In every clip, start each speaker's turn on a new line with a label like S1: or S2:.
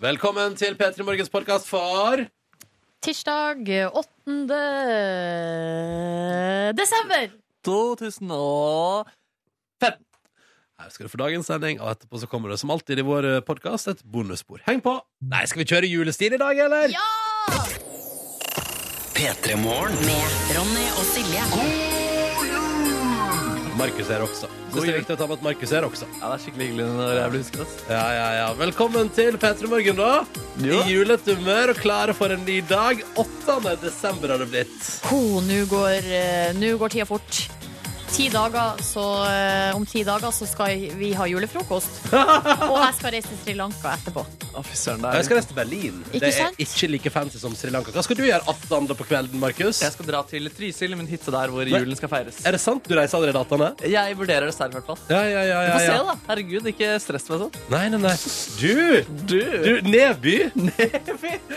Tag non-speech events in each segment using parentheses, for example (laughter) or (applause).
S1: Velkommen til P3 Morgens podkast for
S2: Tirsdag eh, 8. desember.
S3: 2005.
S1: Her skal du få dagens sending, og etterpå så kommer det som alltid i vår podkast et bonusspor. Heng på! Nei, skal vi kjøre julestil i dag, eller?
S2: Ja!
S4: Med Ronny og Silje.
S1: Markus er også. Syns det er viktig å ta med at Markus er også.
S3: Ja, det er skikkelig hyggelig når jeg blir husket. ass.
S1: Ja, ja, ja. Velkommen til P3 Morgen, da.
S3: Jo.
S1: I julete humør og klare for en ny dag. 8. desember har det blitt.
S2: Ho, Nå går, eh, nå går tida fort. Ti dager, så, eh, om ti dager så skal vi ha
S3: (laughs)
S2: julefrokost. Og jeg skal reise til Sri Lanka etterpå.
S3: Å, fy søren, det
S1: Jeg
S3: er
S1: skal reise til Berlin.
S2: Ikke
S1: det er
S2: sant?
S1: ikke like fancy som Sri Lanka. Hva skal du gjøre 18. på kvelden, Markus?
S3: Jeg skal dra til Trysil, min hytte der hvor julen skal feires.
S1: Er det sant? Du reiser allerede 18.?
S3: Jeg vurderer det selv, i hvert fall.
S1: Ja, ja, ja.
S3: Få
S1: ja,
S3: se,
S1: ja.
S3: da. Herregud, ikke stress meg sånn.
S1: Nei, nei, nei. Du!
S3: Du!
S1: Du, Neby,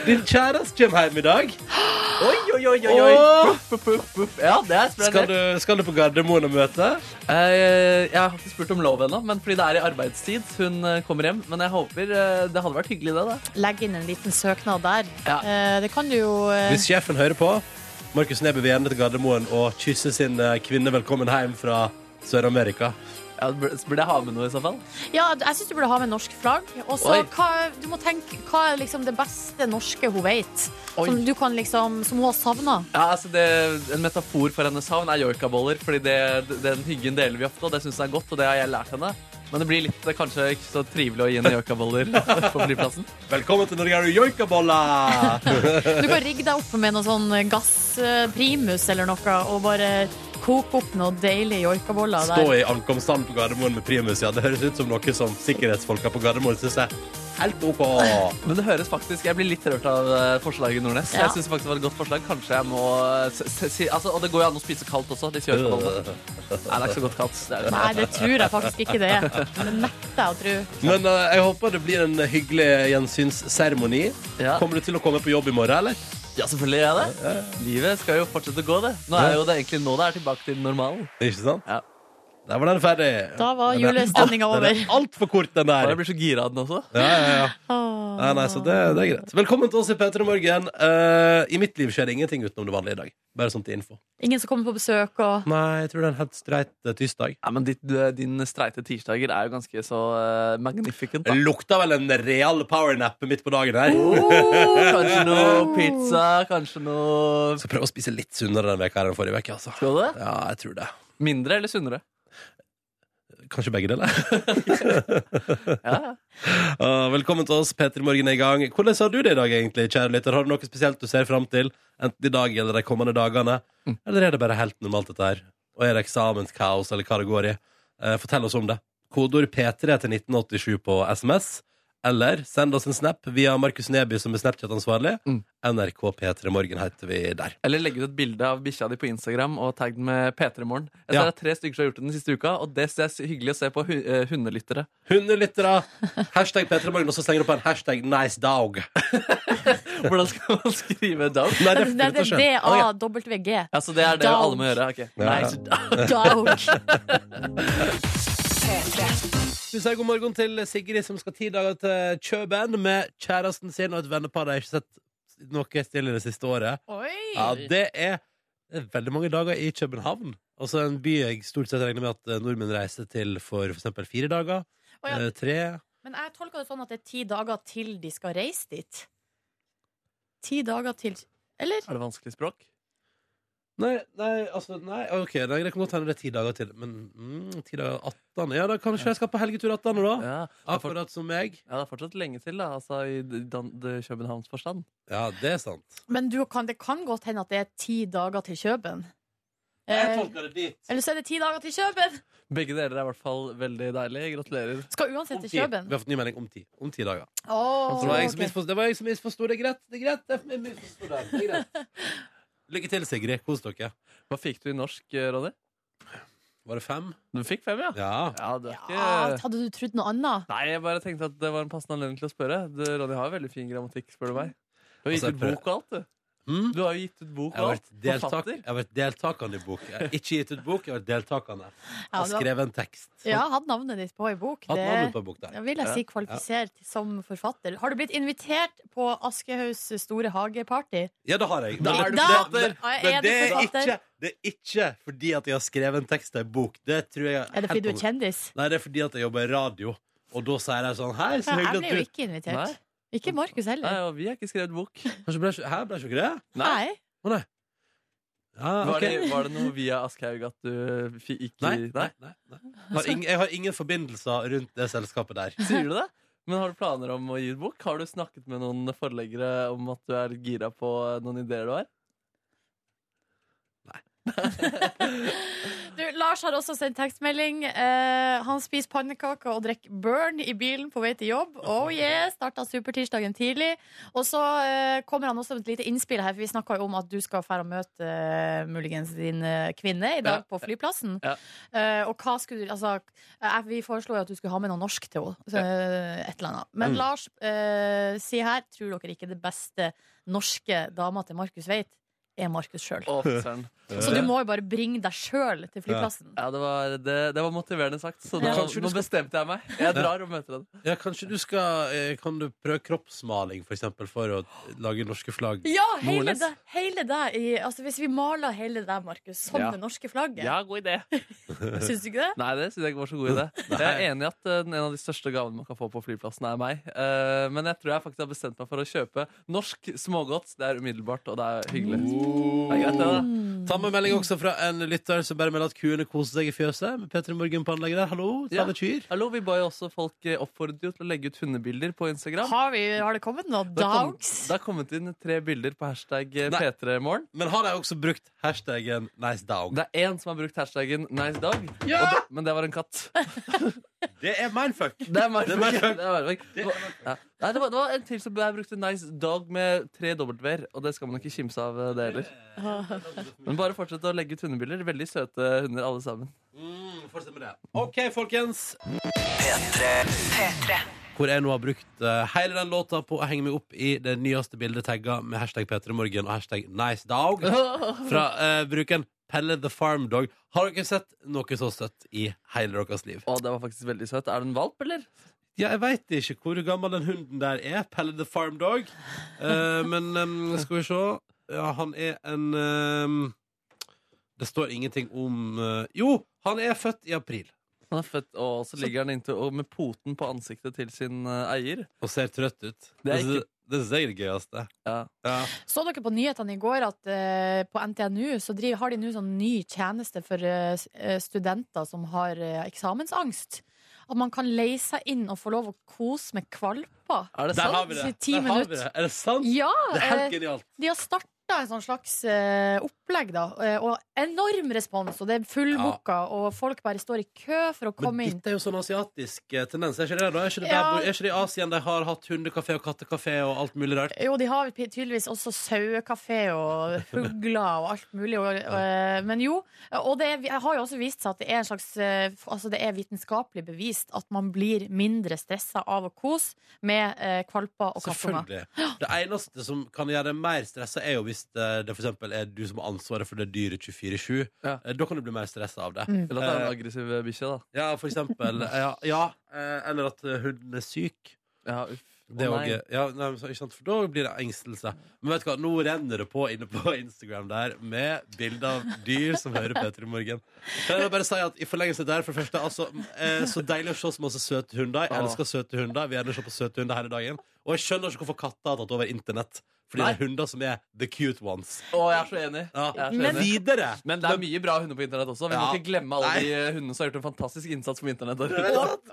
S1: din kjæreste kommer hjem i dag.
S3: (laughs) Oi, oi, oi, oi, oi.
S1: Åh!
S3: Puff, puff, puff, puff. Ja, det er
S1: Skal
S3: spennende.
S1: du, skal du på Gardermoen og møte?
S3: Eh, Jeg har ikke spurt om lov ennå, men fordi det er i arbeidstid hun eh, kommer hjem. Men jeg håper eh, Det hadde vært hyggelig, det, da.
S2: Legg inn en liten søknad der.
S3: Ja.
S2: Eh, Det kan du jo eh,
S1: Hvis sjefen hører på, Markus Neby vil gjerne til Gardermoen og kysse sin eh, kvinne velkommen hjem fra Sør-Amerika.
S3: Ja, bur- burde jeg ha med noe i så fall?
S2: Ja, jeg syns du burde ha med norsk flagg. Og så
S3: Oi.
S2: hva- du må tenke hva er liksom det beste norske hun vet?
S3: Oi.
S2: Som, du kan liksom, som hun har savna.
S3: Ja, altså det, En metafor for hennes savn er joikaboller. Fordi det, den hyggen deler vi ofte, og det syns jeg er godt. Og det har jeg lært henne. Men det blir litt eh, kanskje ikke så trivelig å gi
S2: (laughs)
S3: henne joikaboller på flyplassen.
S1: Velkommen til Norge, er du
S3: (laughs)
S1: joikabolla!
S2: Du kan rigge deg opp med noe sånn gassprimus eller noe, og bare koke opp noen deilige joikaboller
S1: Stå
S2: der.
S1: i ankomsthallen på Gardermoen med primus. Ja, det høres ut som noe som sikkerhetsfolka på Gardermoen syns er helt OK.
S3: Men det høres faktisk, jeg blir litt rørt av eh, forslaget Nordnes.
S2: Ja.
S3: Jeg synes faktisk det var et godt forslag. Kanskje jeg må eh, s- s- si, altså, Og det går jo an å spise kaldt også. Disse
S1: Øh.
S3: joikabollene. Nei, det er ikke så godt kaldt. Det er,
S2: Nei, det tror jeg faktisk ikke det er. Det nekter jeg å tro.
S1: Men eh, jeg håper det blir en hyggelig gjensynsseremoni.
S3: Ja.
S1: Kommer du til å komme på jobb i morgen, eller?
S3: ja, selvfølgelig gjør jeg det. Livet skal jo fortsette å gå, det. Nå er jo det egentlig nå det er tilbake til normalen.
S1: Ikke sant?
S3: Ja.
S1: Der var den ferdig.
S2: Da var
S1: Den er
S2: julestemninga
S1: alt-
S2: over.
S1: Den er altfor kort, den
S3: Og
S1: der.
S3: jeg blir så gira av den også.
S1: Ja, ja, ja.
S2: Åh.
S1: Nei, nei, så det, det er greit. Velkommen til oss i P3 Morgen. Eh, I mitt liv skjer det ingenting utenom det vanlige i dag. Bare sånn til info.
S2: Ingen som kommer på besøk og
S1: Nei, jeg tror det er en helt streit eh, tirsdag.
S3: Ja, men ditt, din streite tirsdager er jo ganske så eh, magnificent.
S1: Det
S3: Da.
S1: lukta vel en real powernap midt på dagen her.
S3: Oh! Kanskje noe pizza, kanskje noe
S1: Skal prøve å spise litt sunnere denne veka her enn forrige uke, altså.
S3: Skal du det?
S1: Ja, jeg tror det.
S3: Mindre eller sunnere?
S1: Kanskje begge deler.
S3: Ja, ja.
S1: Ah, velkommen til oss, P3 Morgen er i gang. Hvordan har du det i dag, egentlig, kjære lytter? Har du noe spesielt du ser fram til, enten i dag eller de kommende dagene? Eller er det bare helt normalt, dette her? Og er det eksamenskaos, eller hva det går i? Eh, fortell oss om det. Kodord P3 til 1987 på SMS. Eller send oss en snap via Markus Neby, som er Snapchat-ansvarlig.
S3: Mm.
S1: NRK P3 Morgen heter vi der.
S3: Eller legge ut et bilde av bikkja di på Instagram og tagg den med P3morgen. Jeg ser
S1: Ja.
S3: det er tre stykker som har gjort det den siste uka, og det synes jeg er hyggelig å se på hu eh, hundelyttere.
S1: Hundelyttere! Hashtag P3 Morgen, og så slenger du på en hashtag nice dog.
S3: Hvordan skal man skrive dog?
S1: Nei,
S2: Det
S1: (laughs) det finner
S2: det-
S1: du
S2: Altså, det
S1: selv.
S2: er
S3: Å, ja.
S2: DAWG.
S3: Ja, så det er det
S2: Dog.
S3: alle må gjøre. ok.
S1: Ja.
S3: Nice dog.
S2: Dog.
S1: (laughs) Vi sier god morgen til Sigrid som skal ti dager til Kjøben med kjæresten sin og et vennepar de har ikke sett noe stille det siste året. Ja,
S2: Oi!
S1: det er det er veldig mange dager i København. Altså en by jeg stort sett regner med at eh, nordmenn reiser til for f.eks. fire dager.
S2: Å, ja.
S1: eh, Tre.
S2: Men jeg tolker det sånn at det er ti dager til de skal reise dit. Ti dager til Eller?
S3: Er det vanskelig språk?
S1: Nei, nei, altså, nei, ok, nei, det kan godt hende det er ti dager til. Men mm, ti dager 18. Ja, da kanskje jeg skal på helgetur 18. da.
S3: Ja, det er, fort,
S1: Akkurat som meg.
S3: ja, det er fortsatt lenge til, da, altså i dan det Københavns forstand.
S1: Ja, det er sant.
S2: Men du kan, det kan godt hende at det er ti dager til Kjøben.
S1: Jeg
S2: Eh,
S1: tolker det dit.
S2: eller så er det ti dager til Kjøben!
S3: Begge deler er i hvert fall veldig deilig. Gratulerer.
S2: Skal uansett
S1: Om
S2: til
S1: ti. Vi
S2: Kjøben.
S1: har fått ny melding om ti. Om ti dager.
S2: Åh,
S1: Det var jeg som
S2: ok.
S1: misforsto. Det var jeg som misforsto. Det er greit. Det er greit. Det er misforstå det. Det er greit. (laughs) Lykke til, Sigrid. Kos dere.
S3: Hva fikk du i norsk, eh, Ronny?
S1: Var det fem?
S3: Du fikk fem, ja?
S1: Ja.
S3: Ja, det er ikke...
S2: Ja, Ah, hadde du trodd noe annet?
S3: Nei, jeg bare tenkte at det var en passende anledning til å spørre. Du, Ronny har veldig fin grammatikk, spør du meg. Du har
S1: Altså,
S3: gitt
S1: jeg
S3: ut
S1: prøver-
S3: bok og alt, du. Du har jo gitt ut bok
S1: Mm? Jeg har
S3: og
S1: vært, deltak,
S3: forfatter.
S1: jeg har vært deltakende i bok. Jeg har ikke gitt ut bok, jeg har vært deltakende. Jeg
S2: Ja,
S1: har
S2: du har-
S1: skrevet en tekst.
S2: Ja, hadde navnet ditt på ei bok.
S1: Hatt navnet på
S2: Det
S1: en bok der.
S2: da vil jeg si kvalifisert som forfatter. Har du blitt invitert på Aschehougs store hageparty?
S1: Ja, det har jeg.
S3: Da er du
S1: det-
S3: forfatter.
S1: det-
S2: Da er
S1: Men
S2: du
S1: det er,
S2: forfatter.
S1: ikke, det er ikke fordi at jeg har skrevet en tekst til en bok. Det tror jeg
S2: Er det fordi du er
S1: helt på-
S2: kjendis?
S1: Nei, det er fordi at jeg jobber i radio. Og da sier jeg sånn Hei, så
S2: Ja, Jeg
S1: hyggelig
S2: ble
S1: at
S2: jo
S1: du
S2: ikke
S3: Nei.
S2: invitert. Ikke Markus
S3: Nei,
S2: heller.
S3: og vi har ikke
S1: (laughs)
S3: skrevet bok.
S1: Kanskje ble, Hæ, ble ikke det?
S3: Nei.
S2: Nei.
S1: Ja,
S3: Var,
S1: ok.
S3: det, var det noe via Aschhaug at du fi- ikke
S1: Nei, nei, nei, nei. Har ing, jeg har ingen forbindelser rundt det selskapet der.
S3: Sier du det? Men har du planer om å gi ut bok? Har du snakket med noen forleggere om at du er gira på noen ideer du har?
S2: Du, Lars har også sendt tekstmelding. Eh, han spiser pannekaker og drikker Burn i bilen på vei til jobb. Oh yeah, Starta supertirsdagen tidlig. Og så eh, kommer han også med et lite innspill her, for vi snakka jo om at du skal dra og møte eh, muligens din eh, kvinne i dag
S3: Ja.
S2: på flyplassen.
S3: Ja.
S2: Eh, og hva skulle du Altså, eh, vi foreslo jo at du skulle ha med noe norsk til henne. Så, eh, Et eller annet. Men
S1: Mm.
S2: Lars eh, sier her, tror dere ikke det beste norske dama til Markus vet, er Markus sjøl.
S3: Å, eh. fy søren.
S2: Så Altså, du må jo bare bringe deg sjøl til flyplassen.
S3: Ja, det var, det, det var motiverende sagt, så nå,
S1: Ja. Kanskje du
S3: nå
S1: skal-
S3: bestemte jeg meg. Jeg drar og møter henne.
S1: Ja, kanskje du skal eh, Kan du prøve kroppsmaling, for eksempel, for å lage norske flagg?
S2: Ja, hele
S3: Nordnes.
S2: det, hele det i, altså Hvis vi maler hele det der, Markus, som
S3: Ja.
S2: det norske flagget,
S3: god idé.
S2: syns du ikke det?
S3: Nei, det synes jeg ikke var så god idé. Jeg er enig i at eh, en av de største gavene man kan få på flyplassen, er meg. Eh, Men jeg tror jeg faktisk har bestemt meg for å kjøpe norsk smågodt. Det er umiddelbart, og det er hyggelig. Det er greit, det, da.
S1: Ta med melding også fra en lytter som bare melder at kuene koser seg i fjøset. Med Petter Morgen på anlegget der. Hallo, ta
S3: Ja.
S1: med kyr.
S3: Hallo, vi ba jo også folk eh, oppfordret jo til å legge ut hundebilder på Instagram.
S2: Har, vi, har det kommet noen
S3: Det har kom-
S2: dogs?
S3: Det har kommet inn tre bilder på hashtag eh,
S1: Nei.
S3: P3morgen.
S1: Men har de også brukt hashtaggen nice dog?
S3: Det er én som har brukt hashtaggen 'nice dog',
S1: Ja!
S3: og det, men det var en katt.
S1: Det er mindfuck!
S3: Det er Marvik.
S1: Det er Marvik.
S3: Det er Marvik. Ja. Nei, det var, det var en til som jeg brukte 'nice dog' med tre W-er, og det skal man ikke kimse av, eh, det heller. Men bare fortsett å legge ut hundebilder. Veldig søte hunder, alle sammen.
S1: Mm, fortsett med det. OK, folkens. Hvor jeg nå har brukt eh, hele den låta på å henge meg opp i det nyeste bildet tagga med hashtag P3morgen og hashtag nice dog fra eh, brukeren Pelle the Farm Dog. Har dere sett noe så søtt i hele deres liv?
S3: Å, det var faktisk veldig søt. Er det en valp, eller?
S1: Ja, jeg veit ikke hvor gammel den hunden der er. Pelle the Farm Dog. Eh, men em, skal vi se Ja, han er en em, Det står ingenting om eh, Jo, han er født i april.
S3: Han er født, og så ligger han inntil, og med poten på ansiktet til sin eh, eier.
S1: Og ser trøtt ut.
S3: Det er
S1: Det syns- det syns jeg er det gøyeste.
S3: Ja.
S1: Ja.
S2: Så dere på nyhetene i går at eh, på NTNU så driver, har de nå sånn ny tjeneste for eh, s- eh, studenter som har eh, eksamensangst? At man kan leie seg inn og få lov å kose med kvalper?
S3: Er det
S1: Der har
S3: sant?
S1: vi det!
S2: Ti
S1: Der har vi
S2: minutter.
S1: det. Er det sant?
S2: Ja!
S1: Det er
S2: eh,
S1: helt genialt.
S2: De har starta en sånn slags eh, opplegg, da. eh, og enorm respons, og det er fullbooka, og folk bare står i kø for å komme
S1: Men
S2: inn.
S1: dette er jo sånn asiatisk eh, tendens. Er ikke det da? Er ikke det,
S2: Ja.
S1: der, er ikke det i Asien de har hatt hundekafé og kattekafé og alt mulig rart?
S2: Jo, de har p- tydeligvis også sauekafé
S1: (laughs)
S2: og fugler og alt mulig. Og, eh, men jo, og det er- har jo også vist seg at det er, en slags, eh, f- altså det er vitenskapelig bevist at man blir mindre stressa av å kose med eh, kvalper og kattunger.
S1: Selvfølgelig. Det eneste som kan gjøre deg mer stressa, er jo hvis det, det for eksempel er du som har ansvaret for det dyret 24-7.
S3: Ja.
S1: Eh, Da kan du bli mer stressa av det.
S2: Mm.
S3: Eller at det er
S1: Eh,
S3: en aggressiv eh, bikkje, da.
S1: Ja, for (laughs) eksempel. Ja, ja, eh, eller at eh, hunden er syk.
S3: Ja, uff. Å,
S1: Det er
S3: nei.
S1: også- ja, nei, men så- ikke sant? For da blir det engstelse. Men vet du hva, nå renner det på inne på Instagram der med bilder av dyr som hører Peter i morgen. Kan jeg bare si at i forlengelse der, for det første, altså, eh, så deilig å se så masse søte hunder. Jeg elsker søte hunder. Vi gjerne se på søte hunder hele dagen. Og jeg skjønner ikke hvorfor katter har tatt over internett. Fordi det er hunder som er the cute ones.
S3: Å, jeg er så enig.
S1: Ja,
S3: Jeg er så
S1: men,
S3: enig.
S1: videre!
S3: Men det er mye bra hunder på internett også. Vi
S1: Ja.
S3: må ikke glemme alle
S1: Nei.
S3: de eh, hundene som har gjort en fantastisk innsats på internett.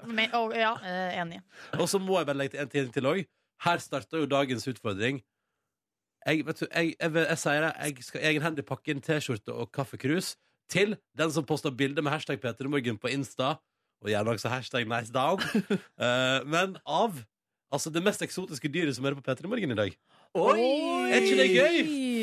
S2: Men, og, ja, eh, enig.
S1: Og så må jeg bare legge til en ting til òg. Her starter jo dagens utfordring. Jeg, vet du, jeg, jeg, vil- jeg sier det, jeg skal egenhendig pakke en T-skjorte og kaffekrus til den som poster bilde med hashtag Petremorgen på Insta, og gjerne også hashtag nice down, Eh, men av altså det mest eksotiske dyret som hører på Petremorgen i dag.
S3: Oi!
S1: Er ikke det gøy?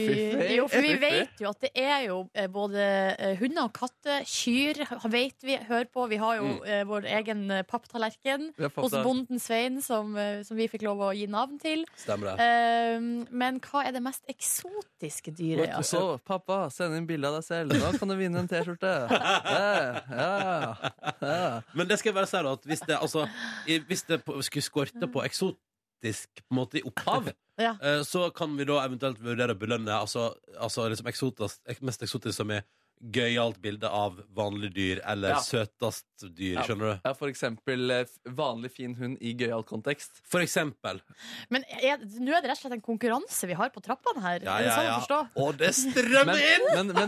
S3: Fiffig.
S2: Jo, for vi
S3: Fiffig.
S2: vet jo at det er jo eh, både eh, hunder og katter, kyr vet vi, hør på. Vi har jo
S1: Mm.
S2: eh, vår egen eh, papptallerken
S3: Vi har fått
S2: hos
S3: det.
S2: bonden Svein, som, eh, som vi fikk lov å gi navn til.
S1: Stemmer det.
S2: Eh, men hva er det mest eksotiske dyret?
S3: Og så, pappa, send inn bilde av deg selv. Da kan du vinne en T-skjorte. Ja, ja, ja.
S1: Men det skal jeg bare si, da, at hvis det, altså, i- hvis det på- skulle skorte på eksotisk på en måte, i opphav,
S2: Ja.
S1: eh, så kan vi da eventuelt vurdere å belønne altså, altså liksom eksotas, ek- mest eksotisk som er gøyalt bilde av vanlig dyr eller
S3: Ja.
S1: søtast dyr,
S3: Ja.
S1: skjønner du?
S3: Ja, for eksempel eh, f- vanlig fin hund i gøyal kontekst.
S1: For eksempel.
S2: Men er, nå er det rett og slett en konkurranse vi har på trappene her.
S1: Ja,
S2: er det
S1: ja,
S2: sånn
S1: ja.
S2: å forstå?
S1: Og det
S3: Men,
S1: strømmer inn!
S3: men, men, det,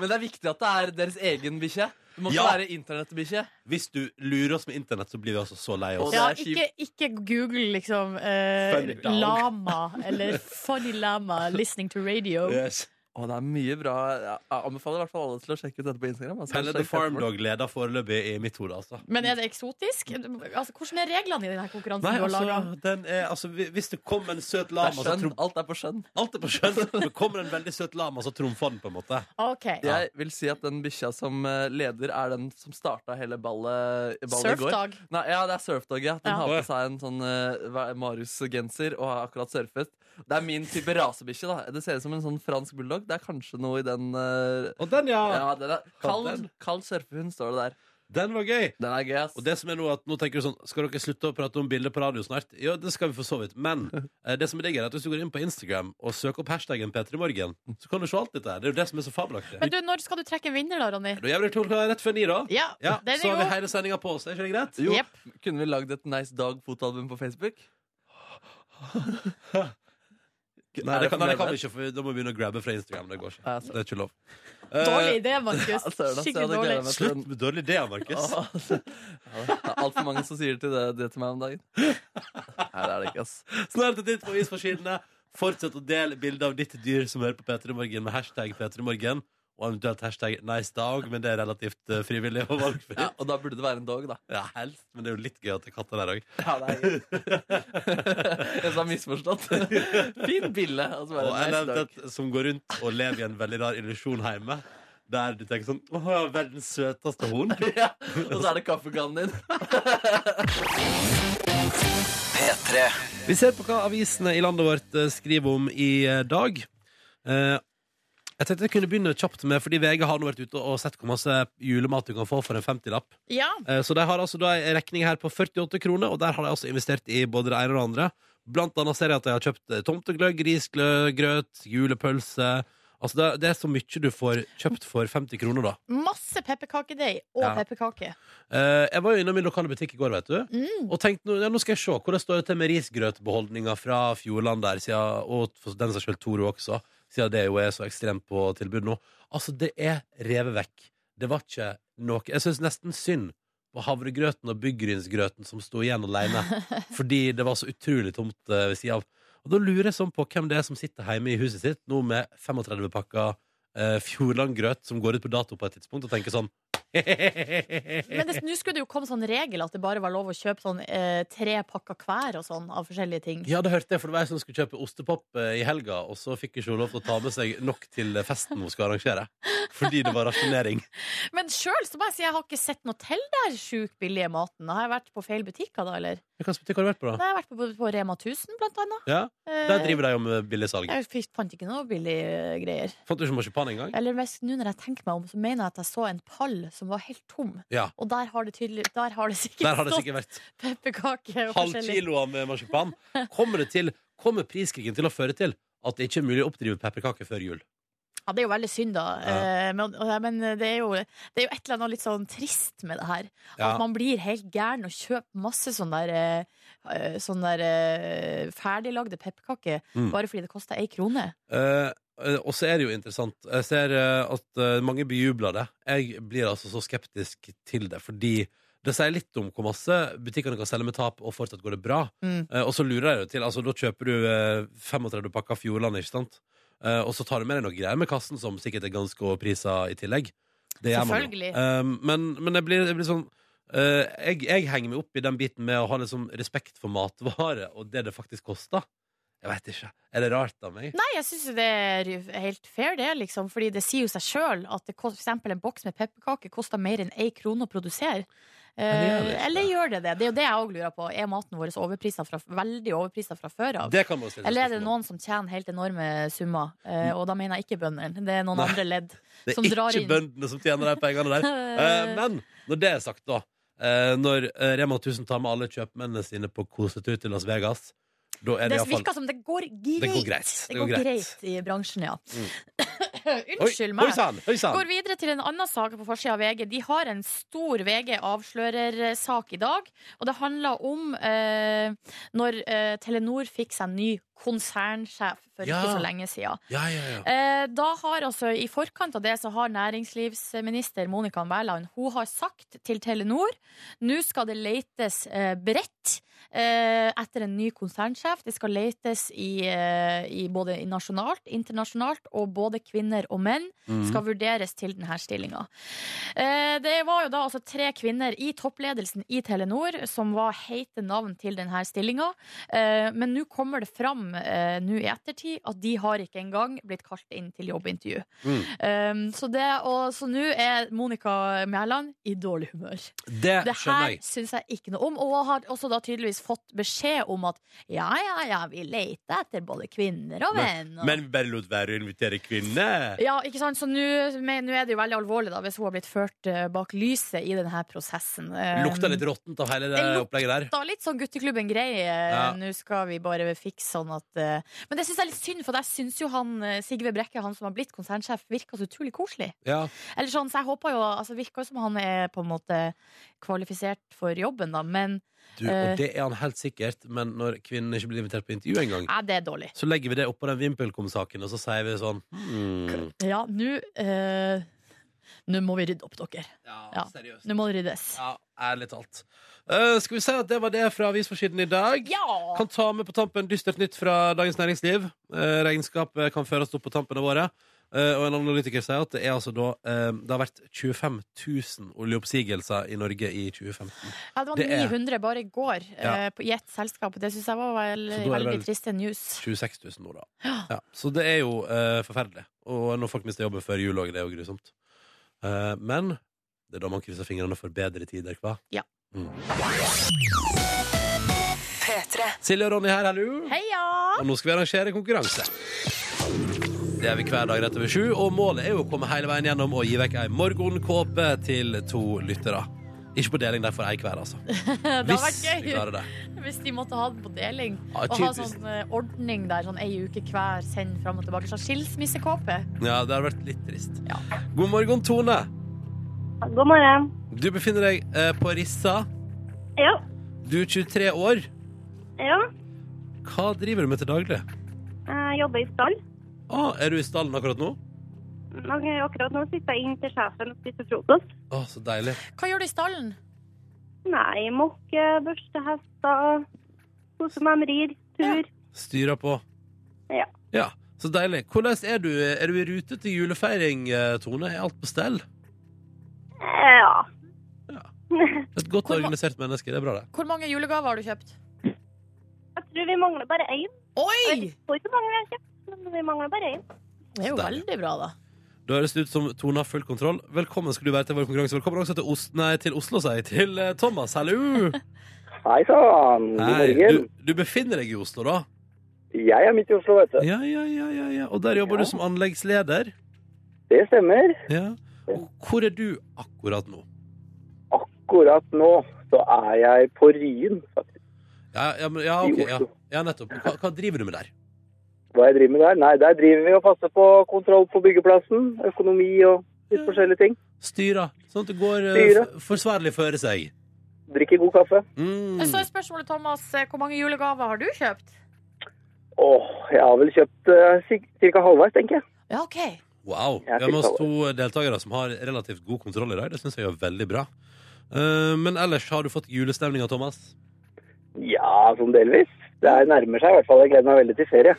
S3: men det er (laughs) viktig at det er deres egen bikkje. Det må ikke
S1: Ja.
S3: være internettbikkje.
S1: Hvis du lurer oss med internett, så blir vi altså så lei oss.
S3: Og det
S2: Ja,
S3: er
S2: ikke, ikke google liksom eh,
S1: Funny dog.
S2: lama eller funny lama listening to radio.
S1: Yes.
S3: Å, det er mye bra. Jeg anbefaler i hvert fall alle til å sjekke ut dette på Instagram. altså.
S1: Pelle the
S3: Sjekk
S1: Farm
S3: etterpå.
S1: Dog leder foreløpig i mitt hode, altså.
S2: Men er det eksotisk? Altså, hvordan er reglene i denne konkurransen
S1: Nei,
S2: du har laga?
S1: altså, den er, altså hvi- Hvis det kom en søt
S3: Det er
S1: lama, så
S3: skjønn.
S1: trom,
S3: Alt er på skjønn.
S1: alt er på skjønn. Men kommer en veldig søt lama, så trumfer den, på en måte.
S2: Ok,
S3: Jeg vil si at den bikkja som eh, leder, er den som starta hele ballet, ballet i går.
S2: Surfdag.
S3: Nei, ja, det er surfdog, ja. Den
S2: Ja.
S3: har på seg en sånn eh, hva- Marius-genser og har akkurat surfet. Det er min type rasebikkje, da. Det ser ut som en sånn fransk bulldog. Det er kanskje noe i den eh,
S1: Og den, ja!
S3: Ja, den er kald, kald surfehund, står det der.
S1: Den var gøy.
S3: Den er gøy, ass.
S1: Og det som er nå at nå tenker du sånn Skal dere slutte å prate om bilder på radio snart? Ja, det skal vi for så vidt. Men eh, det som er digg, er at hvis du går inn på Instagram og søker opp hashtaggen P3morgen, så kan du se alt dette her. Det er jo det som er så fabelaktig.
S2: Men du, når skal du trekke en vinner, da, Ronny?
S1: Da gjør vi det klokka rett før ni, da.
S2: Ja,
S1: Ja,
S2: den er
S1: så har vi
S2: god.
S1: hele sendinga på oss. Er ikke det greit?
S3: jo,
S2: Jepp.
S3: kunne vi lagd et Nice Dog-fotoalbum på Facebook?
S1: Nei, det kan,
S3: Er
S1: nei, det
S3: det
S1: kan
S3: for
S1: vi ikke, for da må vi begynne å grabbe fra Instagram. Det går ikke.
S3: Ja,
S1: Det er ikke lov.
S2: Dårlig
S1: Eh,
S2: idé, Markus.
S3: Ja, søren, ass, jeg
S2: Skikkelig
S3: hadde
S2: dårlig.
S3: gledet meg.
S1: slutt med dårlige ideer,
S3: (laughs)
S1: Markus.
S3: Åh, altså. Ja, det er Altfor mange som sier til det, det til meg om dagen. Nei, det er det ikke, ass.
S1: Snart et titt på isforsidene. Fortsett å dele bilde av ditt dyr som hører på P3 Morgen, med hashtag P3 Morgen. Og eventuelt hashtag nice dag, men det er relativt eh, frivillig og valgfritt.
S3: Ja, og da burde det være en dog, da.
S1: Ja, helst, men det er jo litt gøy at det er katter der òg.
S3: Ja, det er gøy. (laughs) Jeg sa misforstått. Fin bille. Og så
S1: Og
S3: bare
S1: en
S3: nice dog.
S1: eventuelt som går rundt og lever i en veldig rar illusjon hjemme. Der du tenker sånn Å, ja, verdens søteste hund.
S3: (laughs) Ja, og så er det kaffekannen din.
S1: Vi ser på hva avisene i landet vårt eh, skriver om i eh, dag. Eh, Jeg tenkte jeg kunne begynne kjapt med, fordi VG har nå vært ute og sett hvor masse julemat du kan få for en 50-lapp.
S2: Ja,
S1: Eh, Så de har altså da en regning her på 48 kroner, og der har de altså investert i både det ene og det andre. Blant annet ser jeg at de har kjøpt eh, tomtegløgg, risgløgg, grøt, julepølse. Altså det, det er så mye du får kjøpt for 50 kroner, da.
S2: masse pepperkakedeig og
S1: Ja.
S2: pepperkake.
S1: Eh, jeg var jo innom min lokale butikk i går, vet du. Og tenkte, nå- ja, nå skal jeg se hvordan står det til med risgrøtbeholdninga fra Fjordland der, siden, og for den saks skyld Toro også, siden det jo er så ekstremt på tilbud nå. Altså, det er revet vekk. Det var ikke noe Jeg syns nesten synd på havregrøten og byggrynsgrøten som sto igjen alene, fordi det var så utrolig tomt eh, ved sida av. Og da lurer jeg sånn på hvem det er som sitter hjemme i huset sitt nå med 35 pakker eh, Fjordland-grøt som går ut på dato på et tidspunkt, og tenker sånn (laughs)
S2: Men det- nå skulle det jo komme sånn regel at det bare var lov å kjøpe sånn eh, tre pakker hver og sånn av forskjellige ting.
S1: Ja, det hørte jeg, for det var jeg som skulle kjøpe ostepop eh, i helga, og så fikk ikke hun lov til å ta med seg nok til eh, festen hun skal arrangere. Fordi det var
S2: (laughs)
S1: rasjonering.
S2: Men sjøl må jeg si jeg har ikke sett noe til der sjukt billige maten. Har jeg vært på feil butikker da, eller?
S1: Hvilken butikk har du vært på, da?
S2: Nei, jeg har vært på, på Rema 1000, blant annet.
S1: Ja,
S2: Eh,
S1: Der driver de jo med billigsalg.
S2: jeg fikk- fant ikke noe billige eh, greier.
S1: Fant du ikke marsipan engang?
S2: Eller hvis, nå når jeg tenker meg om, så mener jeg at jeg så en pall som var helt tom.
S1: Ja.
S2: Og der har det tydelig Der har det sikkert
S1: Der har det
S2: stått
S1: sikkert vært
S2: pepperkake og forskjellig.
S1: halvkiloer med marsipan. Kommer, det til, kommer priskrigen til å føre til at det ikke er mulig å oppdrive pepperkaker før jul?
S2: Ja, det er jo veldig synd, da.
S1: Ja.
S2: Eh, Men, og- men det, er jo, det er jo et eller annet litt sånn trist med det her.
S1: Ja.
S2: At man blir helt gæren og kjøper masse sånn der, eh, eh, sånn der eh, ferdiglagde pepperkaker
S1: Mm.
S2: bare fordi det koster ei krone.
S1: Eh, eh, og så er det jo interessant. Jeg ser eh, at eh, mange bejubler det. Jeg blir altså så skeptisk til det, fordi det sier litt om hvor masse butikkene kan selge med tap, og fortsatt går det bra.
S2: Mm.
S1: Eh, og så lurer jeg jo til, altså da kjøper du eh, 35 pakker Fjordland, ikke sant? Eh, og så tar du med deg noe greier med kassen som sikkert er ganske overprisa i tillegg. Det gjør man jo.
S2: Selvfølgelig.
S1: Eh, men, men jeg blir, jeg blir sånn eh, sånn jeg, jeg henger meg opp i den biten med å ha liksom respekt for matvare og det det faktisk koster. Jeg vet ikke. Er det rart av meg?
S2: Nei, jeg syns jo det er helt fair, det, liksom. Fordi det sier jo seg sjøl at det kost, for eksempel en boks med pepperkaker koster mer enn én krone å
S1: det gjør
S2: produsere.
S1: det
S2: Eh,
S1: ikke.
S2: eller gjør det det? Det er jo det jeg òg lurer på. Er maten vår overprisa fra, veldig overprisa fra før av?
S1: Det kan man jo stille
S2: Eller er det
S1: spørsmål om.
S2: noen som tjener helt enorme summer? Eh, og da mener jeg ikke bøndene. Det er noen
S1: Nei.
S2: andre ledd.
S1: Det
S2: som
S1: er
S2: drar
S1: ikke
S2: inn.
S1: bøndene som tjener de pengene der. (laughs)
S2: (laughs)
S1: Eh, men når det er sagt, da. eh, når eh, Rema 1000 tar med alle kjøpmennene sine på kosetur til Las Vegas, da er
S2: Det
S1: det iallfall
S2: virker som det går greit.
S1: Det går greit. Mm.
S2: Det går greit i bransjen, ja. (coughs) Unnskyld
S1: Oi
S2: meg.
S1: sann! Oi sann!
S2: Går videre til en annen sak på forsida av VG. De har en stor VG-avslørersak i dag. Og det handler om eh, når eh, Telenor fikk seg ny konsernsjef for
S1: Ja.
S2: ikke så lenge siden.
S1: Ja, ja, ja.
S2: Eh, da har altså, I forkant av det så har næringslivsminister Monica Mæland Hun har sagt til Telenor nå skal det letes eh, bredt eh, etter en ny konsernsjef. Det skal letes i, eh, i både nasjonalt, internasjonalt, og både kvinner og menn Eh,
S1: Mm.
S2: skal vurderes til denne stillinga. Eh, Det var jo da altså tre kvinner i toppledelsen i Telenor som var heite navn til denne stillinga. Eh, Men nå kommer det fram eh, nå i ettertid at de har ikke engang blitt kalt inn til jobbintervju.
S1: Mm.
S2: Eh, Så det- og- så nå er Monica Mæland i dårlig humør.
S1: Det
S2: Det
S1: skjønner
S2: her
S1: jeg.
S2: syns jeg ikke noe om, og har også da tydeligvis fått beskjed om at ja, ja, ja, vi leter etter både kvinner og menn. og-
S1: Men bare lot være å invitere kvinner.
S2: ja, ikke sant? Så nå men nå er det jo veldig alvorlig da, hvis hun har blitt ført eh, bak lyset i denne prosessen. Eh,
S1: Lukta litt råttent av hele det
S2: det lukter-
S1: opplegget der.
S2: Da litt sånn gutteklubben-greie.
S1: Ja.
S2: Nå skal vi bare fikse sånn at eh, Men det syns jeg er litt synd, for jeg syns jo han eh, Sigve Brekke, han som har blitt konsernsjef, virker så utrolig koselig.
S1: Ja.
S2: Eller sånn, så jeg håper jo altså, Virker jo som han er på en måte kvalifisert for jobben, da, men
S1: Du,
S2: Eh.
S1: og det er han helt sikkert, men når kvinnen ikke blir invitert på intervju engang,
S2: nei, det er dårlig.
S1: så legger vi det oppå den VimpelCom-saken, og så sier vi sånn hmm.
S2: Ja, nå eh, Nå må vi rydde opp, dere. Ja.
S1: seriøst.
S2: Nå må det ryddes.
S1: Ja, ærlig talt. Eh, skal vi si at det var det fra avisforsiden i dag?
S2: Ja!
S1: Kan ta med på tampen dystert nytt fra Dagens Næringsliv. Eh, regnskapet kan føres opp på tampen av året. Eh, og en analytiker sier at det, er altså da, eh, det har vært 25 000 oljeoppsigelser i Norge i 2015.
S2: Ja, det var
S1: Det er-
S2: 900 bare i går
S1: Ja.
S2: eh, på- i ett selskap. Det syns jeg var vel,
S1: Så da er det
S2: veldig
S1: vel-
S2: triste news.
S1: 26 000 nå, da. Ja, så det er jo eh, forferdelig. Og når folk mister jobben før jul òg, det er jo grusomt. Eh, men det er da man krysser fingrene for bedre tider, hva?
S2: Ja.
S1: Mm. Silje og Ronny her, hallo.
S2: Heia!
S1: Og nå skal vi arrangere konkurranse. Det er vi hver dag rett over sju, og målet er jo å komme hele veien gjennom og gi vekk ei morgenkåpe til to lyttere. Ikke på deling, derfor ei hver, altså.
S2: (laughs) Det hadde vært
S1: vi
S2: gøy
S1: klarer det.
S2: hvis de måtte ha den på deling.
S1: Ja,
S2: og ha
S1: typisk.
S2: sånn eh, ordning der, sånn ei uke hver, send fram og tilbake. Sånn skilsmissekåpe.
S1: Ja, det hadde vært litt trist.
S2: Ja.
S1: God morgen, Tone.
S5: God morgen.
S1: Du befinner deg eh, på Rissa.
S5: Ja.
S1: Du er 23 år.
S5: ja.
S1: Hva driver du med til daglig?
S5: Jeg jobber i stall.
S1: Ah, er du i stallen akkurat nå?
S5: Og akkurat nå sitter jeg inn til sjefen og spiser frokost.
S1: Å, så deilig.
S2: Hva gjør du i stallen?
S5: Nei, mokke, børste hester, kose meg med rir, tur.
S1: Styrer på.
S5: Ja.
S1: Ja, Så deilig. Hvordan er du? Er du i rute til julefeiring, eh, Tone? Er alt på stell?
S5: Ja.
S1: Et godt
S2: Hvor ma-
S1: organisert menneske. Det er bra, det.
S2: Hvor mange julegaver har du kjøpt?
S5: (laughs) Jeg tror vi mangler bare én. Jeg
S2: Oi!
S5: får ikke mange jeg har kjøpt, men vi mangler bare én.
S2: Det er jo
S1: Deilig.
S2: veldig bra, da.
S1: Da høres det ut som Tone har full kontroll. Velkommen skal du være til vår konkurranse. Velkommen også til, Os nei, til Oslo, sier jeg. Til eh, Thomas. Hallo!
S6: Hei sann, god
S1: Hei.
S6: morgen.
S1: Du, du befinner deg i Oslo, da?
S6: Jeg er midt i Oslo, vet du.
S1: Ja, ja, ja. ja, ja. Og der jobber
S6: Ja.
S1: du som anleggsleder.
S6: Det stemmer.
S1: Ja. Og hvor er du akkurat nå?
S6: Akkurat nå så er jeg på Ryen, faktisk.
S1: Ja, ja, men, ja,
S6: I
S1: ok, ja.
S6: Oslo.
S1: ja nettopp. Hva, hva driver du med der?
S6: Hva jeg driver med der? Nei, der driver vi og passer på kontroll på byggeplassen, økonomi og litt forskjellige ting.
S1: Styrer. Sånn at det går eh,
S6: Styrer.
S1: f- forsvarlig føre seg.
S6: Drikker god kaffe.
S1: Mm.
S2: Eh, Så er spørsmålet, Thomas, eh, hvor mange julegaver har du kjøpt?
S6: Åh, jeg har vel kjøpt uh, ca. halvveis, tenker jeg.
S2: Ja, OK.
S1: Wow. Vi
S6: Jeg
S1: har med oss
S6: fikk
S1: to deltakere som har relativt god kontroll i dag. Det syns jeg er veldig bra. Eh, men ellers har du fått julestemninga, Thomas?
S6: Ja, sånn delvis. Det er nærmer seg i hvert fall. Jeg gleder meg veldig til ferie.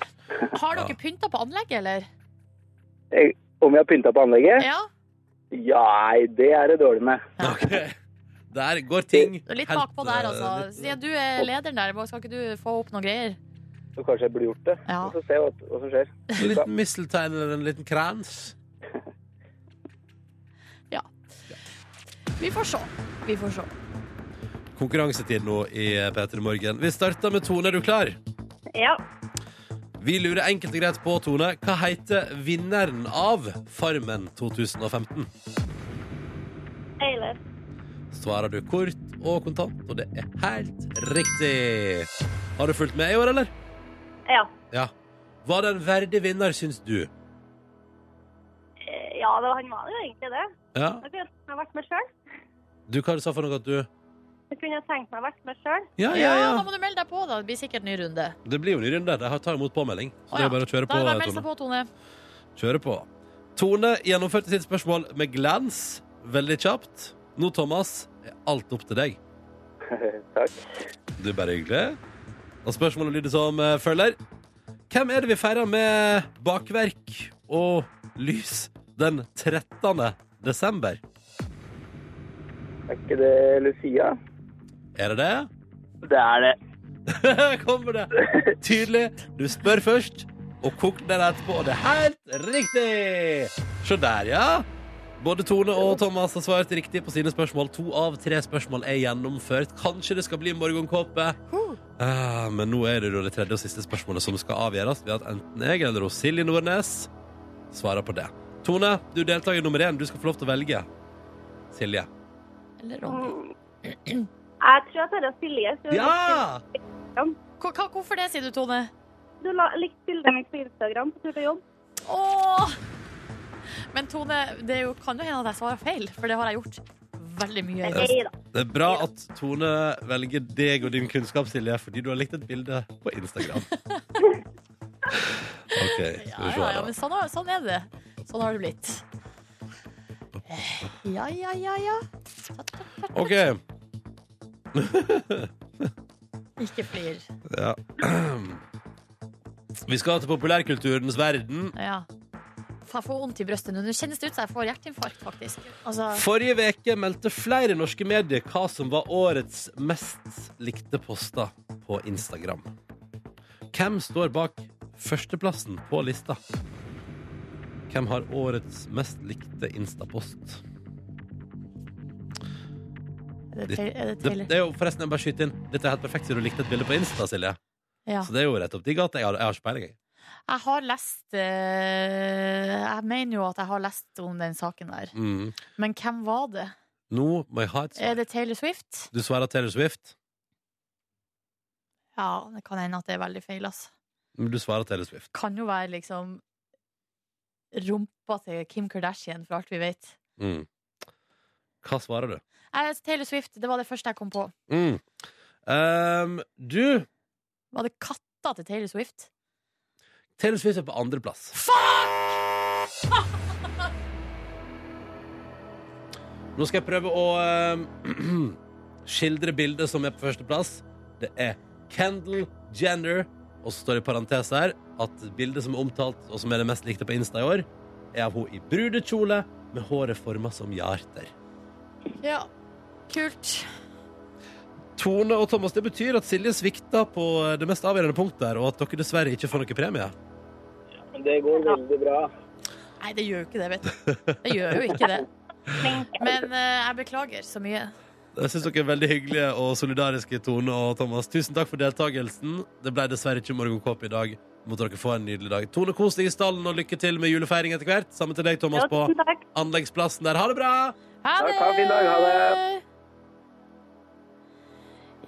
S2: Har
S1: Ja.
S2: dere pynta på anlegget, eller?
S6: Jeg, om jeg har pynta på anlegget?
S2: Ja?
S6: Ja, nei, det er det dårlig med.
S1: Ok. (laughs) Der går ting
S2: Litt
S1: helt,
S2: bakpå der,
S1: eh,
S2: altså.
S1: litt-
S2: Siden du er lederen der, skal ikke du få opp noen greier?
S6: Så kanskje jeg burde gjort det.
S2: Ja.
S6: Og så se hva, hva som skjer.
S1: En liten misteltein eller en liten krans.
S2: Vi får se. Vi får se.
S1: Konkurransetid nå i eh, P3 Morgen. Vi starter med Tone. Er du klar?
S5: Ja.
S1: Vi lurer enkelt og greit på, Tone, hva heter vinneren av Farmen 2015?
S5: Eilert.
S1: Svarer du kort og kontant, og det er helt riktig. Har du fulgt med i år, eller?
S5: Ja.
S1: Ja. Var det en verdig vinner, syns du?
S5: Eh, Ja, det var, han var jo egentlig det.
S1: Ja.
S5: Da kunne jeg vært med sjøl.
S1: Du, hva du sa for noe at du
S5: Da kunne jeg tenkt meg å vært med sjøl.
S1: Ja,
S2: Ja, da må du melde deg på, da. Det blir sikkert ny runde.
S1: Det blir jo ny runde. De har- tar imot påmelding. Så
S2: Å,
S1: det
S2: ja.
S1: er bare å kjøre
S2: Da er det bare å
S1: på,
S2: melde seg
S1: Tone.
S2: på, Tone.
S1: Kjøre på. Tone gjennomførte sitt spørsmål med glans. Veldig kjapt. Nå, Thomas, er alt opp til deg.
S6: Takk.
S1: Du er bare hyggelig. Og spørsmålet lyder som eh, følger. Hvem er det vi feirer med bakverk og lys den 13. desember?
S6: Er ikke det Lucia?
S1: Er det det?
S6: Det er det.
S1: Kommer det tydelig? Du spør først, og koker den etterpå, og det er helt riktig! Se der, ja. Både Tone og Thomas har svart riktig på sine spørsmål. To av tre spørsmål er gjennomført. Kanskje det skal bli morgenkåpe. Ah, men nå er det jo det tredje og siste spørsmålet som skal avgjøres ved at enten jeg eller hun, Silje Nordnes svarer på det. Tone, du er deltaker nummer én. Du skal få lov til å velge. Silje.
S2: Eller Ronny.
S5: Mm. Jeg tror at det er Silje. så
S1: Ja!
S2: Hva- hva- Hvorfor det, sier du, Tone?
S5: Du la, likte bildet mitt på Instagram på tur til jobb.
S2: Åh! Men Tone, det er jo, kan jo hende at jeg svarer feil, for det har jeg gjort veldig mye. i det siste.
S5: Nei da.
S1: Det er bra at Tone velger deg og din kunnskap, Silje, fordi du har likt et bilde på
S2: (laughs)
S1: Instagram. OK, skal
S2: Ja,
S1: vi se.
S2: ja,
S1: her
S2: ja,
S1: da.
S2: men sånn, har- sånn er det. Sånn har det blitt. Ja, ja, ja, ja.
S1: OK.
S2: Ikke flir.
S1: Ja. Vi skal til populærkulturens verden.
S2: Ja. Jeg får vondt i brøstet nå. Nå kjennes det ut som jeg får hjerteinfarkt, faktisk. Altså,
S1: Forrige veke meldte flere norske medier hva som var årets mest likte poster på Instagram. Hvem står bak førsteplassen på lista? Hvem har årets mest likte Insta-post?
S2: er det Tay- er det
S1: Det,
S2: Taylor?
S1: det er jo forresten, jeg bare skyter inn Dette er helt perfekt siden du likte et bilde på Insta, Silje.
S2: Ja.
S1: Så det er jo rett opp de gata. Jeg har, jeg har ikke peiling, jeg.
S2: Jeg har lest eh, Jeg mener jo at jeg har lest om den saken der.
S1: Mm.
S2: Men hvem var det?
S1: Nå må jeg ha et
S2: Er
S1: svar.
S2: det Taylor Swift?
S1: Du svarer Taylor Swift,
S2: Ja, det kan hende at det er veldig feil, altså.
S1: men du svarer Taylor Swift.
S2: kan jo være liksom rumpa til Kim Kardashian, for alt vi vet.
S1: Mm. Hva svarer du?
S2: Nei, Taylor Swift, det var det første jeg kom på.
S1: Mm. Ehm, du
S2: Var det katta til Taylor Swift?
S1: Taylor Swift er på andreplass. Nå skal jeg prøve å ehm, (clears throat) skildre bildet som er på førsteplass. Det er Kendal Jenner, og så står det i parentes her at bildet som er omtalt, og som er det mest likte på Insta i år, er av henne i brudekjole med håret forma som hjerter.
S2: Ja. Kult.
S1: Tone og Thomas, det betyr at Silje svikta på det mest avgjørende punktet her, og at dere dessverre ikke får noe premie.
S6: Det går veldig bra.
S2: Nei, det gjør jo ikke det, vet (laughs) du. Det gjør jo ikke det. Men eh, jeg beklager så mye.
S1: Jeg synes dere er veldig hyggelige og solidariske, Tone og Thomas. Tusen takk for deltakelsen. Det ble dessverre ikke morgenkåpe i dag. Måtte dere få en nydelig dag. Tone, kos deg i stallen, og lykke til med julefeiring etter hvert. Sammen til deg, Thomas,
S5: Ja,
S1: på
S5: tusen takk.
S1: anleggsplassen der. Ha det bra!
S2: Ha
S6: Takk,
S2: det!
S6: ha en fin dag, ha det!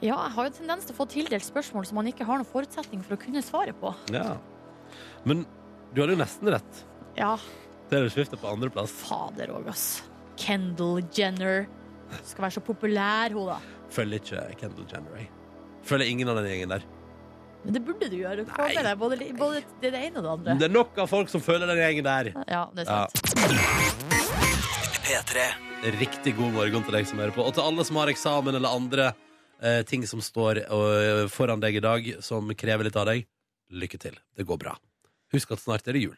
S2: Ja, jeg har jo tendens til å få tildelt spørsmål som man ikke har noen forutsetning for å kunne svare på.
S1: Ja. Men du hadde jo nesten rett.
S2: Ja,
S1: Det er jo skiftet på andreplass.
S2: fader òg, ass. Kendal Jenner. Skal være så populær, hun, da.
S1: Følger ikke Kendal Jenner. jeg. Følger ingen av den gjengen der.
S2: Men det burde du gjøre. Få
S1: Nei.
S2: med deg både, både det ene og det andre.
S1: Det er nok av folk som følger den gjengen der.
S2: Ja, det er sant.
S1: Riktig god morgen til deg som hører på, og til alle som har eksamen eller andre eh, ting som står eh, foran deg i dag, som krever litt av deg. Lykke til. Det går bra. Husk at snart er det jul.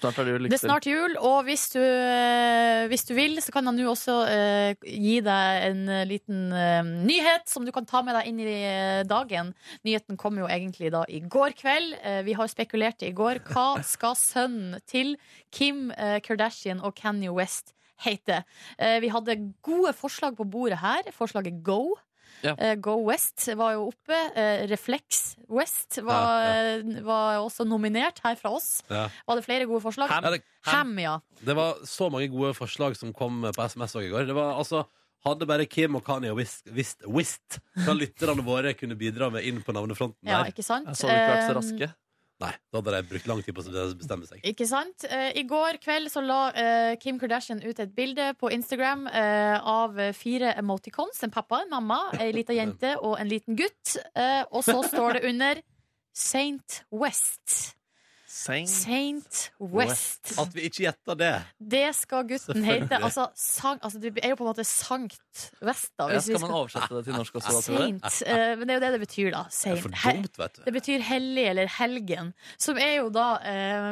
S3: Snart er det jo
S2: Det er
S3: lykke til.
S2: snart jul, og hvis du, eh, hvis du vil, så kan han nå også eh, gi deg en eh, liten eh, nyhet som du kan ta med deg inn i eh, dagen. Nyheten kom jo egentlig da i går kveld. Eh, vi har spekulert i går. Hva
S1: (laughs)
S2: skal sønnen til Kim eh, Kardashian og Kanye West hete? Eh, vi hadde gode forslag på bordet her. Forslaget Go.
S3: Ja.
S2: Eh, Go West var jo oppe. Eh, Reflex West var, eh, var også nominert her fra oss.
S1: Ja.
S2: Var det flere gode forslag?
S1: Ja, det,
S2: Ham, ja.
S1: det var så mange gode forslag som kom på SMS også i går. Det var altså hadde bare Kim og Kanye visst, visst, visst hva lytterne våre kunne bidra med inn på navnefronten
S2: ja
S1: der.
S2: ikke sant?
S3: Jeg så det ikke vært så
S2: Eh,
S3: raske.
S1: Nei, da hadde de brukt lang tid på å bestemme seg.
S2: Ikke sant? Eh, I går kveld så la eh, Kim Kardashian ut et bilde på Instagram eh, av fire emoticons. En pappa, en mamma, ei lita jente og en liten gutt. Eh, og så står det under Saint West. Saint West.
S1: At vi ikke gjetta det!
S2: Det skal gutten
S1: Selvfølgelig.
S2: hete. Altså, sang, altså, det er jo på en måte Sankt Vest, da.
S3: Ja,
S2: Hvis vi
S3: skal man
S2: skal
S3: oversette det til norsk også? da, tror jeg?
S2: Saint. eh, men det er jo det det betyr, da.
S1: Det
S2: Saint.
S1: er for
S2: Her-
S1: dumt, vet du.
S2: Det betyr hellig eller helgen, som er jo da eh,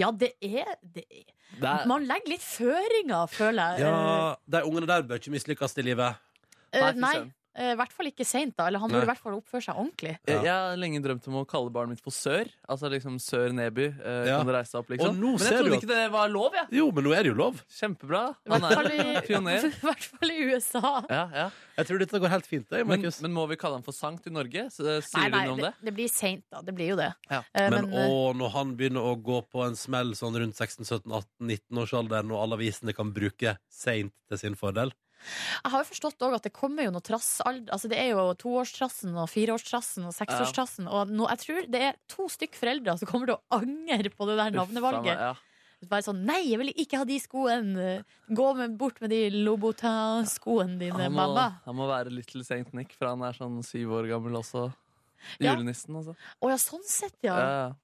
S2: Ja, det er, det er
S3: Det er-
S2: Man legger litt føringer, føler jeg.
S1: Ja, de ungene der bør ikke mislykkes i livet.
S2: Eh, eh,
S3: Nei, fy
S2: nei,
S3: søren.
S2: eh, i hvert fall ikke seint, da. Eller han
S1: Nei.
S2: burde i hvert fall oppføre seg ordentlig.
S1: Ja.
S3: Jeg, jeg har lenge drømt om å kalle barnet mitt for Sør. Altså liksom Sør Neby. eh,
S1: Ja.
S3: Kan du reise deg opp,
S1: Og
S3: liksom?
S1: nå
S3: Men jeg
S1: ser du
S3: trodde
S1: at-
S3: ikke det var lov, jeg.
S1: Jo, men nå er det jo lov.
S3: Kjempebra.
S2: I
S3: Han
S2: hvert
S3: er
S2: fall i,
S3: (laughs) pioner.
S2: (laughs) i hvert fall i USA.
S3: Ja, ja.
S1: Jeg tror dette går helt fint, det,
S3: Men,
S1: Markus. Men,
S3: men må vi kalle han for Sankt i Norge? S- eh, Sier du noe om
S2: det,
S3: det?
S2: det blir seint, da. Det blir jo det.
S3: Ja.
S2: Eh, men eh,
S1: å, når han begynner å gå på en smell sånn rundt 16-17-18-19-årsalderen, og alle avisene kan bruke seint til sin fordel
S2: jeg har jo forstått òg at det kommer jo noe trass. al- Altså, det er jo toårstrassen og fireårstrassen og seksårstrassen. Og nå, jeg tror det er to stykk foreldre som kommer til å angre på det der
S3: Uff, faen
S2: navnevalget.
S3: meg, ja.
S2: Bare sånn Nei, jeg vil ikke ha de skoene! Gå med, bort med de Lobotin-skoene dine,
S1: Ah,
S3: Han må,
S2: mamma.
S3: han må være Little Saint Nick, for han er sånn syv år gammel også.
S2: Ja.
S3: Julenissen, altså.
S2: Å ja, sånn sett, ja.
S3: Ja. ja.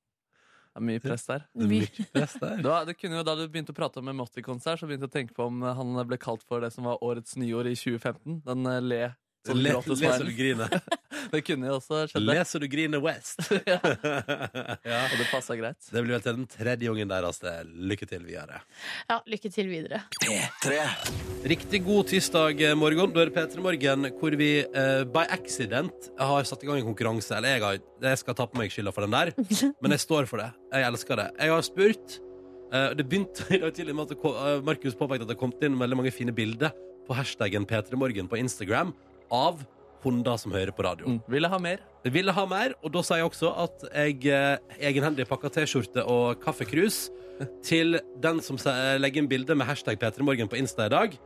S3: Det er mye press der.
S1: Det er
S2: My-
S1: mye press
S2: (laughs)
S1: der.
S3: Da, det kunne jo, da du begynte å prate om emoticons her, så begynte jeg å tenke på om eh, han ble kalt for det som var årets nyord i 2015. Den eh, le så du
S1: Le-
S3: gråter
S1: Leser du
S3: smilen.
S1: griner.
S2: (laughs)
S3: Det kunne jo også skjedd. det.
S1: Leser du griner West. ja.
S3: Og det passa greit.
S1: Det blir vel til den tredje ungen der, altså. Lykke til videre.
S2: ja. Lykke til videre.
S1: Riktig god tirsdag eh, morgen. Da er det P3 Morgen hvor vi eh, by accident har satt i gang en konkurranse. Eller jeg, har, jeg skal ta på meg skylda for den der, men jeg står for det. Jeg elsker det. Jeg har spurt. eh, det begynte i dag tidlig med at det ko- eh, Markus påpekte at det kom inn veldig mange fine bilder på hashtaggen P3 Morgen på Instagram av hunder som hører på radio.
S3: Mm. Ville ha mer.
S1: Jeg ville ha mer, og da sa jeg også at jeg eh, egenhendig pakka T-skjorte og kaffekrus til den som se- legger inn bilde med hashtag P3morgen på Insta i dag,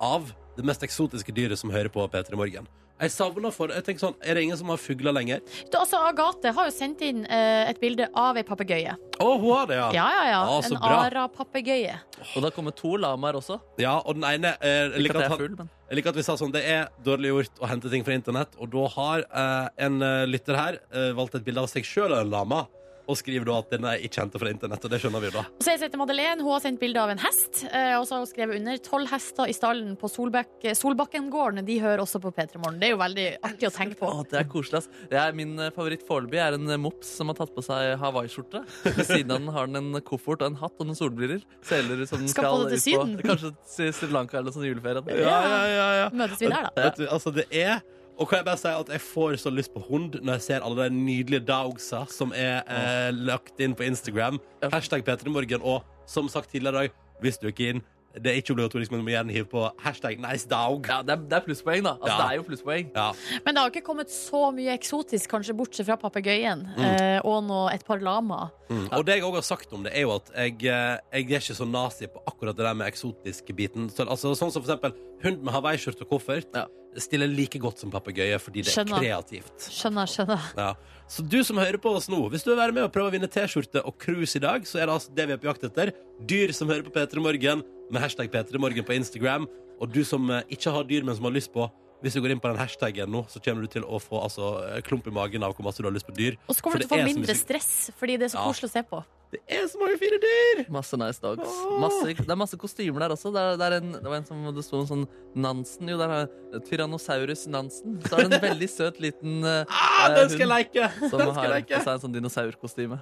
S1: av det mest eksotiske dyret som hører på P3morgen. Jeg savner for jeg tenker sånn, Er det ingen som har fugler lenger?
S2: Du, altså, Agathe har jo sendt inn eh, et bilde av ei papegøye.
S1: Å, hun har det, ja!
S2: Ja, ja, ja.
S1: Ah, så
S2: en
S1: bra.
S2: ara-papegøye.
S3: Og det har kommet to lamaer også.
S1: Ja, og den ene eh, jeg
S3: Ikke
S1: liker at
S3: at jeg er
S1: han-
S3: full, men
S1: jeg liker at vi sa sånn, det er dårlig gjort å hente ting fra internett, og da har eh, en eh, lytter her eh, valgt et bilde av seg sjøl og en lama, og skriver da at den er ikke hentet fra internett, og det skjønner vi jo da.
S2: Og så er jeg til Madeleine, Hun har sendt bilde av en hest, eh, og så har hun skrevet under 'Tolv hester i stallen på Solbekk, Solbakkengården'. De hører også på P3 Morgen. Det er jo veldig artig å tenke på.
S3: Å, det er koselig, ass. Det er min eh, favoritt foreløpig er en eh, mops som har tatt på seg hawaiiskjorte. Ved siden av den har den en koffert og en hatt og noen solbriller. Seler som den
S2: Skal
S3: skal,
S2: på det til
S3: ut
S2: Syden.
S3: på kanskje til Sri Lanka eller sånn juleferien.
S1: Ja, ja, ja, ja.
S2: Møtes vi der, da?
S1: Vet du, altså det er Og kan jeg bare si at jeg får så lyst på hund når jeg ser alle de nydelige dogsa som er eh, lagt inn på Instagram.
S3: Ja.
S1: Hashtag P3morgen. Og som sagt tidligere i dag, hvis du ikke er inn Det er ikke obligatorisk, men du må gjerne hive på hashtag nice dog.
S3: Ja, det er, det er plusspoeng, da. Altså,
S1: Ja.
S3: Det er jo plusspoeng.
S1: Ja.
S2: Men det har ikke kommet så mye eksotisk, kanskje bortsett fra papegøyen eh, og nå et par lamaer.
S1: Mm. Og det jeg òg har sagt om det, er jo at jeg, eh, jeg er ikke så nazi på akkurat det der med eksotiske biten. Så, altså, sånn som for eksempel hund med hawaiiskjorte og koffert
S3: Ja.
S1: stiller like godt som papegøye fordi det
S2: Skjønner.
S1: er kreativt.
S2: Skjønner, skjønner.
S1: Ja. Så du som hører på oss nå, hvis du vil være med og prøve å vinne T-skjorte og cruise i dag, så er det altså det vi er på jakt etter. Dyr som hører på P3 Morgen med hashtag P3 Morgen på Instagram. Og du som eh, ikke har dyr, men som har lyst på Hvis du går inn på den hashtagen nå, så kommer du til å få altså, eh, klump i magen av hvor masse du har lyst på dyr.
S2: Og så kommer
S1: For
S2: du til å
S1: det
S2: få
S1: er så
S2: mindre
S1: mye-
S2: stress, fordi det er så
S1: Ja.
S2: koselig å se på.
S1: Det er så mange fine dyr!
S3: Masse nice dogs.
S1: Åh.
S3: Masse, det er masse kostymer der også. Det, er, det, er en, det var en som det sto en sånn Nansen Jo, der er Tyrannosaurus Nansen. Så er det en veldig søt liten eh,
S1: (laughs) Ah,
S3: eh,
S1: den skal jeg
S3: hund
S1: leke!
S3: som
S1: Den skal
S3: har
S1: jeg
S3: på
S1: leke!
S3: seg en sånn dinosaurkostyme.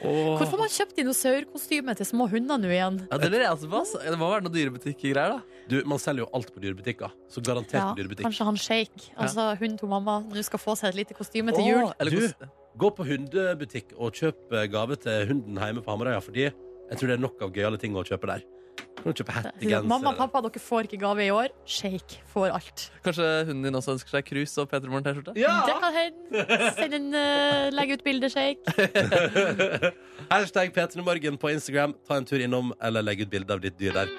S3: Åh.
S2: Hvor får man kjøpt dinosaurkostyme til små hunder nå igjen?
S3: Ja, det, lurer jeg også på, ass. det må være noen dyrebutikkgreier, da.
S1: Du, man selger jo alt på dyrebutikker. Så garantert
S2: Ja,
S1: dyrebutikk.
S2: kanskje han Shake, altså hun to mamma, nå skal få seg et lite kostyme til jul.
S1: Åh, eller
S3: Du-
S1: kos- Gå på hundebutikk og kjøp eh, gave til hunden hjemme på Hamarøya, fordi jeg tror det er nok av gøyale ting å kjøpe der. Kan du kjøpe hettegenser?
S2: Mamma og pappa, dere får ikke gave i år. Shake får alt.
S3: Kanskje hunden din også ønsker seg krus og Peter Morgen-T-skjorte?
S2: Det
S1: Ja!
S2: kan hende. Send en eh, legg ut bilde, Shake.
S1: Hashtag P3morgen på Instagram. Ta en tur innom eller legg ut bilde av ditt dyr der.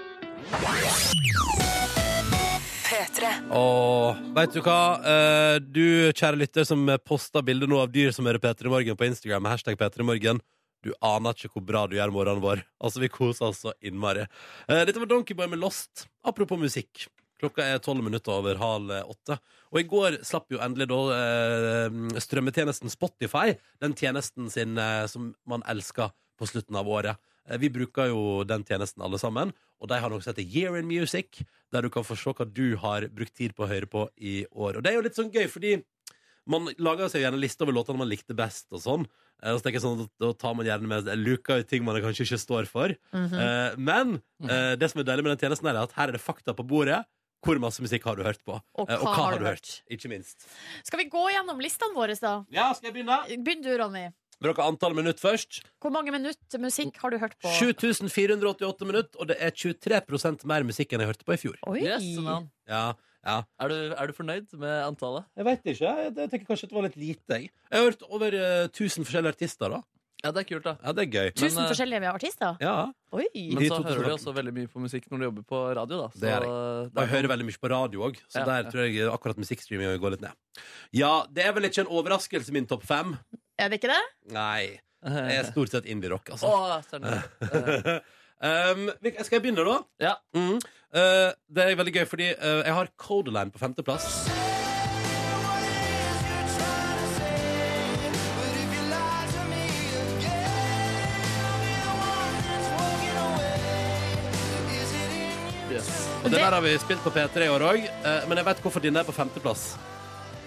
S1: Og veit du hva? Eh, Du, kjære lytter, som poster bilde nå av dyr som hører P3 Morgen på Instagram med hashtag P3 Morgen. Du aner ikke hvor bra du gjør morgenen vår. Altså, Vi koser oss så innmari. Eh, Dette var Donkeyboy med Lost. Apropos musikk. Klokka er tolv minutter over halv åtte. Og i går slapp jo endelig da eh, strømmetjenesten Spotify, den tjenesten sin eh, som man elsker på slutten av året. Eh, Vi bruker jo den tjenesten alle sammen, og de har noe som heter Year in Music, der du kan få se hva du har brukt tid på å høre på i år. Og det er jo litt sånn gøy, fordi man lager seg jo gjerne en liste over låtene man likte best, og sånn. Eh, Og så tenker jeg sånn, da da tar man gjerne med luka ut ting man kanskje ikke står for.
S2: Mhm. Mm.
S1: Eh, Men eh, det som er deilig med den tjenesten, her er at her er det fakta på bordet. Hvor masse musikk har du hørt på?
S2: Og
S1: Eh,
S2: hva har du hørt?
S1: Ikke minst.
S2: Skal vi gå gjennom listene våre, da?
S1: Ja, skal jeg begynne?
S2: Begynn du, Ronny.
S1: Vil dere ha antall minutt først?
S2: Hvor mange minutter musikk har du hørt på?
S1: 7488 minutt, og det er 23 mer musikk enn jeg hørte på i fjor.
S2: Oi.
S3: Yes,
S2: sånn.
S3: man.
S1: Ja, ja.
S3: er, du, er du fornøyd med antallet?
S1: Jeg veit ikke. Jeg, jeg tenker kanskje at det var litt lite. Jeg, jeg har hørt over eh, 1000 forskjellige artister. da
S3: Ja, det er kult, da.
S1: Ja, det er gøy.
S2: Tusen
S3: Men, eh,
S2: forskjellige artister?
S1: Ja,
S2: Oi.
S3: Men
S1: I
S3: så
S1: 2000
S3: hører du også veldig mye på musikk når du jobber på radio, da. Så
S1: Det er
S3: det
S1: Og jeg
S3: er-
S1: hører veldig mye på radio òg, så
S3: Ja,
S1: der
S3: ja.
S1: tror jeg akkurat musikkstreaminga går litt ned. Ja, det er vel ikke en overraskelse min topp fem.
S2: Er det ikke det?
S1: Nei. Jeg er stort sett indie-rock, altså.
S3: Å, stjerne.
S1: um, vi- skal jeg begynne, da?
S3: (laughs) Ja.
S1: Mm. Eh, det er veldig gøy, fordi eh, jeg har Codeline på femteplass.
S3: Yes.
S1: Og det
S2: Det-
S1: der har vi spilt på P3 i år òg, men jeg vet hvorfor denne er på femteplass.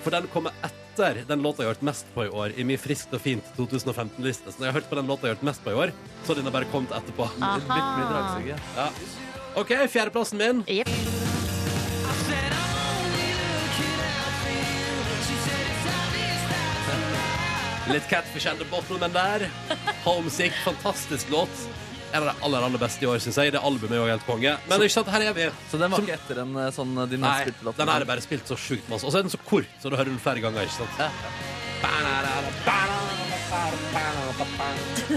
S1: For den kommer etter den låta jeg har hørt mest på i år, i min friskt og fint 2015-liste. Så når jeg har hørt på den låta jeg har hørt mest på i år, så har denne bare kommet etterpå.
S2: Aha.
S3: Litt mye dragsuge.
S1: Ja. OK, fjerdeplassen min.
S2: Jepp.
S1: Litt Catfish and the Bottlemen der. Homesick, fantastisk låt. En av de aller aller beste i år, syns jeg. Det albumet er jo helt konge. Men ikke sant, her er vi.
S3: Så den var
S1: Som-
S3: ikke etter en eh, sånn eh, din
S1: Nei,
S3: mest spilte låt?
S1: den her er bare spilt så sjukt masse. Og så er den så kort, så du hører den flere ganger. ikke sant?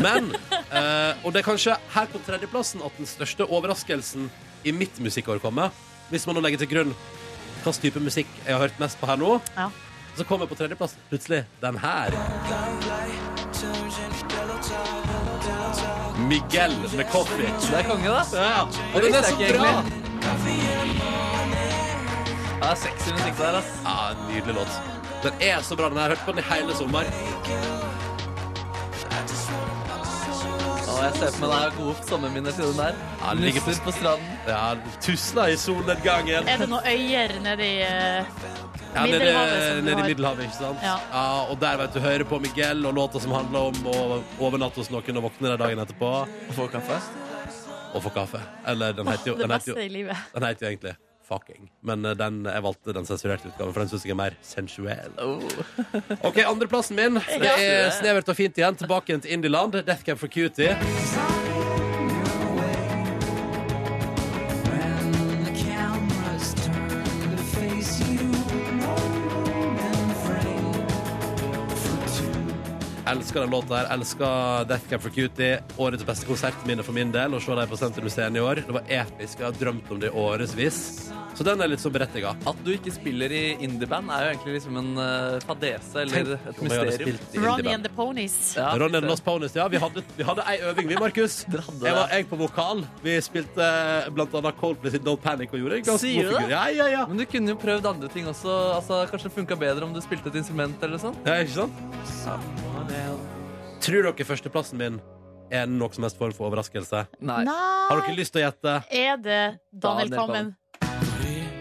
S1: Men eh, Og det er kanskje her på tredjeplassen at den største overraskelsen i mitt musikkår kommer. Hvis man nå legger til grunn hvilken type musikk jeg har hørt mest på her nå,
S2: Ja.
S1: så kommer på tredjeplass plutselig den her. Miguel med coffee.
S3: Det er konge, da.
S1: Ja, og den
S3: visste
S1: er så
S3: jeg ikke
S1: bra!
S3: egentlig. Ja, det er sexy musikk der, ass.
S1: Ja, en Nydelig låt. Den er så bra. Den har jeg hørt på den i hele sommer.
S3: Å, jeg ser for meg det er gode sommerminner til den der.
S1: Ja, den ligger på-
S3: Nusser på stranden.
S1: Ja, tusla i solnedgangen.
S2: Er det noen øyer nedi eh,
S1: Ja, nede,
S2: Middelhavet som du
S1: nede i
S2: har.
S1: Middelhavet, ikke sant?
S2: Ja.
S1: Og der vet du, hører på Miguel og låta som handler om å overnatte hos noen og våkne der dagen etterpå
S3: Å få kaffe.
S1: og få kaffe. Eller den heter jo,
S2: det
S1: den heter
S2: beste
S1: jo,
S2: i livet?
S1: den heter jo egentlig Fucking. Men eh, den, jeg valgte den sensurerte utgaven, for den syns jeg er mer sensuell.
S3: Oh.
S1: OK, andreplassen min. Det er snevert og fint igjen. Tilbake igjen til Indieland. Death Camp for Cutie. Elsker den låta her. Elsker Death Camp for Cutie. Årets beste konsertminne for min del. Å se dem på Sentrum Scene i år. Det var episk. Jeg har drømt om det i årevis. Så den er litt sånn så berettiga.
S3: At du ikke spiller i indieband, er jo egentlig liksom en eh, fadese eller et mysterium.
S2: Ronny and the Ponies.
S3: Ja,
S1: Ronny and the
S3: fy
S1: Lost Ponies, ja. Vi hadde, vi hadde ei øving, vi, Markus.
S3: Dere hadde
S1: Jeg var
S3: (laughs) det.
S1: jeg på vokal. Vi spilte eh, blant annet Coldplay sin Don't Panic og gjorde en ganske
S3: Sier
S1: god
S3: du det?
S1: figur. Ja, ja, ja.
S3: Men du kunne jo prøvd andre ting også. Altså, kanskje det funka bedre om du spilte et instrument eller sånn.
S1: ja, ikke sant? Tror dere førsteplassen min er noe som helst form for overraskelse?
S3: Nei.
S2: Nei,
S1: Har dere lyst til å gjette?
S2: er det Daniel
S3: Daniel
S2: Kvammen?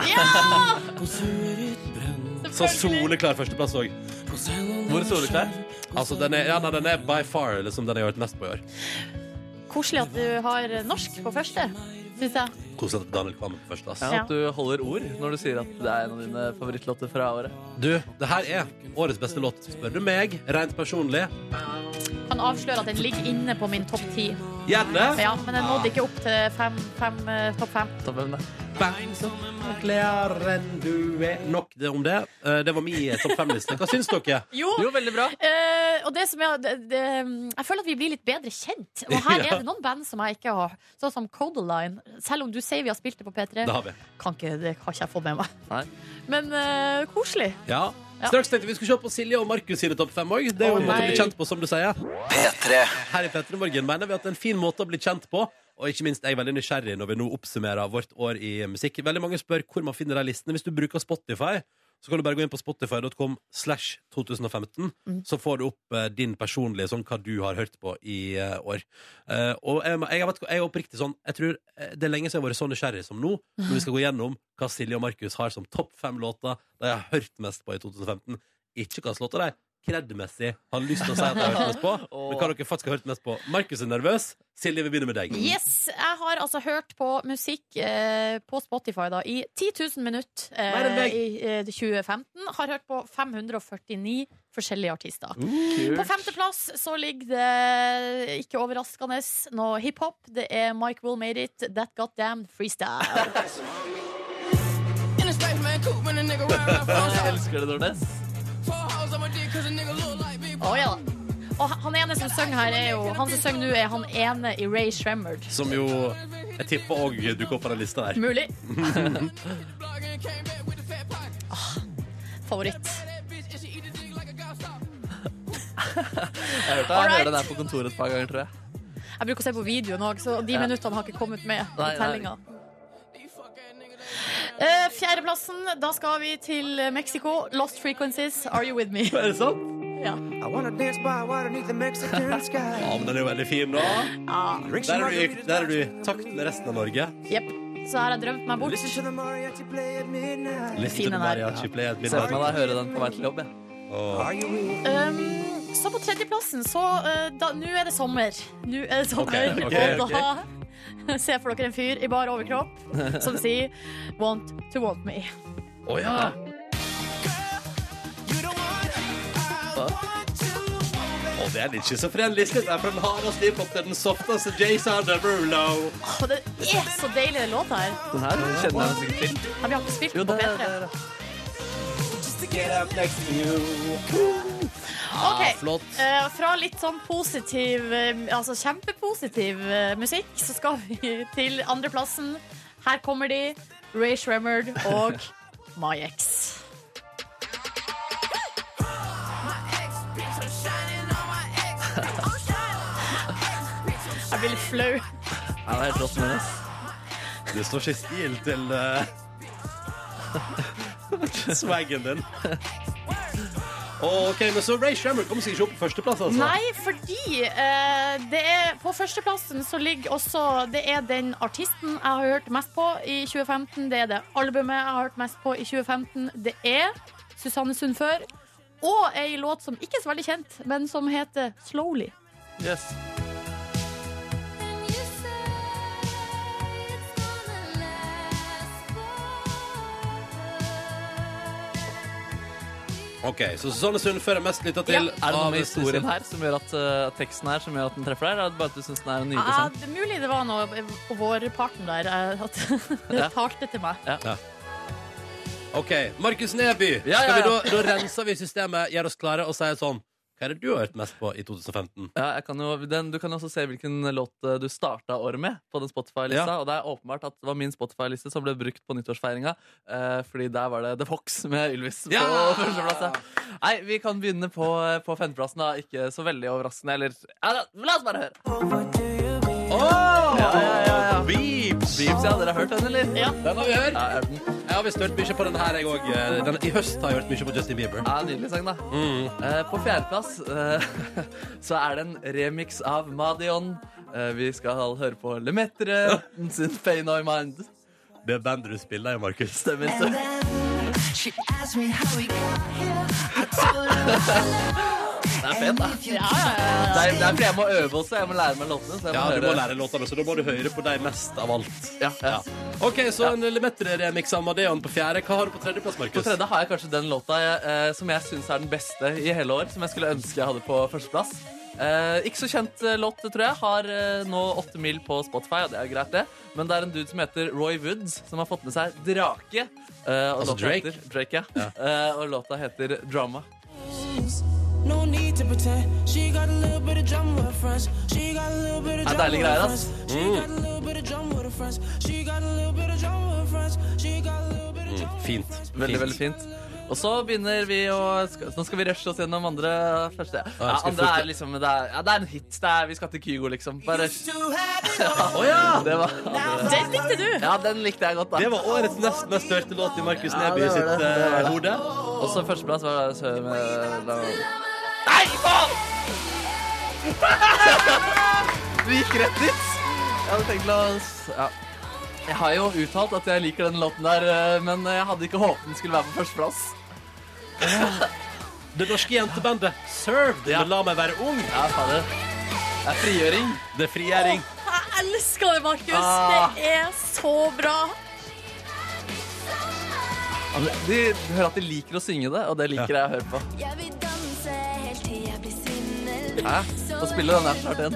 S3: Kvammen.
S2: Ja!
S1: Så
S2: Selvfølgelig.
S1: soleklar førsteplass òg.
S3: Hvor solet deg?
S1: Altså, den er, ja, nei, den er by far liksom, den jeg har hørt mest på i år.
S2: Koselig at du har norsk på første, syns jeg.
S1: Koselig at Daniel Kvammen på første.
S3: Ja,
S1: Ass.
S2: Ja.
S3: at du holder ord når du sier at det er en av dine favorittlåter fra året.
S1: Du, det her er årets beste låt. Spør du meg, rent personlig,
S2: Kan avsløre at den ligger inne på min topp ti.
S1: gjerne
S2: Ja, men den nådde ikke opp til fem, fem, eh, topp fem.
S3: Så hvem det er?
S1: Bang, som er gladere enn du er. Nok det om det. Eh, Det var min topp fem-liste. Hva syns dere?
S2: Jo!
S3: Jo, veldig bra.
S2: eh, og det som er, det, det, mm, jeg føler at vi blir litt bedre kjent. Og her er det noen band som jeg ikke har, sånn som Codaline. Selv om du sier vi har spilt det på P3,
S1: Det har vi.
S2: kan ikke, det har ikke jeg fått med meg.
S3: Nei.
S2: Men eh, koselig.
S1: Ja.
S2: Ja.
S1: Straks tenkte vi skulle se på Silje og Markus sine topp fem òg. Det er jo en
S3: Å,
S1: måte å bli
S3: nei.
S1: kjent på, som du sier. Her i Petter i Morgen mener vi at det er en fin måte å bli kjent på. Og ikke minst er jeg veldig nysgjerrig når vi nå oppsummerer vårt år i musikk. Veldig mange spør hvor man finner de listene. Hvis du bruker Spotify, så kan du bare gå inn på spotify.com slash 2015.
S3: Mm.
S1: Så får du opp eh, din personlige sånn hva du har hørt på i eh, år. Eh, og jeg, må- jeg, vet, ikke- jeg er oppriktig sånn Jeg tror eh, det er lenge siden jeg har vært så nysgjerrig som nå, når vi skal gå gjennom hva Silje og Markus har som topp fem låter de har hørt mest på i 2015. Ikke hvilke låter de kredmessig har lyst til å si at de har hørt mest på, men hva dere faktisk har hørt mest på. Markus er nervøs. Silje, vi begynner med deg.
S2: Yes! Jeg har altså hørt på musikk eh, på Spotify da, i 10 000 minutter
S1: Mer enn
S2: eh,
S1: meg.
S2: i eh, 2015. Har hørt på 549 forskjellige
S3: Uh.
S2: artister. På
S3: Kult.
S2: femteplass så ligger det ikke overraskende noe hiphop. Det er Mike Will Made It, That Goddamn Freestyle.
S3: Jeg elsker det, Nordnes.
S2: Å ja. Og han ene som synger her, er jo Han som synger nå, er han ene i Ray Shremmerd.
S1: Som jo jeg tipper òg dukker opp på den lista der. (laughs)
S3: (laughs)
S2: Mulig. Ah, favoritt.
S3: Jeg hørte
S2: All
S3: jeg
S2: right.
S3: hører den her på kontoret et par ganger, tror jeg.
S2: Jeg bruker å se på videoen òg, så de
S3: Ja.
S2: minuttene har ikke kommet med. i
S3: Nei, nei.
S2: tellinga. Eh, Fjerdeplassen, da skal vi til Mexico. Lost Frequencies, Are You With Me?
S1: Er det sant?
S2: Ja.
S3: (laughs)
S1: Ja, men den er jo veldig fin, da. Der er du, i- der er du i takt med resten av Norge.
S2: Jep. Så her har jeg drømt meg bort.
S1: Listen til
S2: Fin den der, ja.
S1: Mariachi Play at
S3: Ser
S1: midnight.
S3: for meg deg høre den på vei til jobb. Jeg.
S1: Åh.
S2: Um, så på tredjeplassen, så eh, da- Nå er det sommer. Nå er det sommer,
S1: Ok, ok,
S2: og (laughs) da (laughs) ser for dere en fyr i bar overkropp som sier Want to want me.
S1: Å ja. Og det er litt schizofren liste. Det er fra den hardeste hiphop til den softeste Jason Derulo.
S2: Og det er så deilig, den låta her.
S3: Den her kjenner jeg sikkert til.
S2: Ja, Vi har ikke spilt
S3: Jo,
S2: den på
S3: det,
S2: P3.
S3: det, det.
S2: Ok.
S1: Flott.
S2: Eh, fra litt sånn positiv, eh, altså kjempepositiv eh, musikk, så skal vi (laughs) til andreplassen. Her kommer de, Ray Shremmerd og My Ex. (laughs) Jeg blir litt flau.
S3: Ja, det er helt rått, Nordnes.
S1: Det står ikke stil til eh, (laughs) swaggen din. Å, ok, men så Ray Shammer kommer seg ikke opp på førsteplass, altså.
S2: Nei, fordi eh, det er, på førsteplassen så ligger også Det er den artisten jeg har hørt mest på i 2015. Det er det albumet jeg har hørt mest på i 2015. Det er Susanne Sundfør. Og ei låt som ikke er så veldig kjent, men som heter Slowly.
S3: Yes.
S1: Ok, så Susanne Sundfør er mest lytta til.
S3: Er det noe
S1: av
S3: med historien
S1: Susanne-
S3: her som gjør at eh, teksten her som gjør at den treffer deg? Eller er det bare at du syns den er sånn? en nydelig
S2: Ah,
S3: sang?
S2: det er mulig det var noe på vårparten der eh, at (laughs) det
S3: Ja.
S2: talte til meg.
S1: Ok, Markus Neby.
S3: Ja, ja,
S1: Skal vi
S3: ja.
S1: da, da renser vi systemet, gjør oss klare og sier sånn Hva er det du har hørt mest på i 2015?
S3: Ja, jeg kan jo, den, du kan jo også se hvilken låt eh, du starta året med på den Spotify-lista. Og det er åpenbart at det var min Spotify-liste som ble brukt på nyttårsfeiringa. Eh, fordi der var det The Fox med Ylvis på
S1: Ja!
S3: førsteplass. ja. Nei, vi kan begynne på, eh, på femteplassen, da. Ikke så veldig overraskende, eller ja, da, La oss bare høre!
S1: Oh!
S3: Ja, ja, ja, ja.
S1: Beeps!
S3: Beeps, ja. Dere har hørt den, eller?
S2: Ja.
S1: Den har vi hørt.
S3: Ja, jeg har hørt den.
S1: Jeg har visst hørt mye på den her, jeg òg. Den- I høst har jeg hørt mye på Justin Bieber.
S3: Ja, nydelig sang, da. Eh, på fjerdeplass eh, (laughs) så er det en remix av Madion. Eh, vi skal høre på Lemetre sin Pain On Mind.
S1: Det bandet du spiller i, Markus.
S3: Stemmer. stemmer. (laughs)
S7: She asked me how we got here. I told her
S3: Det er fett, da. Det
S2: Ja, ja, ja.
S3: er, det er fordi jeg må øve også. Jeg må lære meg låtene. Så jeg må
S1: Ja, du må
S3: høre.
S1: lære låtene, så da må du høre på deg mest av alt.
S3: Ja, ja.
S1: Ja. OK, så en Lemetre-remix av Madeon på fjerde. Hva har du på tredjeplass,
S3: På
S1: Markus?
S3: tredje har jeg kanskje den låta jeg, eh, som jeg syns er den beste i hele år. Som jeg skulle ønske jeg hadde på førsteplass. Eh, ikke så kjent eh, låt, tror jeg. Har eh, nå åtte mil på Spotify, og det er jo greit, det. Men det er en dude som heter Roy Woods, som har fått med seg Drake. Eh, og
S1: Altså
S3: låta
S1: Drake?
S3: Heter, Drake ja. Eh, og låta heter Drama.
S7: No need to pretend. She got a little bit of drum with her friends. She got a little bit of
S3: Det er
S7: drum
S3: deilige
S7: with her
S3: greier,
S7: friends.
S3: ass.
S7: She got a little bit of drum with her friends. She got a little bit of drum with her friends. She got a little bit of drum with her
S1: Mm, Fint.
S7: friends.
S3: Veldig, veldig fint. Og så begynner vi å skal, Nå skal vi rushe oss gjennom andre første. Ja,
S1: jeg skal
S3: andre
S1: fort-
S3: er liksom det er, ja, det er en hit. Det er, vi skal til Kygo, liksom. Bare,
S7: Used to have
S3: (laughs)
S7: it all.
S1: Å ja!
S3: det var andre.
S2: Den likte du!
S3: Ja, den likte jeg godt, da.
S1: Det var årets nest mest hørte låt i Markus
S3: Ja,
S1: Neby
S3: det var
S1: sitt
S3: det. Det
S1: eh,
S3: var det.
S1: hode.
S3: Og så førsteplass var det Sø- med- da- Nei,
S7: (laughs)
S3: faen! Du gikk rett dit. Jeg hadde tenkt å s- ja. Jeg har jo uttalt at jeg liker den låten der, eh, men jeg hadde ikke håpet den skulle være på førsteplass.
S1: Det norske jentebandet Served
S3: Ja.
S1: med La meg være ung.
S3: Ja, fader. Det er frigjøring.
S1: Det er frigjøring.
S2: Jeg elsker det, Markus!
S3: Ah.
S2: Det er så bra!
S3: De hører at de liker å synge det, og det liker jeg å høre på.
S8: Jeg vil danse helt til jeg blir svimmel.
S3: Hæ? Få spille den her snart igjen.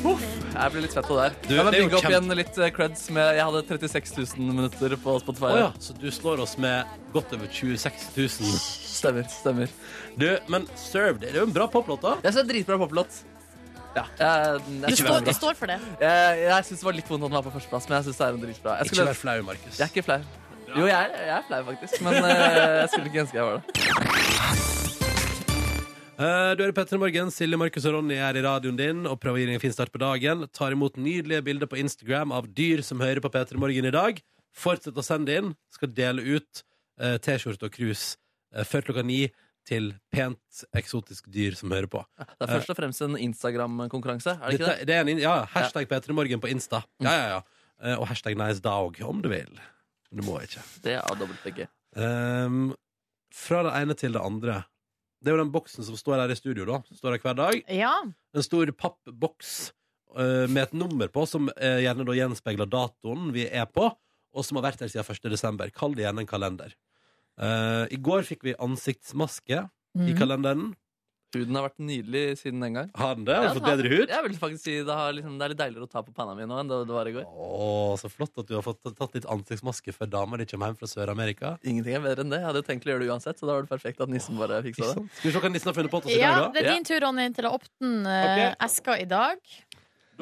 S3: Uff, jeg blir litt svett av det her.
S1: Du,
S3: La meg
S1: det er jo
S3: bygge opp
S1: kjempe-
S3: igjen litt eh, creds med Jeg hadde 36 000 minutter på Spotify.
S1: Å ja. Så du slår oss med godt over 26 000.
S3: Stemmer. stemmer
S1: Du, men Served, det er jo en bra poplåt, da.
S3: Jeg synes det er en dritbra poplåt. Ja. Jeg, jeg,
S2: Du
S1: Ikke
S3: synes-
S1: vær
S2: står,
S1: bra.
S2: du står for det.
S3: jeg, jeg syns det var litt vondt at den var på førsteplass, men jeg syns det er en dritbra. Jeg,
S1: Ikke
S3: skulle,
S1: vær flau, Markus.
S3: jeg er ikke flau. Jo, jeg er, jeg er flau, faktisk, men eh, jeg skulle ikke ønske jeg var det.
S1: Eh, Du hører Petter i Morgen, Silje, Markus og Ronny er i radioen din og prøver å gi deg en fin start på dagen. Tar imot nydelige bilder på Instagram av dyr som hører på Petter i Morgen i dag. Fortsett å sende inn. Skal dele ut eh, T-skjorte og krus eh, før klokka ni til pent eksotisk dyr som hører på.
S3: Det er først og fremst en Instagram-konkurranse, er det ikke
S1: Dette,
S3: det? Mm.
S1: det er en, in- ja, hashtag Petter i Morgen på Insta. Ja, ja, ja. Eh, Og hashtag nice dog, om du vil. Men du må ikke.
S3: Det er dobbelt-begge.
S1: Ehm, fra det ene til det andre. Det er jo den boksen som står her i studio, da. Som står her hver dag.
S2: Ja.
S1: En stor pappboks eh, med et nummer på, som eh, gjerne da gjenspeiler datoen vi er på, og som har vært her siden 1. desember. Kall det gjerne en kalender. Eh, I går fikk vi ansiktsmaske
S2: Mhm.
S1: i kalenderen.
S3: Huden har vært nydelig siden den gang.
S1: Har den det? Har du
S3: Ja,
S1: fått bedre hud?
S3: Jeg vil faktisk si det, har, liksom, det er litt deiligere å ta på panna mi nå enn det det var i går.
S1: Å, så flott at du har fått tatt litt ansiktsmaske før dama di kommer hjem fra Sør-Amerika.
S3: Ingenting er bedre enn det. Jeg hadde jo tenkt å gjøre det uansett, så da var det perfekt at nissen bare
S1: Ikke
S3: fiksa det.
S1: sant? Skal vi se hva nissen har funnet på til oss i
S2: ja,
S1: dag, da?
S2: det er din tur, Ronny, til å åpne eh, eska i dag.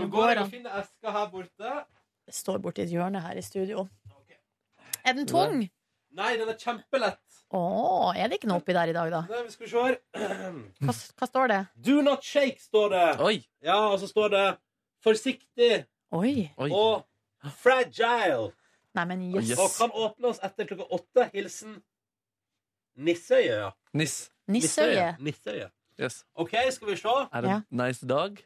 S1: Da
S2: går jeg og
S1: finner eska her borte.
S2: Det står borti et hjørne her i studio. Er den tung?
S1: Nei, den er kjempelett.
S2: Å, er det ikke noe oppi der i dag, da?
S1: Nei, vi skal se her. (clears throat)
S2: Hva, hva står det?
S1: Do not shake, står det.
S3: Oi,
S1: Ja, og så står det forsiktig
S2: Oi.
S3: oi.
S1: og fragile.
S2: Nei, men jøss.
S3: Yes.
S1: Og kan åpnes etter klokka åtte. Hilsen Nisseøya. ja.
S3: Niss.
S2: Nisseøye.
S1: Nisseøya.
S3: Yes.
S1: OK, skal vi se.
S3: Er det
S2: Ja.
S3: nice dog?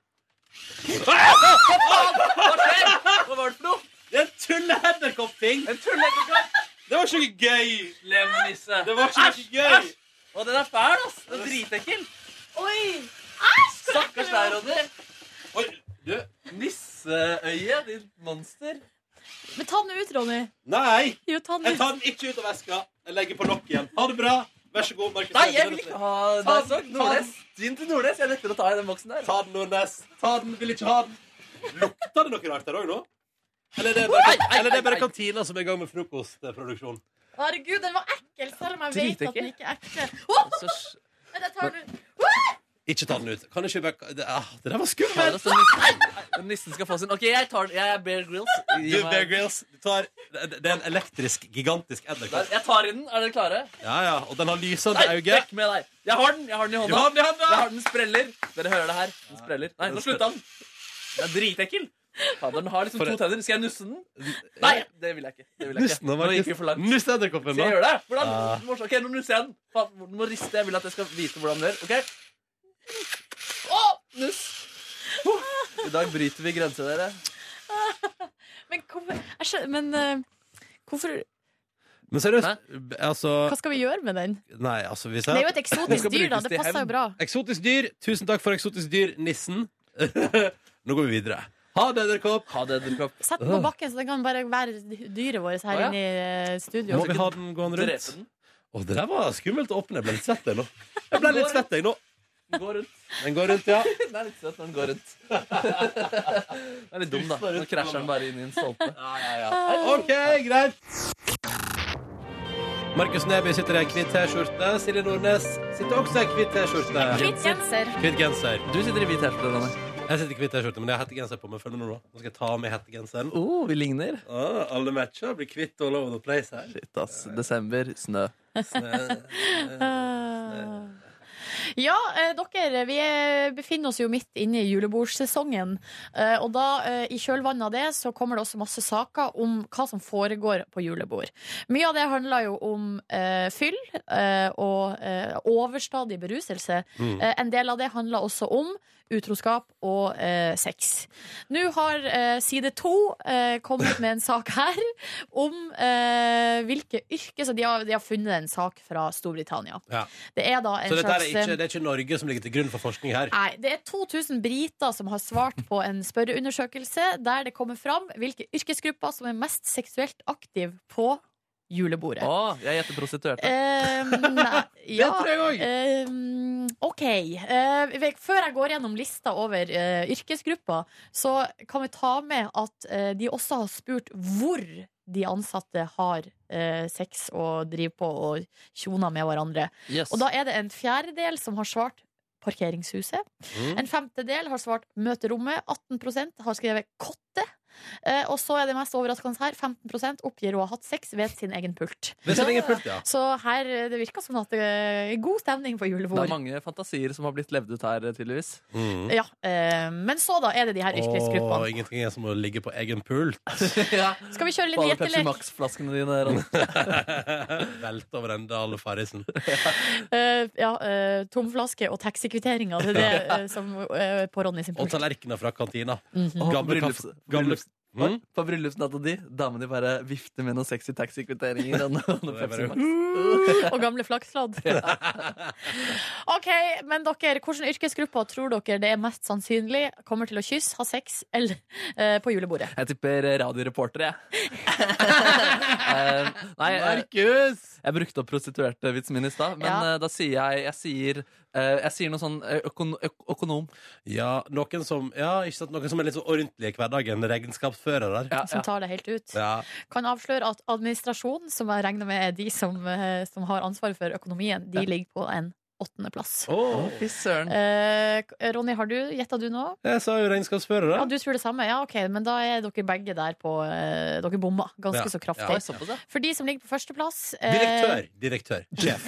S3: Hva skjer? Ah, Hva var det for noe?
S1: Det er en tulleedderkoppting!
S3: En tullekopp!
S1: Det var ikke noe gøy!
S3: Lemnisse.
S1: Det var ikke noe gøy!
S3: Og den er fæl, ass! Den er dritekkel. Stakkars deg, Ronny.
S1: Oi, du.
S3: Nisseøye, ditt monster.
S2: Men ta den ut, Ronny.
S1: Nei!
S2: Jo, ta den
S1: Jeg
S2: ut.
S1: tar den ikke ut av eska. Jeg legger på lokket igjen. Ha det bra. Vær så god, Markus.
S3: Nei, jeg vil ikke ha
S1: Ta
S3: nice dog.
S1: den, ta
S3: Nordnes. Din til Nordnes. Jeg nekter å ta i den boksen der.
S1: Ta den, Nordnes. Ta den. Vil ikke ha den. Lukter det noe rart der òg nå? Eller det er bare, eller det er bare kantina som er i gang med frokostproduksjon?
S2: Herregud, den var ekkel, selv om jeg vet at den
S3: Dritekkel.
S2: ikke er ekkel. Å,
S3: Så sj-
S2: men jeg tar den ut.
S1: Ikke ta den ut. Kan ikke bare det, ah, det der var
S3: ta
S1: skummelt!
S3: det, så nissen- Nissen skal få sin. OK, jeg tar den. Jeg er Bear Grills.
S1: Du, Bear Grylls, du tar Det det er en elektrisk, gigantisk edderkopp.
S3: Jeg tar i den. Er dere klare?
S1: Ja, ja, og den har lysende
S3: Nei,
S1: øyne.
S3: vekk med deg. Jeg har den. Jeg har den i
S1: Du
S3: hånda.
S1: har den i
S3: Jeg
S1: handa!
S3: har den spreller. Dere hører det her. Den spreller. Nei, nå slutta den. Den er dritekkel. Fader, den har liksom
S1: For-
S3: to tenner. Skal jeg nusse den? Nei, det vil jeg ikke. Det vil jeg
S1: Nuss
S3: ikke. Nå gikk vi for langt.
S1: Nuss edderkoppen,
S3: Skal jeg
S1: da.
S3: gjøre det? Hvordan?
S1: Ja.
S3: Du må- Ok, nå nusser jeg den. Faen, Du må riste. Jeg vil at jeg skal vite hvordan den gjør. Ok? Å, nuss. Huh. I dag bryter vi grenser, dere.
S2: Men hvorfor, jeg skjønner, men eh, hvorfor
S1: Men seriøst, b- altså
S2: Hva skal vi gjøre med den?
S1: Nei, altså, hvis
S2: Det er jo
S1: jeg
S2: et eksotisk dyr, da. Det passer jo bra.
S1: Eksotisk dyr. Tusen takk for eksotisk dyr, nissen. (laughs) Nå går vi videre. Ha det, edderkopp.
S3: Ha det, edderkopp.
S2: Sett den på bakken, så den kan bare være dyret vårt her
S3: Å, ja.
S2: inne i eh, studio.
S1: Må vi ha den gående
S3: Drepe
S1: rundt?
S3: den.
S1: Å, det der var skummelt å åpne. Jeg ble litt svett jeg nå. Jeg ble litt svett jeg nå.
S3: Den går rundt.
S1: Den går rundt, ja.
S3: Den er litt søt når den går
S1: (laughs)
S3: rundt. Den er litt dum, da. Nå krasjer den bare inn i en stolpe.
S1: OK, greit. Markus Neby sitter i ei hvit T-skjorte. Silje Nordnes sitter også i ei hvit T-skjorte.
S2: Hvitt genser.
S1: Hvit genser.
S3: Du sitter i hvit T-skjorte, Ronny.
S1: Jeg sitter i hvit T-skjorte, men jeg har hettegenser på meg. Følg med nå, da. Nå skal jeg ta av meg hettegenseren.
S3: Oh, vi ligner.
S1: Ah, alle matcher blir kvitt all over the place
S2: (laughs)
S1: her.
S3: Shit, ass. Desember, snø.
S2: 嗯 Ah. Ja, eh, dere, vi eh, befinner oss jo midt inne i julebordsesongen. Eh, og da, eh, i kjølvannet av det, så kommer det også masse saker om hva som foregår på julebord. Mye av det handler jo om eh, fyll eh, og eh, overstadig beruselse.
S1: Mm.
S2: Eh, en del av det handler også om utroskap og eh, sex. Nå har eh, side to eh, kommet
S1: (laughs)
S2: med en sak her om eh, hvilke yrker Så de har, de har funnet en sak fra Storbritannia.
S1: Ja.
S2: Det er da en
S1: Så dette er
S2: slags
S1: ikke, det er ikke Norge som ligger til grunn for forskning her.
S2: Nei, det er 2000 briter som har svart på en spørreundersøkelse der det kommer fram hvilke yrkesgrupper som er mest seksuelt aktiv på julebordet.
S3: Å, jeg gjetter prostituerte.
S2: Eh,
S1: (laughs)
S2: nei,
S1: Det
S2: ja,
S1: tror jeg òg.
S2: eh, OK. Eh, vi- før jeg går gjennom lista over eh, yrkesgrupper, så kan vi ta med at eh, de også har spurt hvor de ansatte har eh, sex og driver på og tjoner med hverandre.
S3: Yes.
S2: Og da er det en fjerdedel som har svart parkeringshuset.
S1: Mm.
S2: En femtedel har svart møterommet, 18 har skrevet kotte. Eh, og så er det mest overraskende her 15 oppgir å ha hatt sex ved sin egen pult.
S1: Hvis det ligger fullt, ja.
S2: Så her, eh, det virker som at det er god stemning på
S3: Det er
S2: julebord.
S3: mange fantasier som har blitt levd ut her,
S1: (laughs)
S3: tydeligvis.
S1: Mm.
S2: Ja, eh, men så da er det de her
S1: Og
S2: yrkesgruppene.
S1: ingenting er som å ligge på egen pult. (laughs)
S3: ja.
S2: Skal vi kjøre litt
S3: Bare Pepsi
S2: gjettelek?
S3: Max-flaskene dine, Ronny.
S1: Velte over ende alle farrisen.
S2: Eh, ja, eh, tomflaske og taxikvitteringer. Det er det
S3: (laughs)
S2: eh, som eh, på Ronny sin
S1: Og
S2: pult.
S1: tallerkener fra kantina.
S2: Mhm.
S1: (laughs) Gamle
S3: bryllups-
S1: kaffe- gamle-
S3: bryllups-
S1: Mm?
S3: På bryllupsnatta di, damene bare vifter med noen sexy taxikvitteringer. og noen
S1: Det er
S3: Pepsi
S1: bare-
S3: Max.
S2: Og gamle flakslodd. OK, men dere, hvilke yrkesgrupper tror dere det er mest sannsynlig kommer til å kysse, ha sex eller eh, på julebordet?
S3: Jeg tipper
S2: (laughs)
S3: radioreporter, jeg. Eh, nei, eh,
S1: Markus!
S3: jeg brukte opp prostituerte-vitsen min i stad, men
S2: Ja.
S3: eh, da sier jeg Jeg sier, eh, jeg sier noe sånn eh, økon, øk, økonom.
S1: Ja, noen som, ja, ikke sant, noen som er litt så ordentlige i hverdagen. Regnskapsførere.
S3: Ja,
S2: Som
S3: ja.
S2: tar det helt ut.
S1: Ja.
S2: Kan avsløre at administrasjon, som jeg regner med er de som, eh, som har ansvaret for økonomien, de ligger på en åttendeplass.
S1: Å,
S3: Fy søren.
S2: Eh, Ronny, har du gjetta du nå?
S1: jeg sa jo regnskapsførere.
S2: Ja, du tror det samme? Ja, OK, men da er dere begge der på eh, Dere bomma ganske
S1: Ja,
S2: så
S3: Oi,
S2: kraftig.
S3: såpass, ja.
S2: For de som ligger på førsteplass eh,
S1: Direktør. Direktør.
S3: (laughs)
S1: Jeff.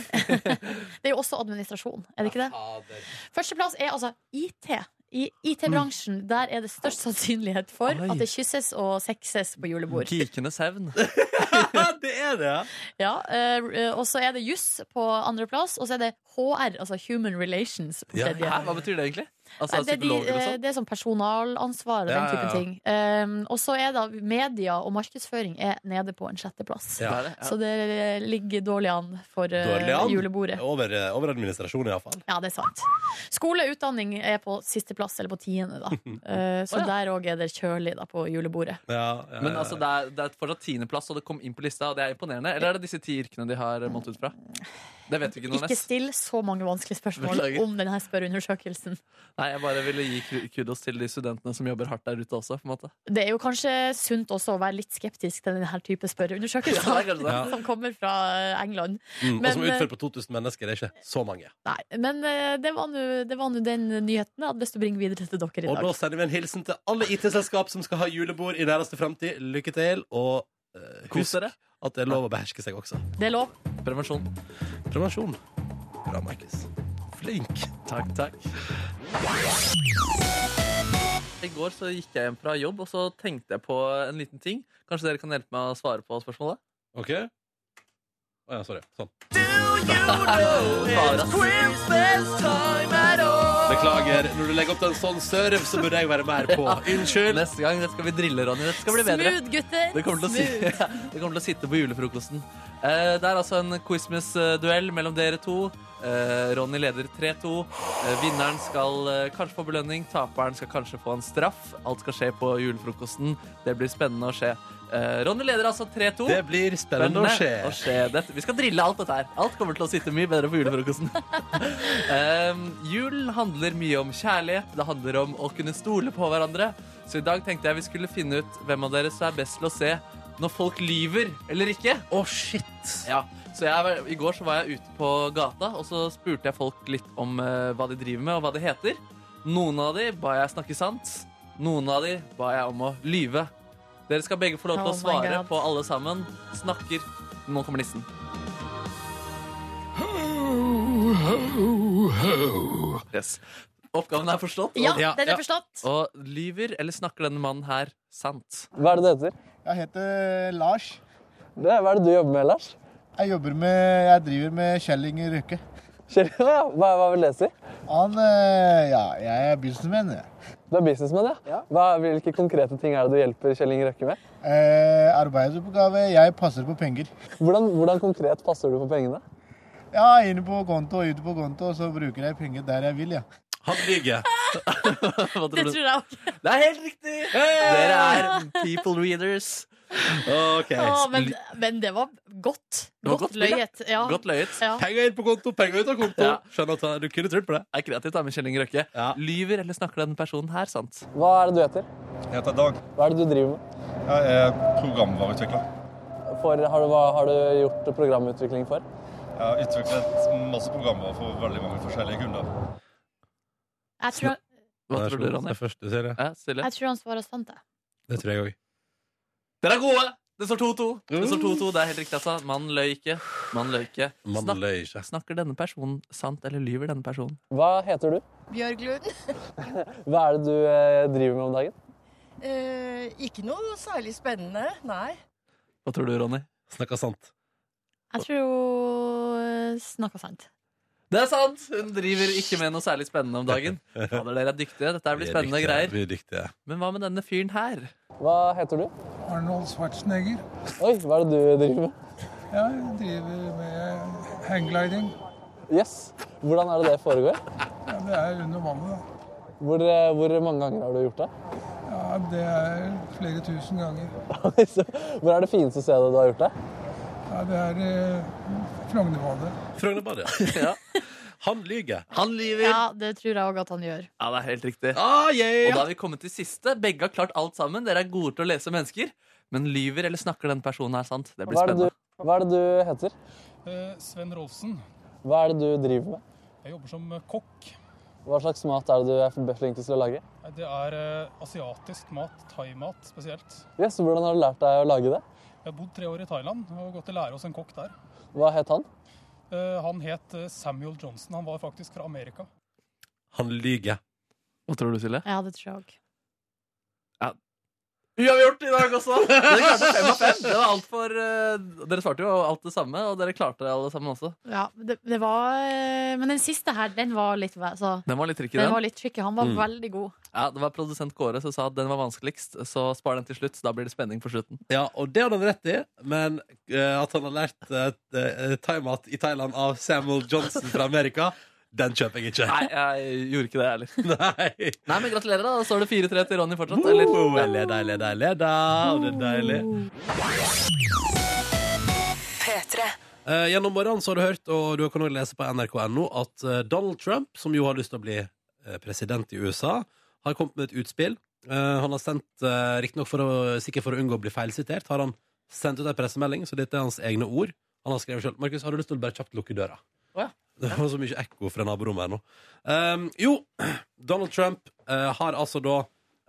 S2: Det er jo også administrasjon, er det ikke det? Førsteplass er altså IT. I IT-bransjen
S1: Mm.
S2: der er det størst sannsynlighet for
S3: Oi.
S2: at det kysses og sexes på julebord.
S3: Geekenes hevn.
S1: det er det, ja.
S2: Ja, eh, eh, Og så er det juss på andreplass, og så er det HR, altså Human Relations, på
S1: Ja,
S2: tredje.
S3: Hæ, hva betyr det egentlig? Altså
S2: Nei, det, er de,
S3: psykologer og
S2: eh,
S3: sånn?
S2: det er sånn personalansvar og
S1: Ja,
S2: den type
S1: ja, ja.
S2: ting. Eh, og så er da media og markedsføring er nede på en sjetteplass.
S1: Ja.
S3: Det er det, ja.
S2: Så det ligger dårlig an for eh,
S1: Dårlig an.
S2: julebordet.
S1: Over, eh, over administrasjonen, iallfall.
S2: Ja, det er sant. Skole og utdanning er på sisteplass, eller på tiende,
S3: (laughs)
S2: da. Eh, så
S3: Å, ja.
S2: der òg er det kjølig da, på julebordet.
S1: Ja, ja,
S3: Men altså, det er, det er fortsatt tiendeplass, og det kom inn på lista, og det er imponerende. Eller er det disse ti yrkene de har eh, målt ut fra? Det vet vi ikke noe
S2: Ikke
S3: mest.
S2: still så mange vanskelige spørsmål
S3: Beklager.
S2: om denne spørreundersøkelsen.
S3: Nei, jeg bare ville gi ku- kudos til de studentene som jobber hardt der ute også, på en måte.
S2: Det er jo kanskje sunt også å være litt skeptisk til denne type
S3: Ja, (laughs) det
S2: spørreundersøkelser
S3: er kanskje det.
S2: som kommer fra eh, England.
S1: mm, og
S2: men,
S1: som
S2: eh,
S1: utført på 2000 mennesker. Det er ikke så mange.
S2: Nei, men eh, det var nå- det var nå den nyheten jeg hadde lyst til å bringe videre til dere i
S1: Og da
S2: dag.
S1: sender vi en hilsen til alle IT-selskap som skal ha julebord i nærmeste fremtid. Lykke til, og eh,
S3: Kos
S1: husk
S3: dere.
S1: at det er lov å beherske seg også.
S2: Det er lov.
S3: Prevensjon.
S1: Prevensjon. Bra, Markus. Flink.
S3: Takk, takk. I går så gikk jeg hjem fra jobb, og så tenkte jeg på en liten ting. Kanskje dere kan hjelpe meg å svare på spørsmålet?
S1: OK? Å ja, sorry. Sånn.
S3: Svare, ass.
S1: Beklager. Når du legger opp til en sånn serve, så burde jeg være mer
S3: (laughs)
S1: på. Unnskyld.
S3: Neste gang dette skal vi drille, Ronny. Dette skal bli bedre.
S2: Smooth, gutter!
S3: (laughs) Det kommer, til å
S2: Smooth.
S3: si, det kommer til å sitte på julefrokosten. Eh, Det er altså en quizmas-duell mellom dere to. Eh, Ronny leder 3-2. Eh, Vinneren skal eh, kanskje få belønning, taperen skal kanskje få en straff. Alt skal skje på julefrokosten. Det blir spennende å se. Eh, Ronny leder altså 3-2.
S1: Det blir spennende å skje.
S3: Å skje. Dette- Vi skal drille alt dette her. Alt kommer til å sitte mye bedre på
S1: (laughs)
S3: julefrokosten. um, julen handler mye om kjærlighet. Det handler om å kunne stole på hverandre. Så i dag tenkte jeg vi skulle finne ut hvem av dere som er best til å se når folk lyver eller ikke.
S1: Å, shit!
S3: Ja, så jeg, var- I går så var jeg ute på gata, og så spurte jeg folk litt om eh, hva de driver med, og hva de heter. Noen av de ba jeg snakke sant. Noen av de ba jeg om å lyve. Dere skal begge få lov
S2: Oh
S3: til å
S2: my
S3: svare
S2: God.
S3: på alle sammen. Snakker. Nå kommer nissen. Yes. Oppgaven er forstått.
S2: Ja,
S1: Ja,
S2: den
S1: ja.
S2: er forstått.
S3: Og lyver eller snakker denne mannen her sant?
S9: Hva er det du heter?
S10: Jeg heter Lars.
S9: Det, hva er det du jobber med, Lars?
S10: Jeg jobber med, jeg driver med Kjelling Røkke.
S9: Kjell, (laughs) ja, hva, hva vil det si?
S10: Han, eh, ja, jeg er businessman. jeg.
S9: Du er businessman, ja? Hva, hvilke konkrete ting er det du hjelper Kjell Inge Røkke med?
S10: Eh, arbeidsoppgave, jeg passer på penger.
S9: Hvordan, hvordan konkret passer du på pengene?
S10: Ja, inne på konto og ute på konto, og så bruker jeg penger der jeg vil, ja.
S1: Han lyver.
S3: (laughs) Hva tror
S2: Det
S3: du?
S2: tror jeg òg.
S3: Det er helt riktig! Dere er people readers.
S1: OK.
S2: Men, men det var godt.
S3: Det var
S2: Godt,
S3: godt,
S2: løyet. Ja.
S3: Godt løyet.
S2: Ja.
S1: Penger inn på konto, penger ut av konto.
S3: Ja.
S1: Skjønner at du kunne trodd på det.
S3: er kreativt da, med Kjell Inge Røkke.
S1: Ja.
S3: Lyver eller snakker denne personen her sant?
S9: Hva er det du heter?
S10: Jeg heter Dag.
S9: Hva er det du driver med?
S10: Jeg er programvareutvikler.
S9: For, har, du, hva har du gjort programutvikling for?
S10: Jeg har utviklet masse programvarer for veldig mange forskjellige kunder.
S2: Jeg, tror,
S3: Hva tror du, Ronny?
S1: Det første du sier, ja.
S3: Ja, Silje?
S2: jeg tror han svarer sant, jeg.
S1: Det tror jeg òg.
S3: Dere er gode! Det står 2-2. Det står 2-2, det er helt riktig, altså. Mannen løy ikke. Mannen løy ikke.
S1: Man
S3: Snak
S1: løy ikke.
S3: snakker denne personen sant, eller lyver denne personen?
S9: Hva heter du?
S8: Bjørglund.
S9: Hva er det du eh, driver med om dagen?
S8: Eh, ikke noe særlig spennende, nei.
S3: Hva tror du, Ronny?
S1: Snakka sant.
S2: Jeg tror hun snakka sant.
S3: Det er sant! Hun driver ikke med noe særlig spennende om dagen. Fader, dere er dyktige. Dette her blir
S1: Vi er
S3: spennende
S1: dyktige,
S3: greier.
S1: Vi er dyktige.
S3: Men hva med denne fyren her?
S9: Hva heter du?
S10: Arnold Schwarzenegger.
S9: Oi, hva er det du driver med?
S10: Jeg driver med hanggliding.
S9: Yes. Hvordan er det det foregår?
S10: Det er under vannet.
S9: Hvor, eh, hvor mange ganger har du gjort det? (laughs)
S10: Ja, det er flere tusen ganger.
S9: Hvor er det fineste stedet du har gjort det?
S10: Ja, det er eh, Frognerbadet.
S1: Frognerbadet, ja.
S3: (laughs) Ja.
S1: Han lyver.
S3: Han lyver! Ja.
S2: Ja, det tror jeg òg at han gjør.
S3: det er helt riktig.
S1: Ah,
S3: Og da
S1: yeah.
S3: har vi kommet til siste. Begge har klart alt sammen. Dere er gode til å lese mennesker. Men lyver eller snakker denne personen her sant? Det blir
S9: Hva er det
S3: spennende.
S9: du, hva er det du heter?
S10: Eh, Sven Rolfsen.
S9: Hva er det du driver med?
S10: Jeg jobber som kokk.
S9: Hva slags mat er det du er best flink til å lage?
S10: Det er eh, asiatisk mat, thaimat spesielt.
S9: Yes, Hvordan har du lært deg å lage det?
S10: Jeg har bodd tre år i Thailand og gått til lære hos en kokk der.
S9: Hva het han?
S10: Eh, Han het eh, Samuel Johnson. Han var faktisk fra Amerika.
S1: Han lyver.
S3: Hva tror du, Silje?
S2: Ja, det tror jeg òg.
S3: Uavgjort i dag også! (laughs) Dere klarte fem av fem. Det var alt for, eh, dere svarte jo alt det samme, og dere klarte alle sammen også.
S2: Ja, det, det var eh, Men den siste her, den var litt væ- altså,
S3: Den var litt tricky,
S2: Den
S3: den.
S2: var litt tricky. Han var
S1: Mm.
S2: veldig god.
S3: Ja, det var produsent Kåre som sa at den var vanskeligst, så spar den til slutt. Da blir det spenning på slutten.
S1: Ja, og det hadde han rett i, men eh, at han har lært uh, thaimat i Thailand av Samuel Johnson fra Amerika, den kjøper jeg ikke.
S3: Nei, jeg gjorde ikke det, jeg liksom. heller.
S1: (laughs) Nei.
S3: Nei, men gratulerer, da. Da står det 4-3 til Ronny fortsatt,
S1: Eller,
S3: eller?
S1: oh, jeg leder, jeg leder, jeg leder, og det er deilig. Eh, gjennom morgenen så har du hørt, og du kan også lese på nrk.no, at eh, Donald Trump, som jo har lyst til å bli eh, president i USA, har kommet med et utspill. Eh, han har sendt, uh, riktignok for å, sikkert for å unngå å bli feilsitert, har han sendt ut en pressemelding, så dette er hans egne ord. Han har skrevet selv. Markus, har du lyst til å bare kjapt lukke døra?
S3: Å ja.
S1: (laughs) Det var så mye ekko fra naborommet her nå. Um, jo, (clears throat) Donald Trump eh, har altså da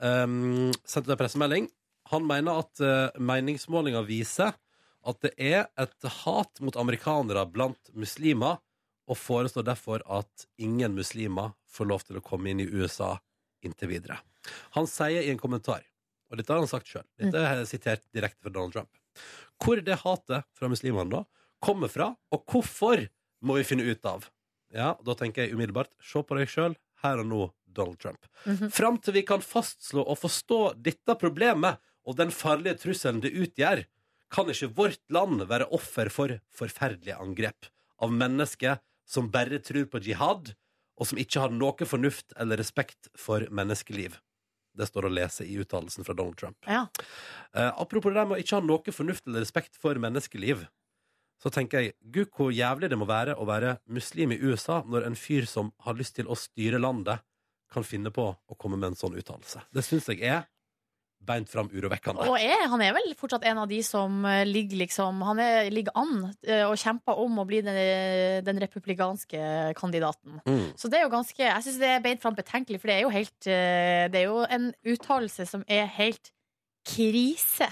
S1: um, sendt ut en pressemelding. Han mener at uh, meningsmålinga viser at det er et hat mot amerikanere blant muslimer, og foreslår derfor at ingen muslimer får lov til å komme inn i USA inntil videre. Han sier i en kommentar, og dette har han sagt sjøl, dette er sitert direkte fra Donald Trump, hvor det hatet fra muslimene da kommer fra, og hvorfor må vi finne ut av. Ja, da tenker jeg umiddelbart Se på deg sjøl her og nå, Donald Trump. (laughs) Fram til vi kan fastslå og forstå dette problemet og den farlige trusselen det utgjør, Kan ikke vårt land være offer for forferdelige angrep av mennesker som bare tror på jihad, og som ikke har noe fornuft eller respekt for menneskeliv? Det står å lese i uttalelsen fra Donald Trump.
S2: Ja.
S1: Eh, apropos det der med å ikke ha noe fornuft eller respekt for menneskeliv, så tenker jeg gud hvor jævlig det må være å være muslim i USA når en fyr som har lyst til å styre landet, kan finne på å komme med en sånn uttalelse. Det syns jeg er beint fram urovekkende.
S2: Og er, han er vel fortsatt en av de som eh, ligger liksom Han er, ligger an eh, og kjemper om å bli den, eh, den republikanske kandidaten.
S1: Mm.
S2: Så det er jo ganske Jeg syns det er beint fram betenkelig, for det er jo helt eh, Det er jo en uttalelse som er helt krise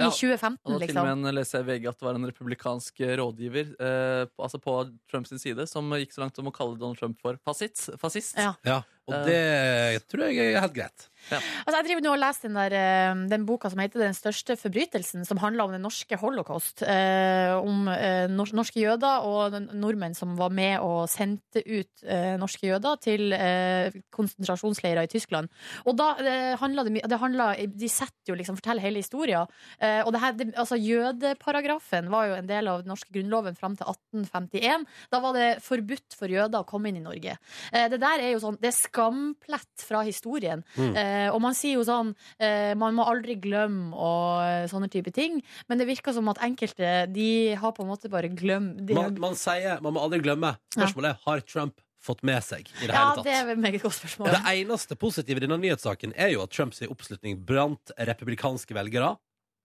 S2: i
S3: Ja,
S2: 2015,
S3: Og da til og
S2: liksom.
S3: med en leser jeg i VG at det var en republikansk rådgiver eh, på- altså på Trumps side som gikk så langt som å kalle Donald Trump for fascist. fascist.
S2: Ja.
S1: Ja,
S2: Eh.
S1: og det tror jeg er helt greit.
S2: Altså, jeg driver nå og leser den, der, eh, den boka som heter 'Den største forbrytelsen', som handler om den norske holocaust. eh, om eh, nor norske jøder og den- nordmenn som var med og sendte ut eh, norske jøder til eh, konsentrasjonsleirer i Tyskland. Og da eh, handler det mye det handler- De setter jo liksom, forteller hele historien. Eh, og det her, det, altså, jødeparagrafen var jo en del av den norske grunnloven fram til 1851. Da var det forbudt for jøder å komme inn i Norge. Eh, det der er jo sånn, det er skamplett fra historien.
S11: Mm.
S2: Eh, og man sier jo sånn eh, Man må aldri glemme og eh, sånne type ting. Men det virker som at enkelte De har på en måte bare glemt de,
S1: Man, man sier man må aldri glemme. Spørsmålet er har Trump fått med seg i det
S2: Ja,
S1: hele
S2: det
S1: tatt.
S2: er et meget godt spørsmål.
S1: Det eneste positive i denne nyhetssaken er jo at Trumps oppslutning blant republikanske velgere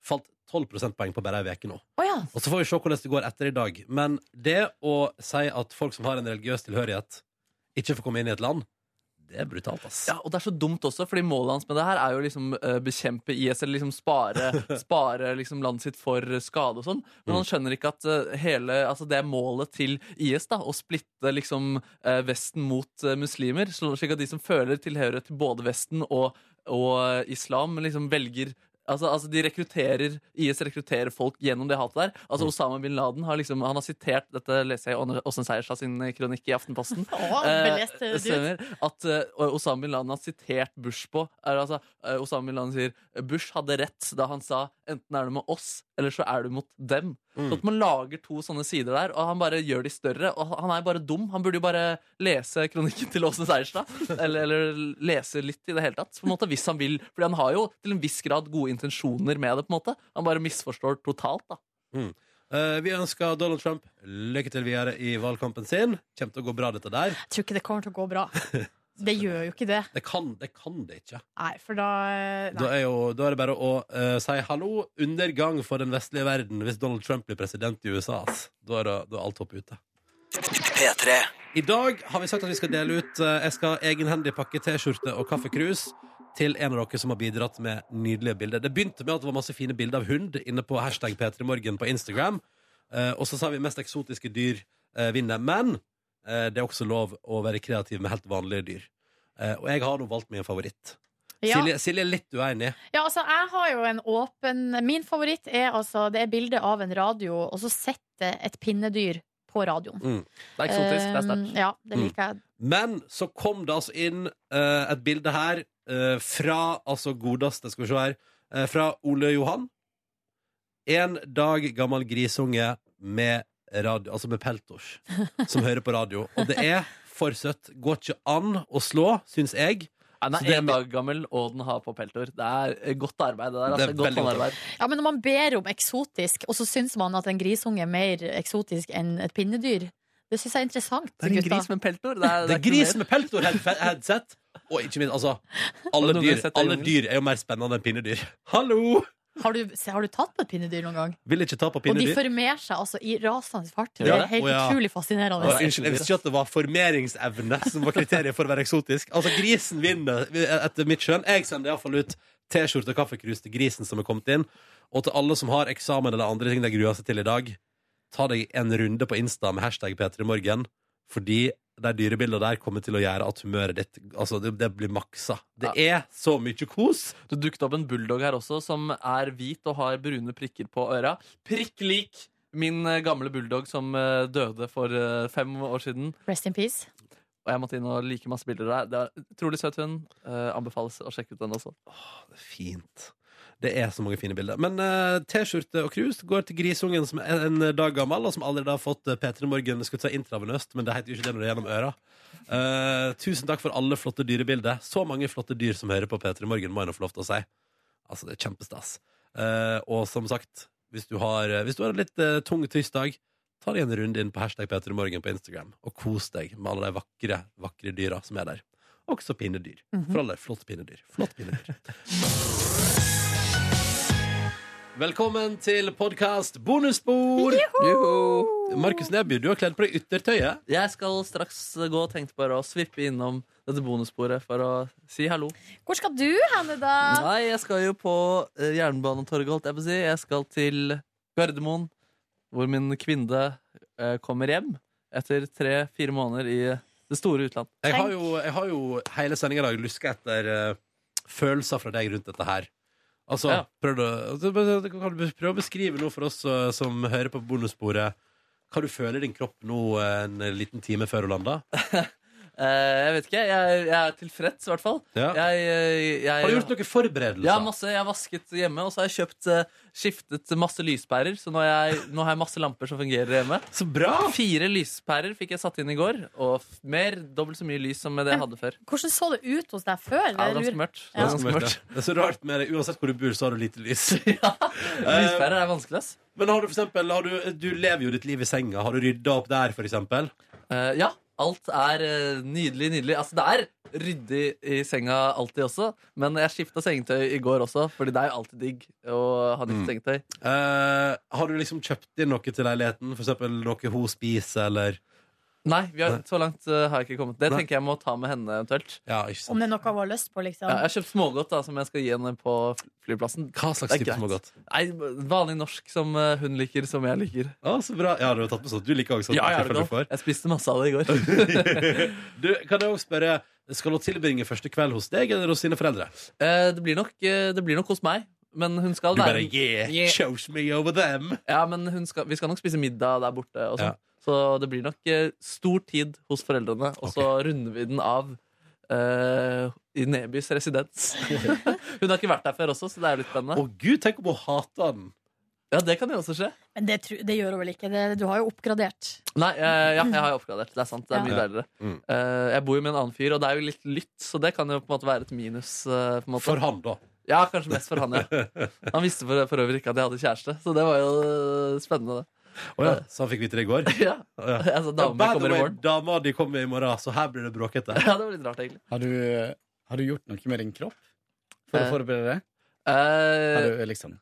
S1: falt 12 prosentpoeng på bare ei uke nå.
S2: Å ja.
S1: Og så får vi se hvordan det går etter i dag. Men det å si at folk som har en religiøs tilhørighet, ikke får komme inn i et land, det er brutalt, ass.
S3: Ja, og det er så dumt også, fordi målet hans med det her er jo liksom eh, bekjempe IS, eller liksom spare, spare liksom landet sitt for skade og sånn. Men han skjønner ikke at eh, hele, altså det er målet til IS, da, å splitte liksom eh, Vesten mot eh, muslimer, så- slik at de som føler tilhørighet til både Vesten og, og eh, islam, liksom velger Altså, altså de rekrutterer, IS rekrutterer folk gjennom det hatet der. Altså Osama bin Laden har liksom, han har sitert Dette leser jeg i Åsen Seierstad sin kronikk i Aftenposten.
S2: Å,
S3: Eh,
S2: belest, eh, dude.
S3: stemmer at eh, Osama bin Laden har sitert Bush på. Er, altså, eh, Osama bin Laden sier Bush hadde rett da han sa enten er du med oss, eller så er du mot dem.
S1: Mm.
S3: Så at man lager to sånne sider der, og han bare gjør de større. Og han er bare dum. Han burde jo bare lese kronikken til Åsne Seierstad. Eller, eller lese litt i det hele tatt. På en måte, hvis han vil. Fordi han har jo til en viss grad gode intensjoner med det. på en måte. Han bare misforstår totalt. da.
S1: Mm. Eh, vi ønsker Donald Trump lykke til videre i valgkampen sin. Kommer til å gå bra, dette der.
S2: Jeg tror ikke det kommer til å gå bra. Det gjør jo ikke det.
S1: Det kan det, kan det ikke.
S2: Nei, for da eh,
S1: Da
S2: nei.
S1: er, jo, da er det bare å eh, si hallo. Undergang for den vestlige verden hvis Donald Trump blir president i USA. Ass. Da, er det, da er alt opp ute.
S12: P3.
S1: I dag har vi sagt at vi skal dele ut eh, Jeg skal egenhendig pakke T-skjorte og kaffekrus til en av dere som har bidratt med nydelige bilder. Det begynte med at det var masse fine bilder av hund inne på hashtag P3morgen på Instagram. Eh, og så sa vi mest eksotiske dyr eh, vinner. Men eh, det er også lov å være kreativ med helt vanlige dyr. Eh, og jeg har nå valgt min favoritt.
S2: Ja.
S1: Silje, Silje er litt uenig.
S2: Ja, altså, jeg har jo en åpen Min favoritt er altså Det er bilde av en radio, og så setter et pinnedyr på radioen.
S1: Mm.
S3: Det er eksotisk, det er
S1: Eh,
S3: sterkt. Mm.
S2: Um, Ja, det liker jeg.
S1: Men så kom det altså inn eh, et bilde her eh, fra altså godeste, skal vi se her, eh, fra Ole Johan. En dag gammel grisunge med radio, altså med
S2: (laughs)
S1: peltors, som hører på radio. Og det er for søtt. Går ikke an å slå, syns jeg.
S3: Han
S1: Så
S3: er
S1: det er
S3: én
S1: mi-
S3: dag gammel, og den har på peltor. Det er eh, godt arbeid. det
S1: Det
S3: der,
S1: er
S3: altså. godt
S1: veldig godt
S3: håndarbeid.
S2: Ja, men når man ber om eksotisk, og så syns man at en grisunge er mer eksotisk enn et pinnedyr, det syns jeg er interessant.
S3: Det er en
S2: gutta.
S3: gris med peltor. (laughs)
S1: Det er, gris med peltor, head- headset. Og ikke minst, (laughs) altså Alle
S3: Har du noen gang
S1: dyr,
S3: sett det i
S1: alle
S3: jungelen?
S1: dyr er jo mer spennende enn pinnedyr. Hallo!
S2: Har du, har du tatt på et pinnedyr noen gang?
S1: Vil ikke ta på
S2: Og de
S1: pinnedyr.
S2: formerer seg altså i rasende fart. Det
S1: Ja.
S2: er helt
S1: Å, ja.
S2: utrolig fascinerende.
S1: Å, unnskyld, jeg visste ikke at det var formeringsevne som var kriteriet for å være eksotisk. Altså, grisen vinner etter mitt skjønn. Jeg sender iallfall ut T-skjorte og kaffekrus til grisen som er kommet inn. Og til alle som har eksamen eller andre ting de gruer seg til i dag, ta deg en runde på Insta med hashtag P3morgen, fordi de dyrebildene der kommer til å gjøre at humøret ditt Altså, det, det blir maksa. Det er så mye kos.
S3: Det dukket opp en bulldog her også, som er hvit og har brune prikker på øra. Prikk lik min eh, gamle bulldog som eh, døde for eh, fem år siden.
S2: Rest in peace.
S3: Og jeg måtte inn og like masse bilder der. Det er en Utrolig søt hund. Eh, Anbefales å sjekke ut den også.
S1: Fint. Det er så mange fine bilder. Men eh, T-skjorte og krus går til Grisungen, som er en dag gammel, og som allerede har fått eh, P3 Morgen skulle ta intravenøst, men det heter jo ikke det når det er gjennom øra. Eh, tusen takk for alle flotte dyrebilder. Så mange flotte dyr som hører på P3 Morgen, må jeg nå få lov til å si. Altså, det er kjempestas. Eh, og som sagt, hvis du har, hvis du har en litt eh, tung tirsdag, ta deg en runde inn på hashtag P3 Morgen på Instagram, og kos deg med alle de vakre, vakre dyra som er der. Også pinnedyr. For alle flotte pinnedyr. Flott pinnedyr. Velkommen til podkast Bonusspor! Markus Neby, du har kledd på deg yttertøyet.
S3: Jeg skal straks gå og tenkte bare å svippe innom dette bonussporet for å si hallo.
S2: Hvor skal du hen, da?
S3: Nei, jeg skal jo på eh, Jernbanetorget, holdt jeg på å si. Jeg skal til Gardermoen, hvor min kvinne eh, kommer hjem etter tre-fire måneder i det store utland.
S1: Jeg har jo, jeg har jo hele sendinga i dag luska etter eh, følelser fra deg rundt dette her. Altså,
S3: Ja.
S1: prøv å, altså, kan du prøve å beskrive noe for oss eh, som hører på bonussporet, hva du føler i din kropp nå eh, en liten time før du lander?
S3: Eh, jeg vet ikke. Jeg, jeg er tilfreds, i hvert fall.
S1: Ja.
S3: Jeg, eh, jeg,
S1: Har du gjort noen forberedelser?
S3: Ja, masse. Jeg har vasket hjemme, og så har jeg kjøpt, eh, skiftet masse lyspærer. Så nå har, jeg, nå har jeg masse lamper som fungerer hjemme.
S1: Så bra!
S3: Fire lyspærer fikk jeg satt inn i går, og f- mer, dobbelt så mye lys som det jeg hadde før.
S2: Hvordan så det ut hos deg før?
S3: Ja, det var ganske mørkt. Det var
S1: Det,
S3: ganske
S1: er
S3: mørkt.
S1: det er så rart med det. Uansett hvor du bor, så har du lite
S3: (laughs)
S1: lys. Eh,
S3: Lyspærer er vanskelig, ass.
S1: Men har du for eksempel har du, du lever jo ditt liv i senga. Har du rydda opp der, for eksempel?
S3: Eh, ja, alt er eh, nydelig, nydelig. Altså, det er ryddig i senga alltid også, men jeg skifta sengetøy i går også, fordi det er jo alltid digg å ha nytt
S1: Mm.
S3: sengetøy.
S1: Eh, har du liksom kjøpt inn noe til leiligheten? For eksempel noe hun spiser, eller
S3: Nei, vi har, så langt eh, har jeg ikke kommet. Det
S1: Nei.
S3: tenker jeg må ta med henne eventuelt.
S1: Ja, ikke sant.
S2: Om det er noe hun har lyst på, liksom.
S3: Ja, jeg har kjøpt smågodt da, som jeg skal gi henne på fl- flyplassen.
S1: Hva slags
S3: Det er
S1: type
S3: greit.
S1: smågodt?
S3: Nei, Vanlig norsk som eh, hun liker, som jeg liker.
S1: Ja, så bra. Ja, du har tatt med sånt. Du liker også sånt.
S3: Ja, ja,
S1: i
S3: det
S1: tilfelle
S3: er
S1: du får.
S3: godt. Jeg spiste masse av det i
S1: (laughs)
S3: går.
S1: Du, kan jeg også spørre, skal hun tilbringe første kveld hos deg eller hos sine foreldre?
S3: Eh, det, blir nok, eh, det blir nok hos meg. Men hun skal
S1: Du bare,
S3: være
S1: yeah,
S3: Yeah.
S1: chose me over them.
S3: Ja, men hun skal, vi skal nok spise middag der borte. Og sånn.
S1: Ja.
S3: Så det blir nok eh, stor tid hos foreldrene, og så runder vi den av eh, i Nebys residens.
S1: (laughs)
S3: hun har ikke vært der før også, så det er jo litt
S1: Å
S3: spennende.
S1: gud, tenk om hun hater den.
S3: Ja, det kan jo også skje.
S2: Men det, tru- det gjør hun vel ikke? Det, du har jo oppgradert.
S3: Nei, eh, ja, jeg har jo oppgradert. Det er sant. Det er mye
S1: Ja.
S3: deiligere.
S1: Mm.
S3: Eh, jeg bor jo med en annen fyr, og det er jo litt lytt, så det kan jo på en måte være et minus. eh, på en måte.
S1: For han, da.
S3: Ja, kanskje mest for han, ja. Han visste for, for øvrig ikke at jeg hadde kjæreste, så det var jo eh, spennende,
S1: Å ja, så han fikk vite det i går.
S3: det. (laughs) ja.
S1: Å ja.
S3: Jeg sa
S1: By
S3: damene
S1: the
S3: kommer i
S1: way,
S3: morgen. (laughs)
S1: Dama di kommer i morgen, så her blir det bråkete.
S3: Ja, det var litt rart, egentlig.
S11: Har du, eh, har du gjort noe med din kropp for
S3: Eh.
S11: å forberede deg? Har
S3: Eh,
S11: du liksom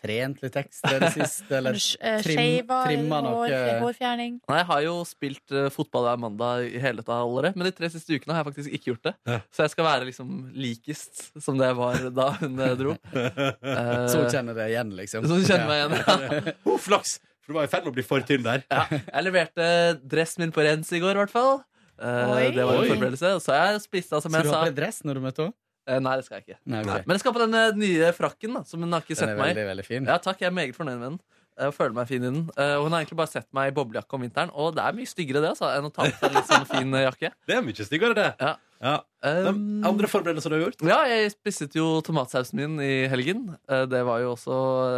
S11: trent litt ekstra i det siste,
S3: (laughs)
S11: eller
S2: Eh,
S11: trim, eh,
S2: Shaver,
S11: trimma noe?
S2: hår, hårfjerning.
S3: nei, jeg har jo spilt eh, fotball hver mandag i hele dette halvåret, men de tre siste ukene har jeg faktisk ikke gjort det.
S1: Ja.
S3: Så jeg skal være liksom likest som det jeg var da hun eh,
S11: (laughs)
S3: dro. Eh,
S11: Så hun kjenner det igjen, liksom?
S3: så hun kjenner meg igjen. Ja.
S1: Oh, flaks! For du var i ferd med å bli for tynn der.
S3: Ja, jeg leverte dressen min på rens i går, i hvert fall. Eh,
S2: Oi.
S3: det var
S1: Oi.
S3: en forberedelse. Og så har jeg spist av, som
S11: Så
S3: jeg
S11: du
S3: sa.
S11: har på deg dress når du møter henne?
S3: Eh, nei, det skal jeg ikke.
S11: Nei, ok.
S3: Men jeg skal på den eh, nye frakken, da, som hun har ikke
S11: Den
S3: sett
S11: er
S3: meg i.
S11: veldig, veldig fin.
S3: Ja, takk, jeg er meget fornøyd med den. Jeg føler meg fin i den. Eh, og hun har egentlig bare sett meg i boblejakke om vinteren, og det er mye styggere det, altså, enn å ta på seg en litt sånn fin eh, jakke.
S1: Det er mye styggere, det.
S3: Ja.
S1: De
S3: Um,
S1: andre forberedelser du har gjort?
S3: ja, jeg spisset jo tomatsausen min i helgen. Eh, det var jo også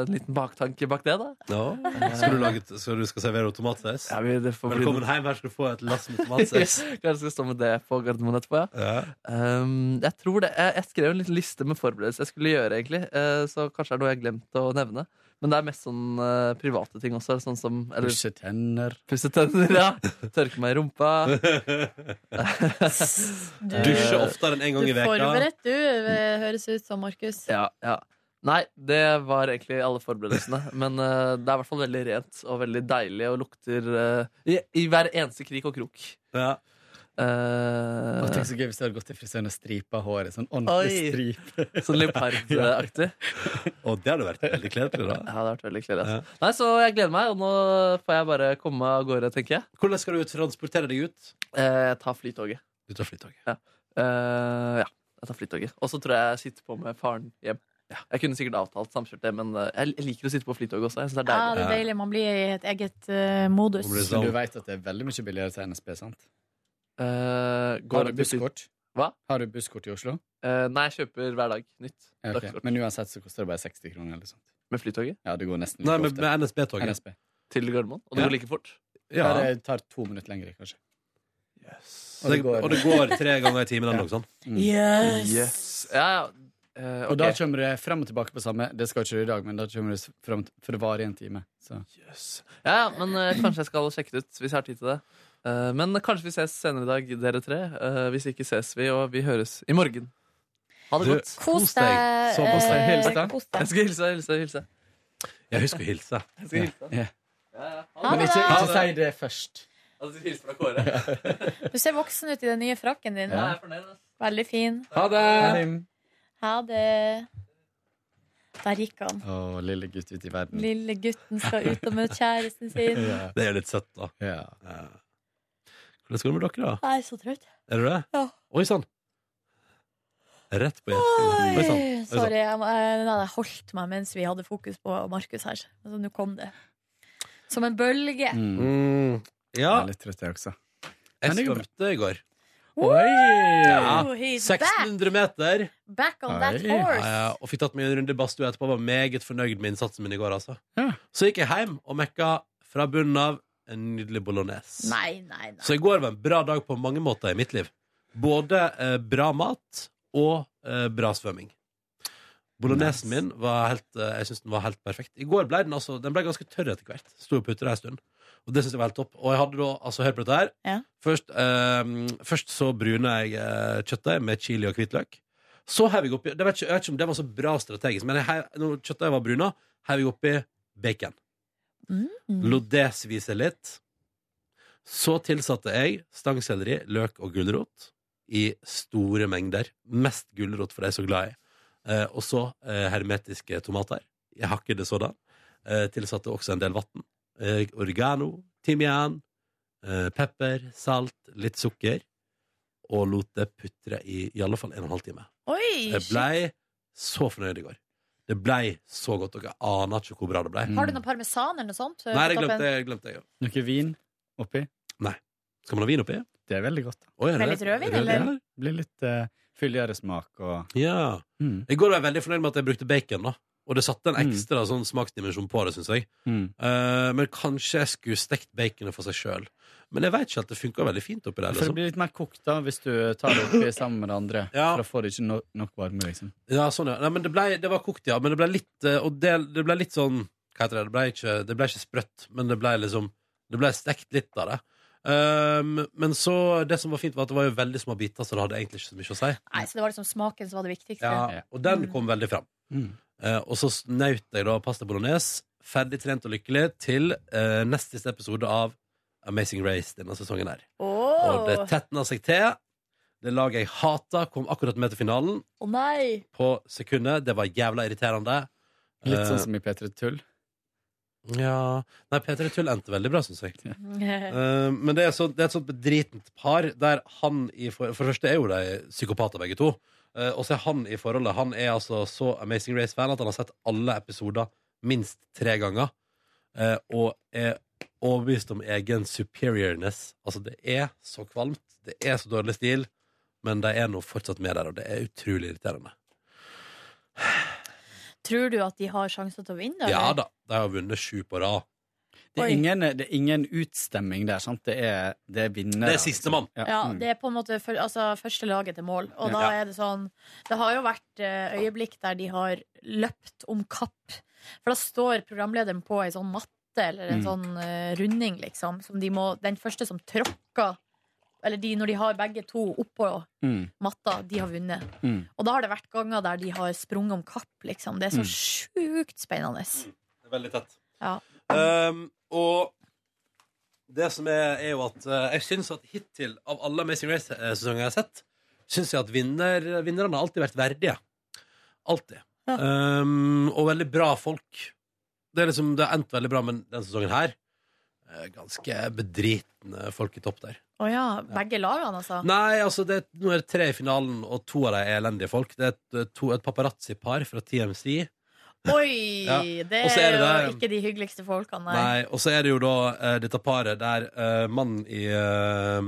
S3: en liten baktanke bak det, da.
S1: Skal du, lage, et- skal du skal servere tomatsaus?
S3: Ja, vi, det får bli-
S1: Velkommen hjem, her skal du få et lass med tomatsaus.
S3: Kanskje jeg skal stå med det på Gardermoen etterpå, ja.
S1: ja.
S3: Um, jeg tror det jeg, jeg skrev en liten liste med forberedelser jeg skulle gjøre, egentlig. Eh, så kanskje det er noe jeg har glemt å nevne. Men det er mest sånn eh, private ting også. Sånn som eller,
S11: Pusse tenner
S3: pusse tenner, ja. Tørke meg i rumpa.
S1: Dusje oftere enn én
S2: Du
S1: gang i veka.
S2: forberedt, du, eh, høres ut som Markus.
S3: Ja, ja. Nei, det var egentlig alle forberedelsene. Men eh, det er i hvert fall veldig rent og veldig deilig og lukter eh, i, i hver eneste krik og krok.
S1: Ja.
S11: Og
S3: Uh,
S11: tenk så gøy hvis du hadde gått til frisøren og stripa håret. Sånn
S3: Oi.
S11: ordentlig strip.
S3: sånn
S11: (laughs)
S3: leopardaktig.
S1: Og det hadde vært veldig kledelig, da.
S3: Ja, det har vært veldig kledelig. altså. Nei, så jeg gleder meg, og nå får jeg bare komme av gårde, tenker jeg.
S1: Hvordan skal du transportere deg ut?
S3: Eh, ta flytoget.
S1: Du tar flytoget.
S3: Eh, ja, jeg tar flytoget. Og så tror jeg jeg sitter på med faren hjem. Jeg kunne sikkert avtalt samkjørt det, men eh, jeg jeg liker å sitte på flytoget også. Jeg synes det er
S2: Ja,
S3: deilig.
S2: det er deilig. Man blir i et eget eh, modus.
S1: Nå blir det
S11: Men du
S1: sånn.
S11: vet at det er veldig mye billigere til NSB, sant?
S3: Eh,
S11: Har
S3: går
S11: du
S3: det til fly-
S11: busskort?
S3: Hva?
S11: Har du busskort i Oslo?
S3: Eh, nei, jeg kjøper hver dag nytt.
S11: Ja, ok.
S3: Dagskort.
S11: Men uansett så koster det bare 60 kroner. Eller sånt.
S3: Med flytoget?
S11: Ja, det går nesten
S1: Nei,
S11: like
S1: med,
S11: ofte.
S1: med NSB-toget.
S11: NSB.
S3: Til Gardermoen? Og det
S11: Ja.
S3: går like fort?
S11: Ja.
S1: Ja.
S11: Det tar to minutter lenger, kanskje.
S1: Og det, og det går tre ganger i timen eller noe sånt.
S11: Yes.
S3: Ja, ja. Eh,
S11: Og da
S3: ok.
S11: kommer det frem og tilbake på samme. Det skal ikke du i dag, men da kommer det frem til, for det varer i en time. Så.
S3: ja, ja, men eh, kanskje jeg skal sjekke det ut hvis jeg har tid til det. Eh, men kanskje vi ses senere i dag, dere tre. Eh, hvis ikke ses vi, og vi høres i morgen. Ha det
S1: Du,
S3: godt.
S2: Kos deg.
S3: Så kos deg.
S2: eh,
S3: Hils, da.
S2: kos deg.
S3: Jeg skal hilse, hilse, hilse.
S1: Jeg husker å hilse.
S3: Jeg skal hilse.
S11: Ja.
S2: Ha
S11: Men
S2: det.
S11: ikke,
S2: da.
S11: ikke si det først.
S3: Altså, hilse fra Kåre.
S2: Du ser voksen ut i den nye frakken din.
S3: Ja, jeg er fornøyd, altså. ass.
S2: Veldig fin.
S1: Ha det!
S2: Ha det. Der gikk han.
S11: Å, lille gutt ute i verden.
S2: Lille gutten skal ut og møte kjæresten sin.
S11: Ja.
S1: Det er jo litt søtt, da. Ja. Hvordan går det med dere, da?
S2: Jeg er så trøtt.
S1: Er det det?
S2: Ja.
S1: Oi sann! Rett på hjertet. Oi sånn. sann. Oi, sann.
S2: Sorry, jeg, må- eh, den hadde jeg holdt meg mens vi hadde fokus på Markus her. Altså, Nå kom det. Som en bølge.
S1: Mm. Ja.
S11: Mm. Jeg er litt trøtt, jeg også.
S1: Jeg
S11: Men det går bra.
S1: svømte i går. Ja.
S2: Woo, he's
S1: 1600 meter.
S2: Back on that
S1: Oi.
S2: horse.
S1: Ja, ja, og fikk tatt meg en runde i badstua etterpå. Var meget fornøyd med innsatsen min i går, altså.
S11: Ja.
S1: Så gikk jeg hjem og mekka fra bunnen av en nydelig bolognese.
S2: Nei, nei, nei.
S1: Så i går var en bra dag på mange måter i mitt liv. Både eh, bra mat og eh, bra svømming. Bolognesen min var helt, eh, jeg synes den var helt perfekt. I går ble den, altså, den ble ganske tørr etter hvert. Sto og putra en stund. Og det synes jeg var helt topp. Og jeg hadde da, altså, hør på dette her.
S2: Ja.
S1: Først, eh, først så brune jeg eh, kjøttet med chili og hvitløk. Så hev jeg oppi, det vet ikke, jeg vet ikke om det var så bra strategisk, men jeg, hev- når kjøttet var bruna, hev jeg oppi bacon.
S2: Mm.
S1: Lot det svise litt. Så tilsatte jeg stangselleri, løk og gulrot i store mengder. Mest gulrot for de som er så glad i. Eh, og så eh, hermetiske tomater. Jeg hakkede sådan. Eh, tilsatte også en del vann. Eh, oregano, timian, eh, pepper, salt, litt sukker. Og lot det putre i i alle fall en og en halv time.
S2: Oi,
S1: Jeg blei så fornøyd i går. Det blei så godt. Dere aner ikke hvor bra det blei.
S2: shit. Har du noe parmesan eller noe sånt? eh,
S1: Nei, det
S2: på Mm. toppen?
S1: glemte jeg. Glemte jeg. ja.
S11: Noe vin oppi?
S1: Skal man ha vin oppi?
S11: Det er veldig godt. da.
S1: Oi, er
S2: Med
S1: det-
S2: litt rødvin,
S1: rødvin,
S2: eller?
S1: eller?
S11: Blir litt eh, fylligere smak og
S1: Ja.
S11: Mm.
S1: I går var jeg veldig fornøyd med at jeg brukte bacon. da Og det satte en ekstra sånn smaksdimensjon på det, syns jeg.
S11: Mm.
S1: Eh, men kanskje jeg skulle stekt baconet for seg sjøl. Men jeg veit ikke at det funka veldig fint oppi der.
S11: For det
S1: Liksom.
S11: blir litt mer kokt da hvis du tar det oppi sammen med det andre.
S1: Ja.
S11: For da får du ikke no nok varme, liksom.
S1: Ja, sånn, ja. Nei, men det, ble, det var kokt, ja. Men det ble litt eh, Og det, det ble litt sånn Hva heter det? Det ble ikke, det ble ikke sprøtt, men det ble liksom Det ble stekt litt av det. Ehm, men så Det som var fint, var at det var jo veldig små biter, så det hadde egentlig ikke så mye å si.
S2: Nei, så det var liksom smaken som var det viktigste.
S1: Ja, og den kom veldig fram.
S11: Mm.
S1: Eh, og så nøt jeg da pasta bolognese, ferdig trent og lykkelig, til eh, neste siste episode av Amazing Race denne sesongen her.
S2: Åh,
S1: Og det tetna seg til. Det laget jeg hata, kom akkurat med til finalen
S2: Å nei! (laughs)
S1: på sekundet. Det var jævla irriterende.
S11: Litt sånn
S1: Eh,
S11: som i P3 Tull.
S1: Ja Nei, Peter Tull endte veldig bra, syns jeg.
S2: Ja,
S1: Eh, men det er, så, det er et sånt bedritent par der han i for, for det første er jo de psykopater, begge to. Eh, og så er han i forholdet. Han er altså så Amazing Race-fan at han har sett alle episoder minst tre ganger. eh, og er overbevist om egen superiorness. Altså, det er så kvalmt, det er så dårlig stil, men de er nå fortsatt med der, og det er utrolig irriterende.
S2: Tror du at de har sjanser til å vinne?
S1: Ja
S2: eller?
S1: da, de har vunnet sju på rad.
S11: Det er,
S2: Oi.
S11: ingen, det er ingen utstemming der, sant? Det er, det er Mm. vinner.
S1: Det er sistemann.
S2: Ja, det er på en måte for, altså, første laget til mål. Og da
S1: Mm. Ja.
S2: er det sånn Det har jo vært eh, øyeblikk der de har løpt om kapp. For da står programlederen på ei sånn matte eller en
S11: Mm.
S2: sånn eh, runding, liksom. Som de må, den første som tråkker, eller de når de har begge to oppå
S11: Mm.
S2: matta, de har vunnet.
S11: Mm.
S2: Og da har det vært ganger der de har sprunget om kapp, liksom. Det er så
S11: Mm.
S2: sjukt spennende.
S1: Det er veldig tett.
S2: Ja.
S1: Um, og det som er, er jo at eh, jeg syns at hittil, av alle Amazing Race-sesonger jeg har sett, syns jeg at vinner, vinnerne har alltid vært verdige. Alltid. Um, og veldig bra folk. Det, er liksom, det har endt veldig bra, men denne sesongen her eh, Ganske bedritne folk i topp der.
S2: Å ja. Begge lagene, altså.
S1: Nei, altså det, nå er det tre i finalen, og to av dem er elendige folk. Det er et, to, et paparazzi-par fra TMC.
S2: Oi!
S1: Ja.
S2: Det
S1: Og så er
S2: er
S1: det
S2: jo
S1: der-
S2: ikke de hyggeligste folkene,
S1: Nei, og så er det jo da eh, dette paret der eh, mannen i eh,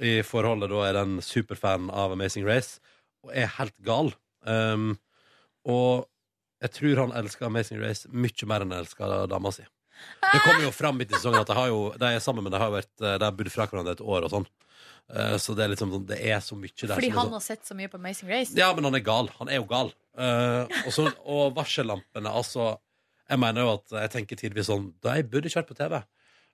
S1: i forholdet da er den superfan av Amazing Race og er helt gal. Um, og jeg tror han elsker Amazing Race mye mer enn han elsker dama si. Det kommer jo fram midt i sesongen at de, har jo, de er sammen, men de har, jo vært, eh, de har bodd fra hverandre et år og sånn. Uh, så det er liksom sånn, det er så mye der. som
S2: Fordi
S1: er sånn-
S2: han har sett så mye på Amazing Race.
S1: ja, men han er gal. Han er jo gal. Eh, og så- og varsellampene, altså. Jeg mener jo at jeg tenker tidvis sånn De burde ikke vært på TV.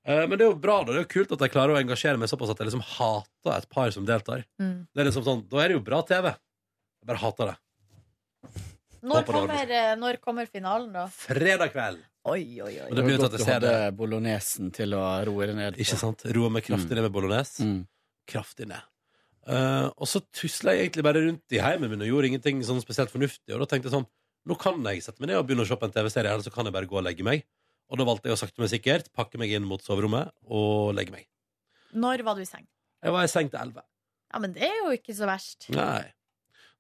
S1: Eh, men det er jo bra, da. Det er jo kult at jeg klarer å engasjere meg såpass at jeg liksom hater et par som deltar.
S2: Mm.
S1: Det er liksom sånn, Da er det jo bra TV. Jeg bare hater det.
S2: Når
S1: Håper det ordner
S2: kommer, eh, når kommer finalen, da?
S1: Fredag kveld.
S2: Oi, oi, oi.
S1: Men det blir jo til at jeg ser det.
S11: bolognesen til å roe det ned Mm. på.
S1: Ikke sant? Roe meg kraftig ned med bolognese. Kraftig ned. Eh, og så tusla jeg egentlig bare rundt i heimen min og gjorde ingenting sånn spesielt fornuftig. Og da tenkte jeg sånn Nå kan jeg sette meg ned og begynne å se på en TV-serie, eller så kan jeg bare gå og legge meg. Og da valgte jeg å sakte, men sikkert pakke meg inn mot soverommet og legge meg.
S2: Når var du i seng?
S1: Jeg var i seng til elleve.
S2: Ja, men det er jo ikke så verst.
S1: Nei.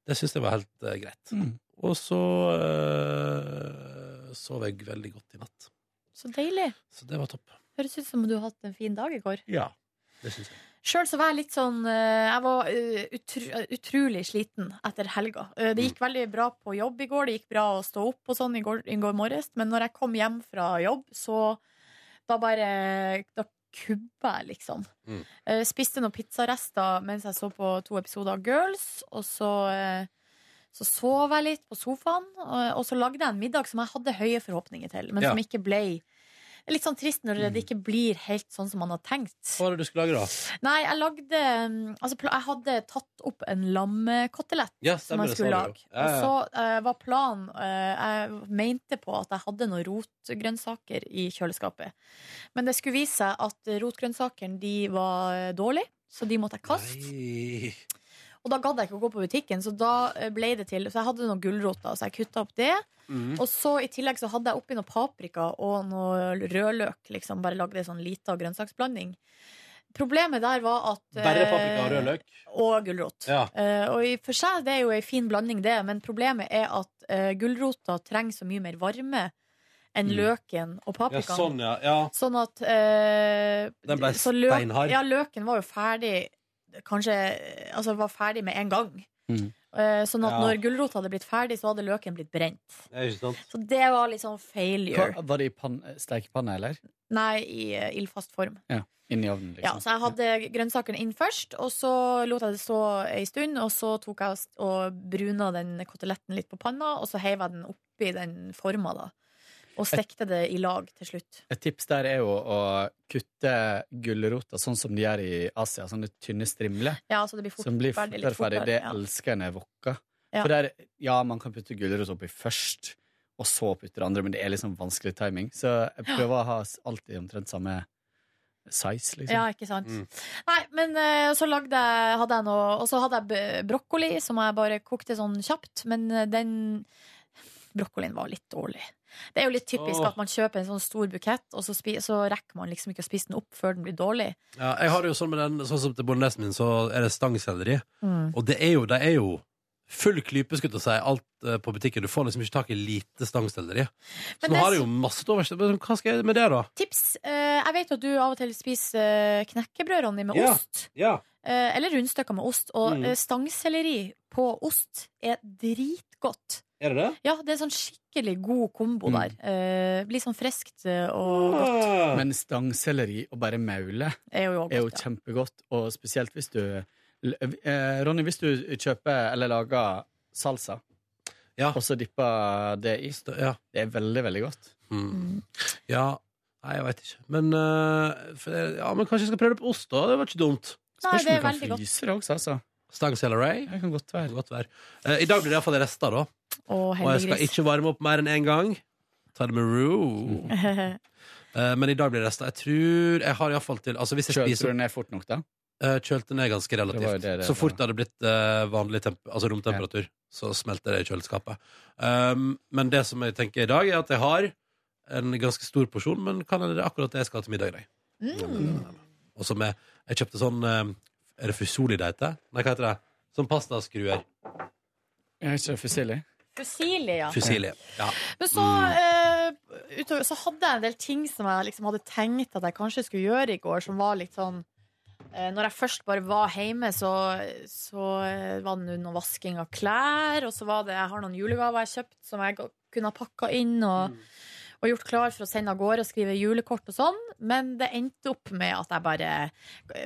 S1: Det syns jeg var helt eh, greit. Og så eh, sov jeg veldig godt i natt.
S2: Så deilig.
S1: Så det var topp.
S2: Høres ut som om du har hatt en fin dag i går.
S1: Ja, det syns jeg.
S2: Sjøl så var jeg litt sånn eh, Jeg var eh, utru, utrolig sliten etter helga. Eh, Det gikk veldig bra på jobb i går, det gikk bra å stå opp og sånn i går, i går morges, men når jeg kom hjem fra jobb, så da bare Da kubba jeg, liksom.
S12: Mm.
S2: Eh, Spiste noen pizzarester mens jeg så på to episoder av Girls, og så eh, så sov jeg litt på sofaen, eh, og og så lagde jeg en middag som jeg hadde høye forhåpninger til, men
S1: Ja.
S2: som ikke ble Det er litt sånn trist når det ikke blir helt sånn som man har tenkt.
S1: Hva var det du skulle lage, da?
S2: Nei, jeg lagde mm, altså, pla- Jeg hadde tatt opp en lammekotelett
S1: Ja,
S2: som
S1: stemmer, det
S2: jeg
S1: sa
S2: skulle
S1: du jo.
S2: lage.
S1: Ja, ja.
S2: Og så eh, var planen eh, Jeg mente på at jeg hadde noen rotgrønnsaker i kjøleskapet. Men det skulle vise seg at rotgrønnsakene de var eh, dårlige, så de måtte jeg kaste. Og da gadd jeg ikke å gå på butikken, så da eh, ble det til Så jeg hadde noen gulroter, så jeg kutta opp det.
S12: Mhm.
S2: Og så i tillegg så hadde jeg oppi noe paprika og noe rødløk, liksom. Bare lagde ei sånn lita grønnsaksblanding. Problemet der var at
S1: Bare
S2: eh,
S1: paprika og rødløk?
S2: Og gulrot.
S1: Ja.
S2: Eh, og i for seg det er jo ei fin blanding, det, men problemet er at eh, gulrota trenger så mye mer varme enn
S1: Mm.
S2: løken og
S1: Ja,
S2: paprikaen.
S1: sånn, ja. ja.
S2: Sånn at eh,
S1: Den ble
S2: så løk-
S1: steinhard.
S2: Ja, løken var jo ferdig Kanskje Altså var ferdig med en gang.
S1: Mm.
S2: Eh, sånn at
S1: Ja.
S2: når gulrota hadde blitt ferdig, så hadde løken blitt brent.
S1: Ja, ikke sant?
S2: Så det var litt sånn failure.
S11: Hva, var det i pan stekepanne, eller?
S2: Nei, i eh, ildfast form.
S11: Ja. Inni ovnen,
S2: Ja,
S11: liksom.
S2: så jeg hadde grønnsakene inn først, og så lot jeg det stå ei stund, og så tok jeg og s- og bruna den koteletten litt på panna, og så heiv jeg den oppi den forma, da. Og stekte det i lag til slutt.
S11: Et tips der er jo å kutte gulrota sånn som de gjør i Asia, sånne tynne strimler.
S2: Ja, så det blir fort
S11: som blir
S2: ferdig,
S11: fortere
S2: litt
S11: ferdig.
S2: fortere,
S11: Det
S2: ja.
S11: elsker jeg når jeg wokker.
S2: Ja.
S11: For der, ja, man kan putte gulrot oppi først, og så putte det andre, men det er liksom vanskelig timing. Så jeg prøver å ha s- alltid omtrent samme size, liksom.
S2: Ja, ikke sant.
S1: Mm.
S2: Nei, men eh, så lagde jeg, hadde jeg noe Og så hadde jeg b- brokkoli, som jeg bare kokte sånn kjapt. Men eh, den brokkolien var litt dårlig. Det er jo litt typisk
S1: Åh.
S2: at man kjøper en sånn stor bukett, og så, spi, så rekker man liksom ikke å spise den opp før den blir dårlig.
S1: Ja, jeg har det jo sånn med den Sånn som til bolognesen min, så er det stangselleri.
S2: Mm.
S1: Og det er jo, det er jo full klype, skulle jeg til å si, alt eh, på butikken. Du får liksom ikke tak i lite stangselleri. Så
S2: Men
S1: nå
S2: det
S1: har
S2: s-
S1: jeg jo masse til overs. Men Hva skal jeg med det, da?
S2: Tips! eh, jeg vet jo at du av og til spiser eh, knekkebrød, Ronny, med
S1: Ja.
S2: ost.
S1: Ja.
S2: Eh, eller rundstykker med ost. Og
S1: Mm.
S2: eh, stangselleri på ost er dritgodt.
S1: Er det det?
S2: Ja, det er sånn skikkelig god kombo der. Eh, blir sånn friskt eh, og godt.
S1: Ah.
S11: Men stangselleri og bare maule
S2: er jo,
S11: er jo kjempegodt, og spesielt hvis du eh, Ronny, hvis du kjøper eller lager salsa, og så dipper det i, det er veldig, veldig godt.
S1: Hmm. Ja. Nei, jeg veit ikke. Men, eh, for, det- ja, men kanskje jeg skal prøve det på ost, da? Det var ikke dumt.
S2: Nei, Spørs om det er du kan veldig godt.
S11: fryse det også, altså.
S1: Stangselleri?
S11: Det kan godt være.
S1: Eh, I dag blir det iallfall rester, da.
S2: Og
S1: Og jeg skal
S2: heldiggris.
S1: ikke varme opp mer enn én gang. Ta det med ro.
S2: (laughs)
S1: Eh, Men i dag blir det rester. Jeg tror jeg har iallfall til altså hvis jeg
S11: Kjølte
S1: spiser,
S11: du ned fort nok, da?
S1: Eh, Kjølte ned ganske relativt.
S11: Det var jo det det
S1: så
S11: var.
S1: fort det hadde blitt eh, vanlig temp altså romtemperatur, så smelter det i kjøleskapet. Um, men det som jeg tenker i dag, er at jeg har en ganske stor porsjon, men kan hende det er akkurat det jeg skal ha til middag i dag.
S2: Mm.
S1: Og som jeg, jeg kjøpte sånn eh, Er det fusoli det heter? Nei, hva heter det? Sånn pastaskruer.
S11: Jeg vet ikke, fusili?
S2: Fusilie, ja.
S1: Fusili. Ja.
S2: Men så,
S12: Mm.
S2: eh, utover, så hadde jeg en del ting som jeg liksom hadde tenkt at jeg kanskje skulle gjøre i går, som var litt sånn Eh, Når jeg først bare var hjemme, så, så eh, var det nå noe vasking av klær. Og så var det, jeg har noen julegaver jeg kjøpt som jeg ga- kunne ha pakka inn og,
S12: Mm.
S2: og gjort klar for å sende av gårde og skrive julekort og sånn. Men det endte opp med at jeg bare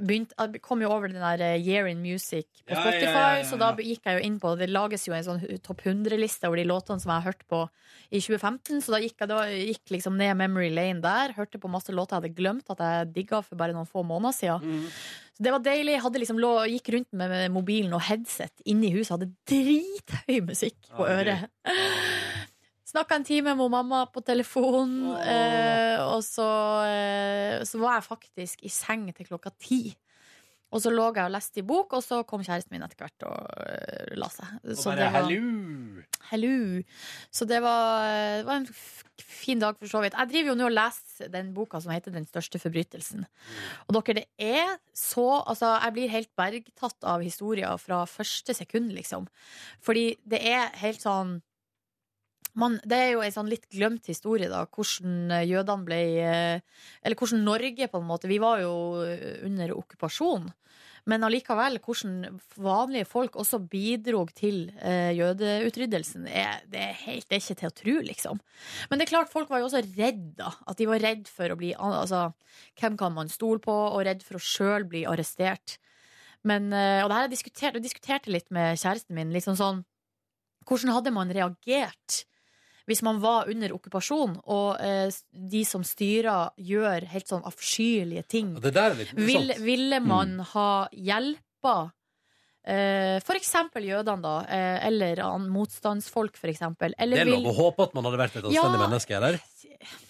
S2: begynte Jeg kom jo over den der eh, Year in Music på
S12: Ja, ja, ja,
S2: Spotify,
S12: ja,
S2: så
S12: ja.
S2: da gikk jeg jo inn på Det lages jo en sånn hu- topp 100-liste over de låtene som jeg har hørt på i 2015. Så da gikk jeg da gikk liksom ned memory lane der, hørte på masse låter jeg hadde glemt at jeg digga for bare noen få måneder siden.
S12: Mm.
S2: Så det var deilig. Jeg hadde liksom lå, gikk rundt med, med mobilen og headset inne i huset. Hadde drithøy musikk på øret. Snakka en time med mamma på telefon, eh, og så, eh, så var jeg faktisk i seng til klokka ti. Og så lå jeg og leste i bok, og så kom kjæresten min etter hvert og eh, la seg. Så
S12: bare,
S2: det var-
S12: «Hallo!»
S2: Hello. Så det var, det var en f- fin dag, for så vidt. Jeg driver jo nå og leser den boka som heter 'Den største forbrytelsen'. Og dere, det er så Altså, jeg blir helt bergtatt av historier fra første sekund, liksom. Fordi det er helt sånn man, det er jo en sånn litt glemt historie, da. Hvordan eh, jødene ble eh, Eller hvordan Norge, på en måte. Vi var jo eh, under okkupasjon. Men allikevel, hvordan vanlige folk også bidro til eh, jødeutryddelsen, er, det, er helt, det er ikke til å tro, liksom. Men det er klart, folk var jo også redd, da. At de var redd for å bli an- Altså, hvem kan man stole på? Og redd for å sjøl bli arrestert. Men, eh, og det her jeg diskuterte, jeg diskuterte litt med kjæresten min. Litt sånn sånn Hvordan hadde man reagert? hvis man var under okkupasjon, og eh, s- de som styrer, gjør helt sånn avskyelige ting
S1: Det der er litt
S2: Vil,
S1: interessant.
S2: Ville
S1: Mm.
S2: man ha hjelpa eh, for eksempel jødene, da, eh, eller an, motstandsfolk, for eksempel?
S1: Det
S2: Eller
S1: er lov å
S2: vil,
S1: håpe at man hadde vært et anstendig
S2: Ja.
S1: menneske, eller?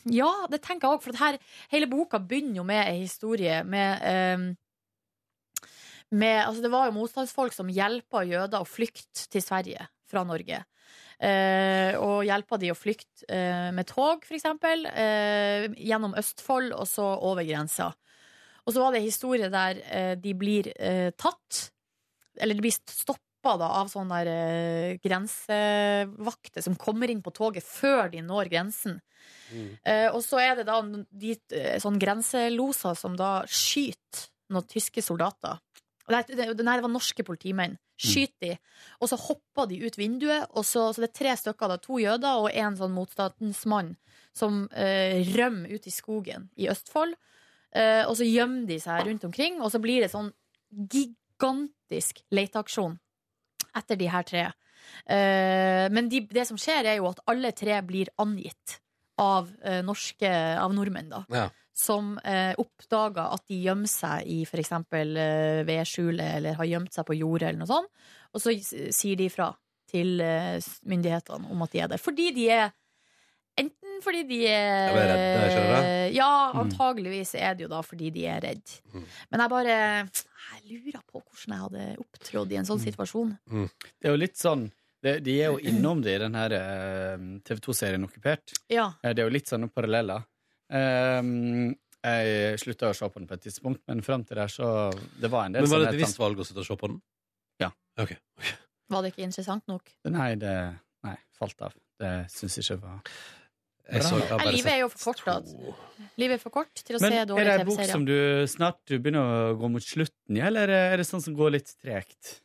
S2: ja, det tenker jeg òg, for at her, hele boka begynner jo med ei historie med eh, med, altså det var jo motstandsfolk som hjelpa jøder å flykte til Sverige fra Norge. Eh, og hjelpa de å flykte eh, med tog, f.eks., eh, gjennom Østfold og så over grensa. Og så var det en historie der eh, de blir eh, tatt, eller de blir stoppa da, av sånne der, eh, grensevakter som kommer inn på toget før de når grensen. Eh, og så er det da n- de eh, sånn grenseloser som da skyter noen tyske soldater. Nei, det, det- nei, det var norske politimenn. Skyter de, og så hopper de ut vinduet. Og så, så det er tre stykker, da, to jøder og en sånn motstandsmann, som eh, rømmer ut i skogen i Østfold. Eh, og så gjemmer de seg rundt omkring, og så blir det sånn gigantisk leteaksjon etter de her tre. Eh, men de, det som skjer, er jo at alle tre blir angitt av, eh, norske, av nordmenn, da.
S1: Ja.
S2: Som eh, oppdaga at de gjemmer seg i f.eks. Eh, vedskjulet, eller har gjemt seg på jordet, eller noe sånt. Og så s- sier de fra til eh, s- myndighetene om at de er der. Fordi de er Enten fordi de er
S12: Jeg ble redd, jeg skjønner det.
S2: Ja,
S12: Mm.
S2: antageligvis er det jo da fordi de er redd. Men jeg bare jeg lurer på hvordan jeg hadde opptrådt i en
S12: Mm.
S2: sånn situasjon.
S11: Det er jo litt sånn det, De (clears throat) er jo innom det i den her eh, TV 2-serien Okkupert.
S2: Ja.
S11: Eh, Det er jo litt sånne paralleller. Ehm, jeg slutta å se på den på et tidspunkt, men fram til der så Det var en del
S1: Men var
S11: som
S1: det et
S11: het
S1: bevisst
S11: sånn-
S1: valg å sitte og se på den?
S11: Ja.
S2: Var det ikke interessant nok?
S11: Nei, det nei, falt av. Det syns jeg ikke var
S1: Jeg
S11: bra.
S1: så- jeg har
S2: Nei, livet er jo for kort, da. Livet er for kort til å
S11: Men
S2: se
S11: er det
S2: dårlige
S11: ei bok som
S2: TV-serier.
S11: du snart du begynner å gå mot slutten i, eller er det sånn som går litt tregt?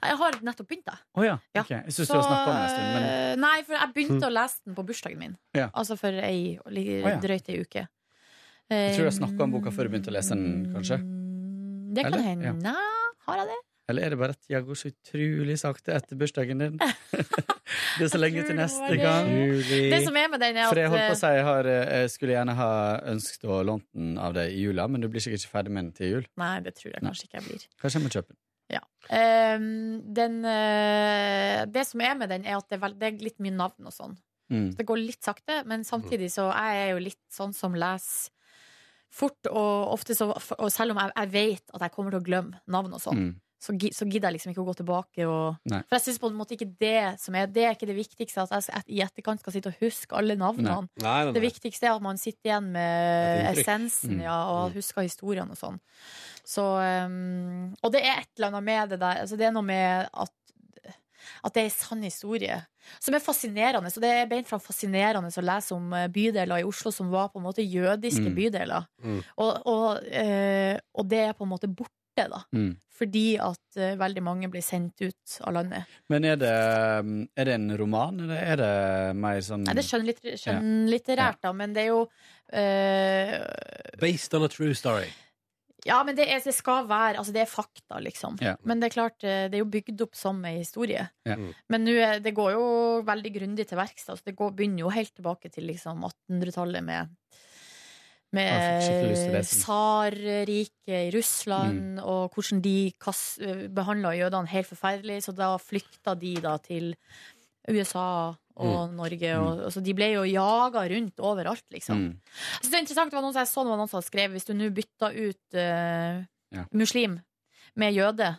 S2: Nei, Jeg har nettopp begynt, jeg.
S11: Å ja. ok. Jeg syns du
S2: Så,
S11: har snakka om det en stund, men
S2: eh, Nei, for jeg begynte
S11: Mm.
S2: å lese den på bursdagen min.
S11: Ja.
S2: Altså for ei, li-
S11: Å, ja.
S2: drøyt ei uke.
S11: jeg tror du har
S2: Eh, Mm,
S11: snakka om boka før du begynte å lese den, kanskje?
S2: Det kan
S11: Eller?
S2: hende.
S11: Ja.
S2: Har jeg det?
S11: Eller er det bare at jeg går så utrolig sakte etter
S2: (laughs)
S11: bursdagen din? det er så lenge til
S2: var
S11: neste
S2: det.
S11: gang.
S2: Det som er med den, er
S11: For jeg
S2: at,
S11: holdt på
S2: eh,
S11: å si jeg, har, jeg skulle gjerne ha ønsket å låne den av deg i jula, men du blir sikkert ikke ferdig med den til jul.
S2: eh, Nei, det tror jeg kanskje ikke jeg blir.
S11: Kanskje jeg må kjøpe den.
S2: Ja. Ehm, den, eh, det som er med den, er at det er, vel- det er litt mye navn og sånn.
S11: Mm.
S2: Så det går litt sakte, men samtidig så jeg er jo litt sånn som leser fort, og ofte så Og selv om jeg, jeg vet at jeg kommer til å glemme navn og sånn,
S11: Mm.
S2: så, gi- så gidder jeg liksom ikke å gå tilbake og
S11: Nei.
S2: For jeg syns på en måte ikke det som er Det er ikke det viktigste, at jeg s- at i etterkant skal sitte og huske alle navnene.
S1: Nei. Nei, nei, nei.
S2: Det viktigste er at man sitter igjen med
S1: Et inntrykk.
S2: essensen,
S1: Mm.
S2: ja, og husker historiene og sånn. ehm, Så, um, og det er et eller annet med det der altså Det er noe med at at det er en sann historie. Som er fascinerende. Så det er beint fra fascinerende å lese om eh, bydeler i Oslo som var på en måte jødiske
S13: Mm.
S2: bydeler. Og, og, eh, og det er på en måte borte, da.
S11: Mm.
S2: Fordi at eh, veldig mange ble sendt ut av landet.
S11: Men er det, eh, er det en roman, eller er det mer sånn
S2: Nei, det
S1: Mm.
S2: er skjønnlitter- skjønnlitterært, da, men det er jo eh,
S1: Based on a true story.
S2: Ja, men det, er, det skal være Altså, det er fakta, liksom.
S1: Ja.
S2: Men det er klart, eh, det er jo bygd opp som ei historie.
S11: Ja.
S2: Men nå er- det går jo veldig grundig til verks. da. Altså, det går, begynner jo helt tilbake til liksom 1800-tallet med
S13: Jeg fikk skikkelig lyst til Mm. å
S2: med
S13: lese den.
S2: tsarriket i Russland, og hvordan de kass, behandla jødene helt forferdelig. Så da flykta de da til USA og
S13: Mm.
S2: Norge. Og, altså, de ble jo jaga rundt overalt, liksom.
S11: Mm.
S2: Jeg synes det er interessant, det var noen som jeg så det var noen som hadde skrevet Hvis du nå bytter ut eh,
S13: Ja.
S2: muslim med jøde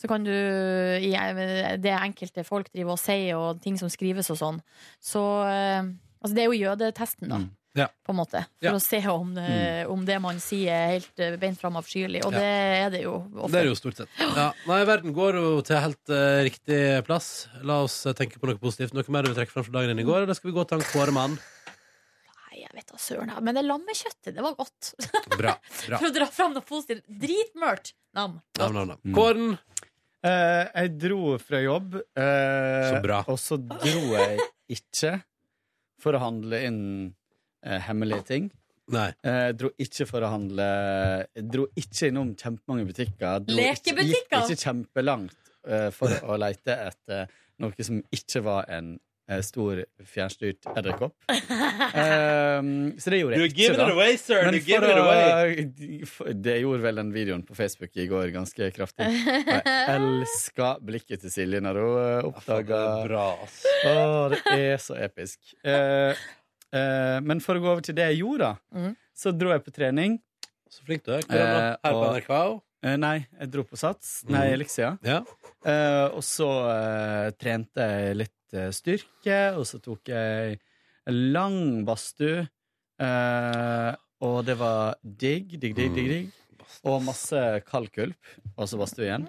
S2: så kan du, i eh, det enkelte folk driver og sier, og ting som skrives og sånn Så eh, altså det er jo jødetesten, da,
S1: Mm. Ja.
S2: på en måte.
S1: Ja.
S2: For
S1: Mm.
S2: å se om, eh, om det man sier, er helt eh, beint fram avskyelig. Og
S1: Ja.
S2: det er det jo ofte.
S1: Det er det jo stort sett. Ja. Nei, verden går jo til helt eh, riktig plass. La oss eh, tenke på noe positivt. Noe mer du vil trekke fram fra dagen din i går, eller skal vi gå til han Kåre Mann?
S2: Nei, jeg vet da søren. ja. Men det lammekjøttet, det var godt.
S1: Bra. bra.
S2: (laughs) For å dra fram noe positivt. Dritmørt. Nam.
S1: Nam, nam, nam. Kåren?
S11: Eh, jeg dro fra jobb. eh,
S1: Så bra.
S11: Og så dro jeg ikke for å handle inn eh, hemmelige ting.
S1: Nei.
S11: Eh, dro ikke for å handle Dro ikke innom kjempemange butikker. Dro
S2: Lekebutikker?
S11: Ikke, gikk ikke kjempelangt eh, for å leite etter noe som ikke var en eh, stor fjernstyrt edderkopp. Eh, så det gjorde
S1: You're
S11: jeg ikke,
S1: giving
S11: da.
S1: it away, sir.
S11: Men
S1: You're giving
S11: for
S1: it
S11: å-
S1: away.
S11: for- Det gjorde vel den videoen på Facebook i går ganske kraftig. Og jeg elska blikket til Silje når hun eh, oppdaga Å, det er så episk. Eh, eh, men for å gå over til det jeg gjorde, da, så dro jeg på trening.
S1: Så flink du er. Hvor er det da? Her på NRK?
S11: Eh, nei, jeg dro på Sats. Nei,
S1: Mhm.
S11: Elixia. Eh, og så eh, trente jeg litt eh, styrke, og så tok jeg en lang badstue. Eh, og det var digg, digg, digg, digg, digg. Og masse kaldkulp. Og så badstue igjen.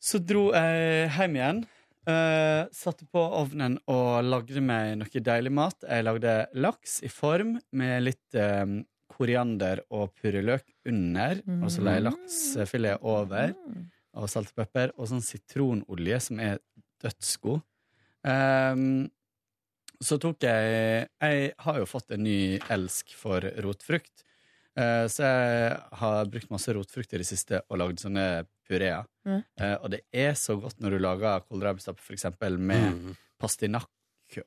S11: Så dro jeg hjem igjen. eh, satte på ovnen og lagde meg noe deilig mat. Jeg lagde laks i form med litt eh, koriander og purreløk under. Og så la jeg laksefilet over, og salt og pepper. Og sånn sitronolje som er dødsgod. Um, så tok jeg Jeg har jo fått en ny elsk for rotfrukt. Eh, Så jeg har brukt masse rotfrukt i det siste og lagd sånne pureer.
S13: Mm.
S11: Eh, Og det er så godt når du lager kålrabistappe for eksempel med
S1: Mm.
S11: pastinakk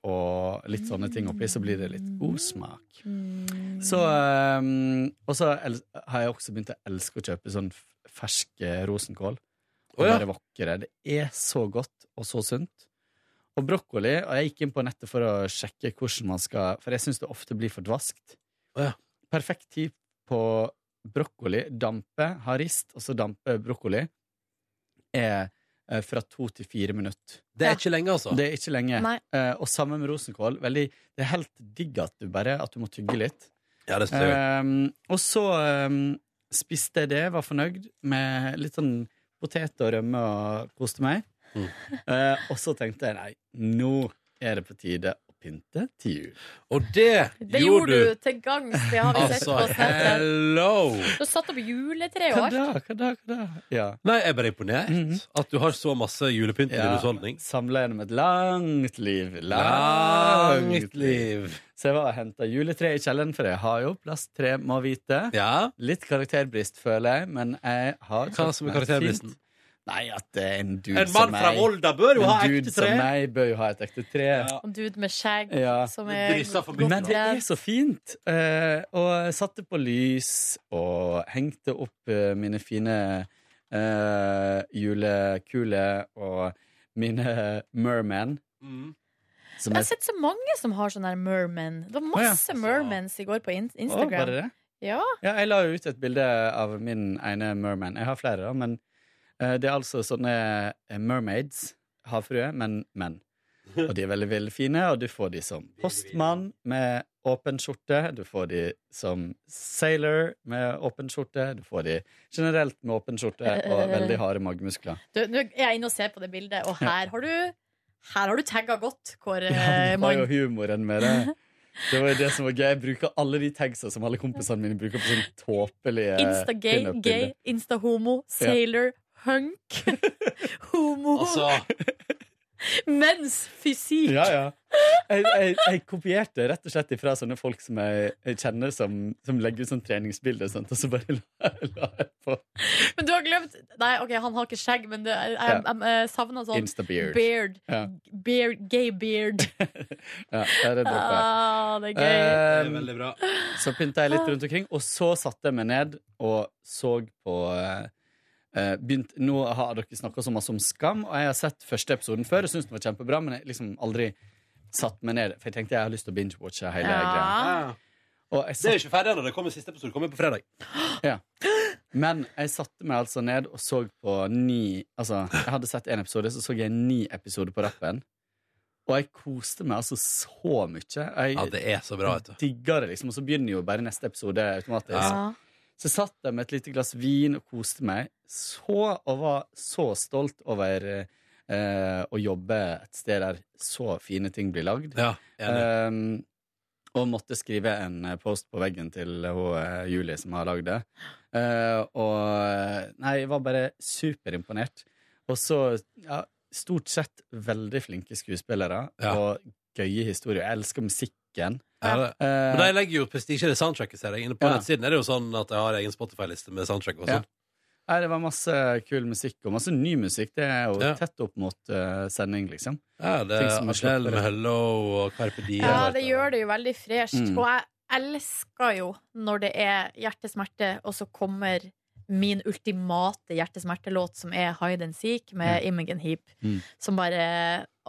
S11: og litt sånne ting oppi, så blir det litt god smak.
S2: Mm.
S11: Så eh, Og så el- har jeg også begynt å elske å kjøpe sånn f- fersk eh, rosenkål. Og
S1: Å ja.
S11: bare vokke det. Det er så godt og så sunt. Og brokkoli, og jeg gikk inn på nettet for å sjekke hvordan man skal For jeg syns det ofte blir for dvaskt. Perfekt tid på brokkoli. Dampe, ha rist, og så dampe brokkoli er eh, fra to til fire minutter.
S1: Det er ikke lenge, altså.
S11: Det er ikke lenge.
S1: Nei.
S11: Eh, og samme med rosenkål. Veldig, det er helt digg at du bare at du må tygge litt.
S1: Ja, det ser jeg.
S11: Ehm, og så ehm, spiste jeg det, var fornøyd med litt sånn potet og rømme og koste meg.
S1: Mm.
S11: (laughs) Eh, og så tenkte jeg nei, nå er det på tide å pynte til jul.
S1: Og det,
S2: Det gjorde du til gangs. Det har vi sett
S11: Altså,
S2: på nettet.
S1: hello!
S2: Du satt opp juletre og alt.
S11: hva da, hva da? Ja.
S1: Nei, jeg er bare imponert. At du har så masse julepynt i din
S11: Ja,
S1: husholdning.
S11: Samla gjennom et langt liv.
S1: Langt liv.
S11: Så jeg var og henta juletre i kjelleren, for jeg har jo plass tre, må vite. Litt karakterbrist, føler jeg, men jeg har
S1: Hva som er
S11: kjøpt meg
S1: karakterbristen?
S11: fint. Nei, at eh, en dude
S1: En mann
S11: som
S1: fra
S11: meg-
S1: Volda bør jo
S11: en
S1: ha
S11: dude
S1: ekte
S11: som
S1: tre.
S11: meg bør jo ha et ekte tre.
S2: Og dude med skjegg
S11: Ja.
S2: som er
S11: Men det er så fint! Eh, og jeg satte på lys og hengte opp eh, mine fine eh, julekuler og mine merman.
S1: Mm.
S11: Som
S2: Jeg har sett så mange som har sånn her merman. Det var masse mermans i går på in Instagram.
S11: Å, var det det?
S2: Ja.
S11: Ja, jeg la jo ut et bilde av min ene merman. Jeg har flere, da, men eh, det er altså sånne eh, mermaids, havfruer, men menn. Og de er veldig, veldig fine, og du får de som postmann med åpen skjorte. Du får de som sailor med åpen skjorte. Du får de generelt med åpen skjorte og veldig harde magemuskler.
S2: Du, nå er jeg inne og ser på det bildet, og her har du her har du tagga godt, Kåre
S11: Det var jo
S2: Mann.
S11: humoren med det. Det var jo det som var gøy. Jeg bruker alle de tagsa som alle kompisene mine bruker på sånn tåpelige
S2: Insta-gay,
S11: pinup-bilder.
S2: gay, insta-homo, sailor,
S11: (laughs)
S2: hunk, homo.
S1: Altså,
S11: Ah.
S2: Mens fysikk!
S11: Ja, ja. Jeg, jeg, jeg kopierte rett og slett ifra sånne folk som jeg, jeg kjenner, som, som legger ut sånn treningsbilder og sånt, og så bare (laughs) la, la jeg på.
S2: Men du har glemt Nei, ok, han har ikke skjegg, men det, jeg, jeg, jeg, jeg savna sånn
S11: Insta-beard.
S2: beard.
S11: Ja,
S2: Beard, gay
S11: (laughs)
S2: beard.
S11: ja, ja, det dropper jeg.
S2: (laughs) Ah, det er gøy.
S11: Eh, Så pynta jeg litt rundt omkring, og så satte jeg meg ned og så på eh, eh, begynt, Nå har dere snakka så masse om Skam, og jeg har sett første episoden før og syntes den var kjempebra, men jeg liksom aldri satt meg ned, for jeg tenkte jeg har lyst til å binge-watche hele
S1: Ja.
S11: greia. Og jeg
S1: Det er jo ikke ferdig ennå. Det kommer siste episode. Kommer på fredag.
S11: ja. Men jeg satte meg altså ned og så på ni Altså, jeg hadde sett én episode, så så jeg ni episoder på rappen. Og jeg koste meg altså så mye. Jeg
S1: Ja, det er så bra, vet du.
S11: digga det, liksom. Og så begynner jo bare neste episode automatisk.
S1: Ja.
S11: Så satt jeg med et lite glass vin og koste meg så, og var så stolt over eh, å jobbe et sted der så fine ting blir lagd. Ehm, og måtte skrive en eh, post på veggen til hun, eh, Julie som har lagd det. Eh, og eh, Nei, jeg var bare superimponert. Og så ja, stort sett veldig flinke skuespillere og gøye historier. Jeg elsker musikken.
S1: Ja, det.
S11: Eh,
S1: Men de legger jo prestisje i det soundtracket, ser jeg. Inne på
S11: Ja.
S1: nettsiden er det jo sånn at jeg har egen Spotify-liste med soundtrack og sånn.
S11: Nei, det var masse kul musikk, og masse ny musikk. Det er jo tett opp mot eh, sending, liksom.
S1: Ja, det
S11: Ting
S1: er
S11: som
S1: Adele
S11: er
S1: med
S11: slappere.
S1: Hello og Carpe Diem.
S2: Ja, det gjør det jo veldig fresht.
S1: Mm.
S2: Og jeg elsker jo når det er hjertesmerte, og så kommer min ultimate hjertesmertelåt, som er Hide and Seek med
S11: Mm.
S2: Imogen Heap.
S11: Mm.
S2: Som bare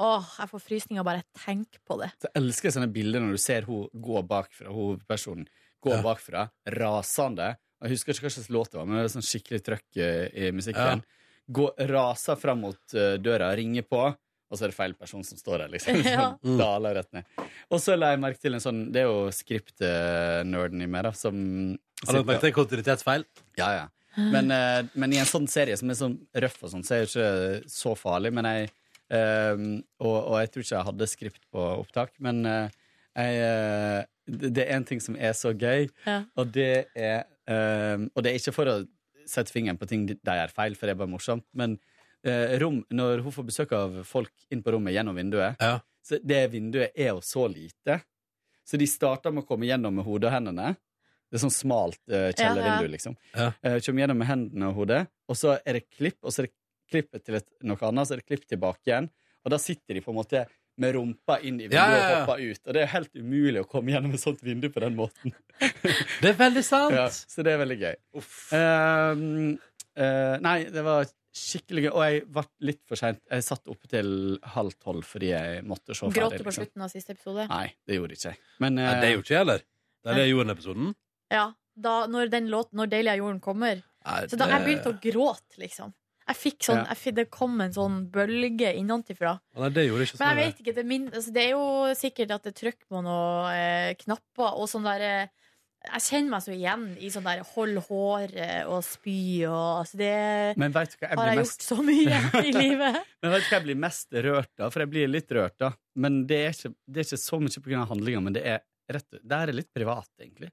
S2: Åh, jeg får frysninger bare jeg tenker på det.
S11: Så jeg elsker sånne bilder når du ser hun gå bakfra, hovedpersonen gå bakfra, rasende. Jeg husker ikke hva slags låt det var, men det var sånn skikkelig trøkk eh, i musikken. Gå, raser fram mot eh, døra, ringer på, og så er det feil person som står der, liksom.
S14: Ja.
S1: Mm.
S11: Sånn, daler rett ned. Og så la jeg merke til en sånn, det er jo skriptnerden i meg, da, som
S1: Har du lagt merke til
S11: kontinuitetsfeil? Ja, ja. Men, eh, men i en sånn serie som er sånn røff og sånn, så er det ikke så farlig. Men jeg, eh, og, og jeg tror ikke jeg hadde skript på opptak, men eh, jeg, eh, det det er en ting som er så gøy,
S2: Ja.
S11: og det er eh, Og det er ikke for å sette fingeren på ting de de gjør feil, for det er bare morsomt, men eh, rom, når hun får besøk av folk inn på rommet gjennom vinduet, så det vinduet er jo så lite. Så de starter med å komme gjennom med hodet og hendene. Det er sånn smalt uh, kjellervindu,
S14: Ja, ja.
S11: liksom. Eh, kommer gjennom med hendene og hodet, og så er det klipp, og så er det klippet til et, noe annet, så er det klipp tilbake igjen. Og da sitter de på en måte med rumpa inn i vinduet
S1: Ja, ja, ja.
S11: og hopper ut. Og det er helt umulig å komme gjennom et sånt vindu på den måten.
S1: Det er veldig sant!
S11: Ja, så det er veldig gøy. Ehm, eh, nei, det var skikkelig gøy. Og jeg var litt for seint. Jeg satt oppe til halv tolv fordi jeg måtte se
S2: Gråt du på
S11: liksom.
S2: slutten av siste episode?
S11: Nei, det gjorde ikke jeg. Men, eh,
S1: Nei, det gjorde ikke jeg heller. Det er jorden-episoden.
S2: Ja, da, når den låten 'Når deilig er jorden' kommer. Så da jeg
S11: Eh.
S2: begynte å gråte, liksom. Jeg fikk sånn,
S1: Ja.
S2: jeg fikk, Det kom en sånn bølge innenfra.
S1: Nei, det gjorde jeg ikke
S2: Men
S1: sånn.
S2: jeg vet ikke, det er, min, altså, det er jo sikkert at det trykker på noen eh, knapper og sånn der eh, Jeg kjenner meg så igjen i sånn der hold håret og spy og altså det
S11: Men vet du hva, jeg
S2: har
S11: blir
S2: jeg
S11: mest
S2: gjort så mye
S11: (laughs)
S2: i livet.
S11: Men vet du hva jeg blir mest rørt av? For jeg blir litt rørt av. Men det er ikke, det er ikke så mye pga. handlinga, men det er rett Det her er litt privat, egentlig.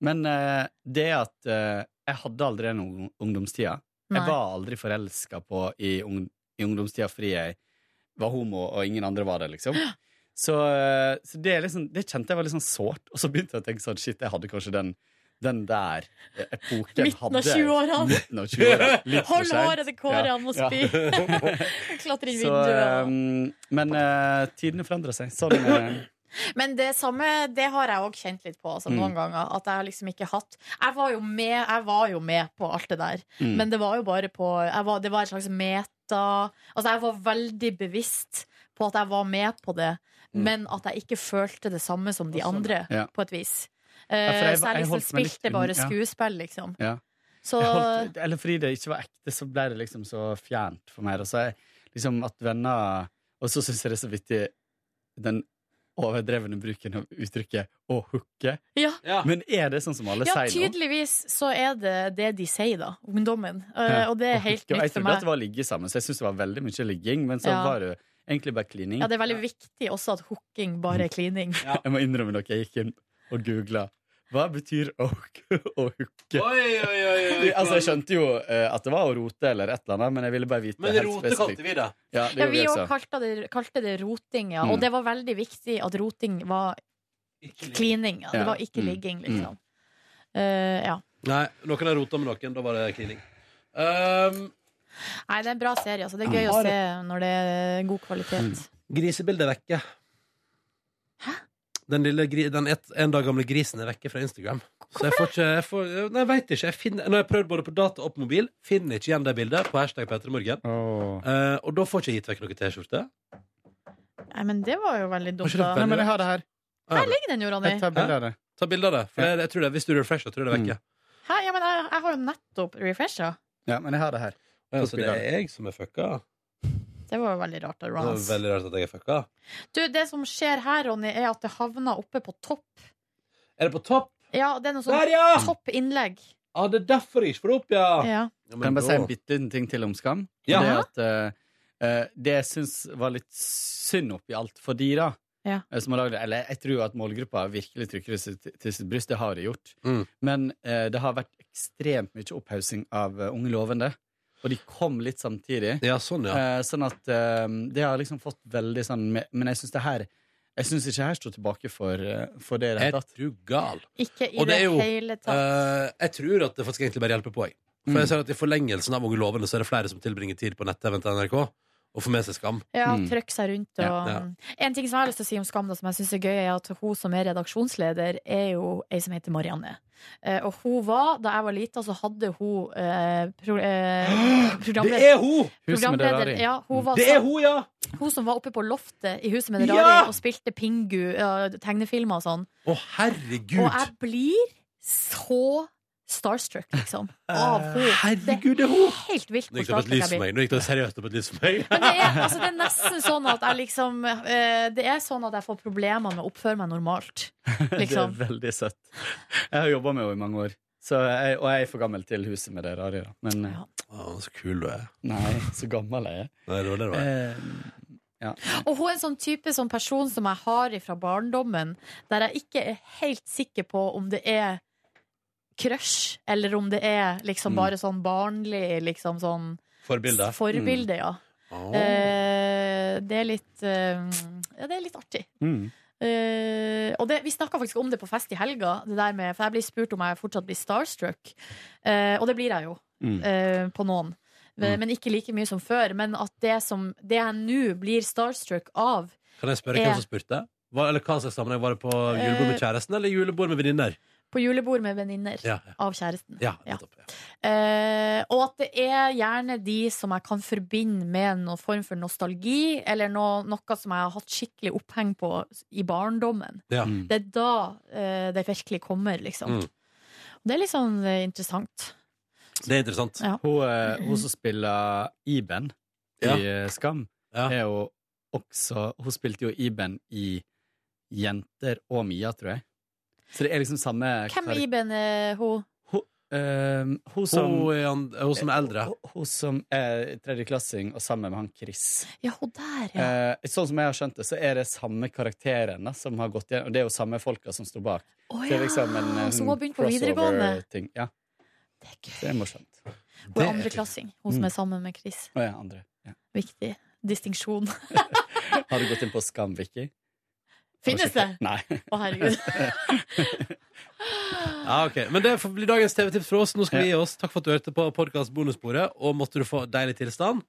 S11: Men eh, det at eh, jeg hadde aldri den ung- ungdomstida.
S14: Nei.
S11: Jeg var aldri forelska på i, ung, i ungdomstida fordi jeg var homo, og ingen andre var det,
S2: (gasps)
S11: liksom. Så, eh, så det, er liksom, det kjente jeg var litt sånn sårt. Og så begynte jeg å tenke sånn Shit, jeg hadde kanskje den, den der eh, epoken
S2: Midten av
S11: hadde jeg.
S2: 20-årene.
S11: Midten av 20-åra.
S2: (laughs)
S11: Litt for
S2: Hold
S11: sent.
S2: håret til Kåre, han må (laughs) spy. Klatre inn i
S11: Så,
S2: vinduet.
S11: ehm, men eh, tidene forandrer seg. Sånn, eh,
S2: Men det samme det har jeg òg kjent litt på altså, noen
S11: Mm.
S2: ganger. At jeg har liksom ikke hatt Jeg var jo med, jeg var jo med på alt det der,
S11: Mm.
S2: men det var jo bare på jeg var, Det var et slags meta Altså, jeg var veldig bevisst på at jeg var med på det, men at jeg ikke følte det samme som de andre,
S11: Mm. ja.
S2: på et vis.
S11: Ja, for jeg
S2: Eh,
S11: var-
S2: så jeg
S11: jeg
S2: liksom
S11: holdt meg litt
S2: spilte bare
S11: unna, ja.
S2: skuespill, liksom.
S11: ja.
S2: Så
S11: Jeg holdt, eller fordi det ikke var ekte, så ble det liksom så fjernt for meg. Og så er liksom at venner Og så syns jeg det er så vittig den overdrevne bruken av uttrykket 'å hooke'.
S2: Ja.
S11: Men er det sånn som alle
S2: Ja,
S11: sier nå?
S2: tydeligvis så er det det de sier, da. Ungdommen. Eh,
S11: Ja.
S2: Og det
S11: Å
S2: er helt
S11: hooke. Og
S2: nytt
S11: Jeg
S2: for
S11: trodde at
S2: meg.
S11: det var ligge sammen, så jeg syntes det var veldig mye ligging. Men så
S2: Ja.
S11: var det egentlig bare klining.
S2: Ja, det er veldig viktig også at hooking bare er klining.
S11: Jeg må innrømme dere, jeg gikk inn og googla. Hva betyr å, å hooke? (laughs) altså, jeg skjønte jo eh, at det var å rote eller et eller annet, men jeg ville bare vite
S1: Men
S11: helt
S1: rote
S11: spesifikt.
S1: kalte vi det.
S11: Ja, det
S2: Ja,
S11: gjorde
S2: vi
S11: jeg
S2: òg
S11: også.
S2: kalte, det- kalte det roting, ja.
S11: Mm.
S2: Og det var veldig viktig at roting var klining. Ja. Det
S1: Ja.
S2: var ikke
S1: Mm.
S2: ligging,
S1: Mm.
S2: liksom. Eh, ja.
S1: Nei, noen har rota med noen. Da var det klining. Um,
S2: Nei, det er en bra serie. Altså. Det er gøy å
S1: Har- Mm.
S2: se når det er god kvalitet.
S1: grisebildet er vekke. Den, lille, gri- den et, en dag gamle grisen er vekke fra Instagram. Så jeg får ikke jeg får, Nei, jeg vet ikke. Jeg finner, nå har jeg prøvd både på data og på mobil. Finner ikke igjen det bildet på hashtag Petremorgen. Eh, og da får ikke jeg gitt vekk noen T-skjorte.
S2: Nei, men det var jo veldig dumt,
S1: Var ikke det
S2: da.
S1: veldig Nei, men jeg har det
S11: her.
S2: Her ligger den jo, Ronny.
S1: Jeg tar bilde av
S11: det.
S1: Ta bilde av det. For jeg, jeg tror det, hvis du refresher, tror jeg det er vekke.
S2: Hæ? Ja, men jeg, jeg har jo nettopp refresha.
S11: Ja, men jeg har det her.
S1: Ja, så det er jeg som er fucka?
S2: Det var jo veldig rart. av
S1: Det var
S2: Ronas.
S1: veldig rart at jeg er fucka.
S2: Du, det som skjer her, Ronny, er at det havner oppe på topp.
S1: Er det på topp?
S2: Ja, det er noe
S1: Der, ja!
S2: sånn topp innlegg.
S1: Ja, det er derfor jeg ikke får det opp, ja.
S2: Ja.
S11: kan jeg bare si
S1: da-
S11: en bitte liten ting til om Skam?
S1: Ja.
S11: Det, at, eh, eh, det jeg syns var litt synd oppi alt for de, da.
S2: Ja.
S11: eh, Som har laget, det. eller jeg tror jo at målgruppa virkelig trykker det sitt- til sitt bryst. Det har de gjort.
S1: Mm.
S11: Men eh, det har vært ekstremt mye opphaussing av eh, unge lovende. Og de kom litt samtidig.
S1: Ja, sånn, ja.
S11: Eh, sånn at eh, det har liksom fått veldig sånn me- Men jeg syns det her Jeg syns ikke her står tilbake for, eh, for det i det hele tatt.
S1: Er du gal?
S2: Ikke i
S1: Og
S2: det,
S1: det er jo
S2: hele tatt.
S1: eh, Jeg tror at det faktisk egentlig bare hjelper på, jeg. For
S11: Mm.
S1: jeg ser at i forlengelsen av Unge lovende så er det flere som tilbringer tid på nett-TV-en til NRK og får med seg Skam.
S2: Ja, trøkk seg rundt og
S1: Ja.
S2: En ting som jeg har lyst til å si om Skam, da, som jeg syns er gøy, er at hun som er redaksjonsleder, er jo ei som heter Marianne. Eh, og hun var, da jeg var lita, så hadde hun eh, pro, eh, programleder
S1: (gasps) Det er hun! Hun som er det
S2: Programleder,
S1: rare.
S2: ja, hun var
S1: Det er
S2: så-
S1: hun, ja!
S2: Hun som var oppe på loftet i Huset med det
S1: Ja!
S2: rare og spilte Pingu, eh, tegnefilmer og sånn.
S1: Å, herregud!
S2: Og jeg blir så starstruck,
S1: (laughs)
S2: liksom. Av
S1: Eh,
S2: henne.
S1: herregud,
S2: det
S1: er hun!
S2: Helt vilt
S1: Nå
S2: hvor
S1: gikk det opp et
S2: starstruck
S1: lys
S2: jeg
S1: for
S2: blir.
S1: meg. Nå gikk det seriøst opp et lys for meg.
S2: Men det er, altså, det er nesten sånn at jeg liksom eh, Det er sånn at jeg får problemer med å oppføre meg normalt. Liksom.
S11: Det er veldig søtt. Jeg har jobba med henne i mange år, så jeg, og jeg er for gammel til huset med det rare. Da. Men eh,
S1: så kul du er.
S11: Nei, så gammel jeg er.
S1: Nei, det var det det var.
S11: Eh, ja.
S2: Og hun er en sånn type sånn person som jeg har fra barndommen, der jeg ikke er helt sikker på om det er crush, eller om det er liksom
S1: Mm.
S2: bare sånn barnlig liksom sånn
S1: Forbilde.
S2: Forbilde, ja.
S1: Mm. Åh.
S2: Eh, det er litt eh, Ja, det er litt artig.
S11: Mm.
S2: Eh, og det, vi snakka faktisk om det på fest i helga, det der med, for jeg blir spurt om jeg fortsatt blir starstruck. Eh, og det blir jeg jo,
S11: Mm.
S2: eh, på noen. Men-
S1: Mm.
S2: Men ikke like mye som før. Men at det, som, det jeg nå blir starstruck av
S1: Kan jeg spørre
S2: Eh.
S1: hvem som spurte? Hva, eller hva slags sammenheng Var det på julebord med
S2: Eh.
S1: kjæresten eller julebord med venninner?
S2: på julebord med venninner
S1: Ja, ja.
S2: av kjæresten
S1: Ja, nettopp.
S2: Eh, og at det er gjerne de som jeg kan forbinde med noen form for nostalgi, eller noe, noe som jeg har hatt skikkelig oppheng på i barndommen.
S1: Ja. Mm.
S2: Det er da eh, det virkelig kommer, liksom.
S11: Mm.
S2: Og det er litt sånn eh, interessant.
S1: Det er interessant.
S11: Hun, eh, hun som spiller Iben
S1: Ja.
S11: i eh, Skam, er jo også Hun spilte jo Iben i Jenter og Mia, tror jeg. Så det er liksom samme
S2: Hvem
S11: karakter-
S2: i Iben er hun?
S11: Ehm, hun, som, Eh,
S1: Hun er han- hun som er eldre.
S11: Hun, hun som er tredjeklassing og sammen med han Chris.
S2: Ja, hun der, ja.
S11: Eh, sånn som jeg har skjønt det, så er det samme karakterene som har gått igjen, og det er jo samme folka som står bak.
S2: Å
S11: Så det er liksom en,
S2: ja,
S11: en
S2: så hun har begynt på
S11: crossover
S2: videregående.
S11: ting. Ja.
S2: Det
S11: er morsomt.
S2: Hun er andreklassing, hun som er sammen med Chris.
S11: Å ja, andre. Ja.
S2: Viktig distinksjon. (laughs)
S11: Har du gått inn på Skam, Vicky?
S2: Finnes det?
S11: Nei.
S2: Å, herregud.
S1: Ja, ok. Men det får bli dagens TV-tips fra oss. Nå skal vi gi oss. Takk for at du hørte på podkast bonussporet, og måtte du få deilig tilstand.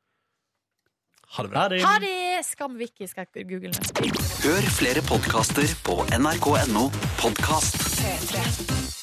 S1: Ha det bra.
S2: Ha det! Skam-Vicky skal jeg google nå.
S14: Hør flere podkaster på nrk.no podkast.
S4: P3.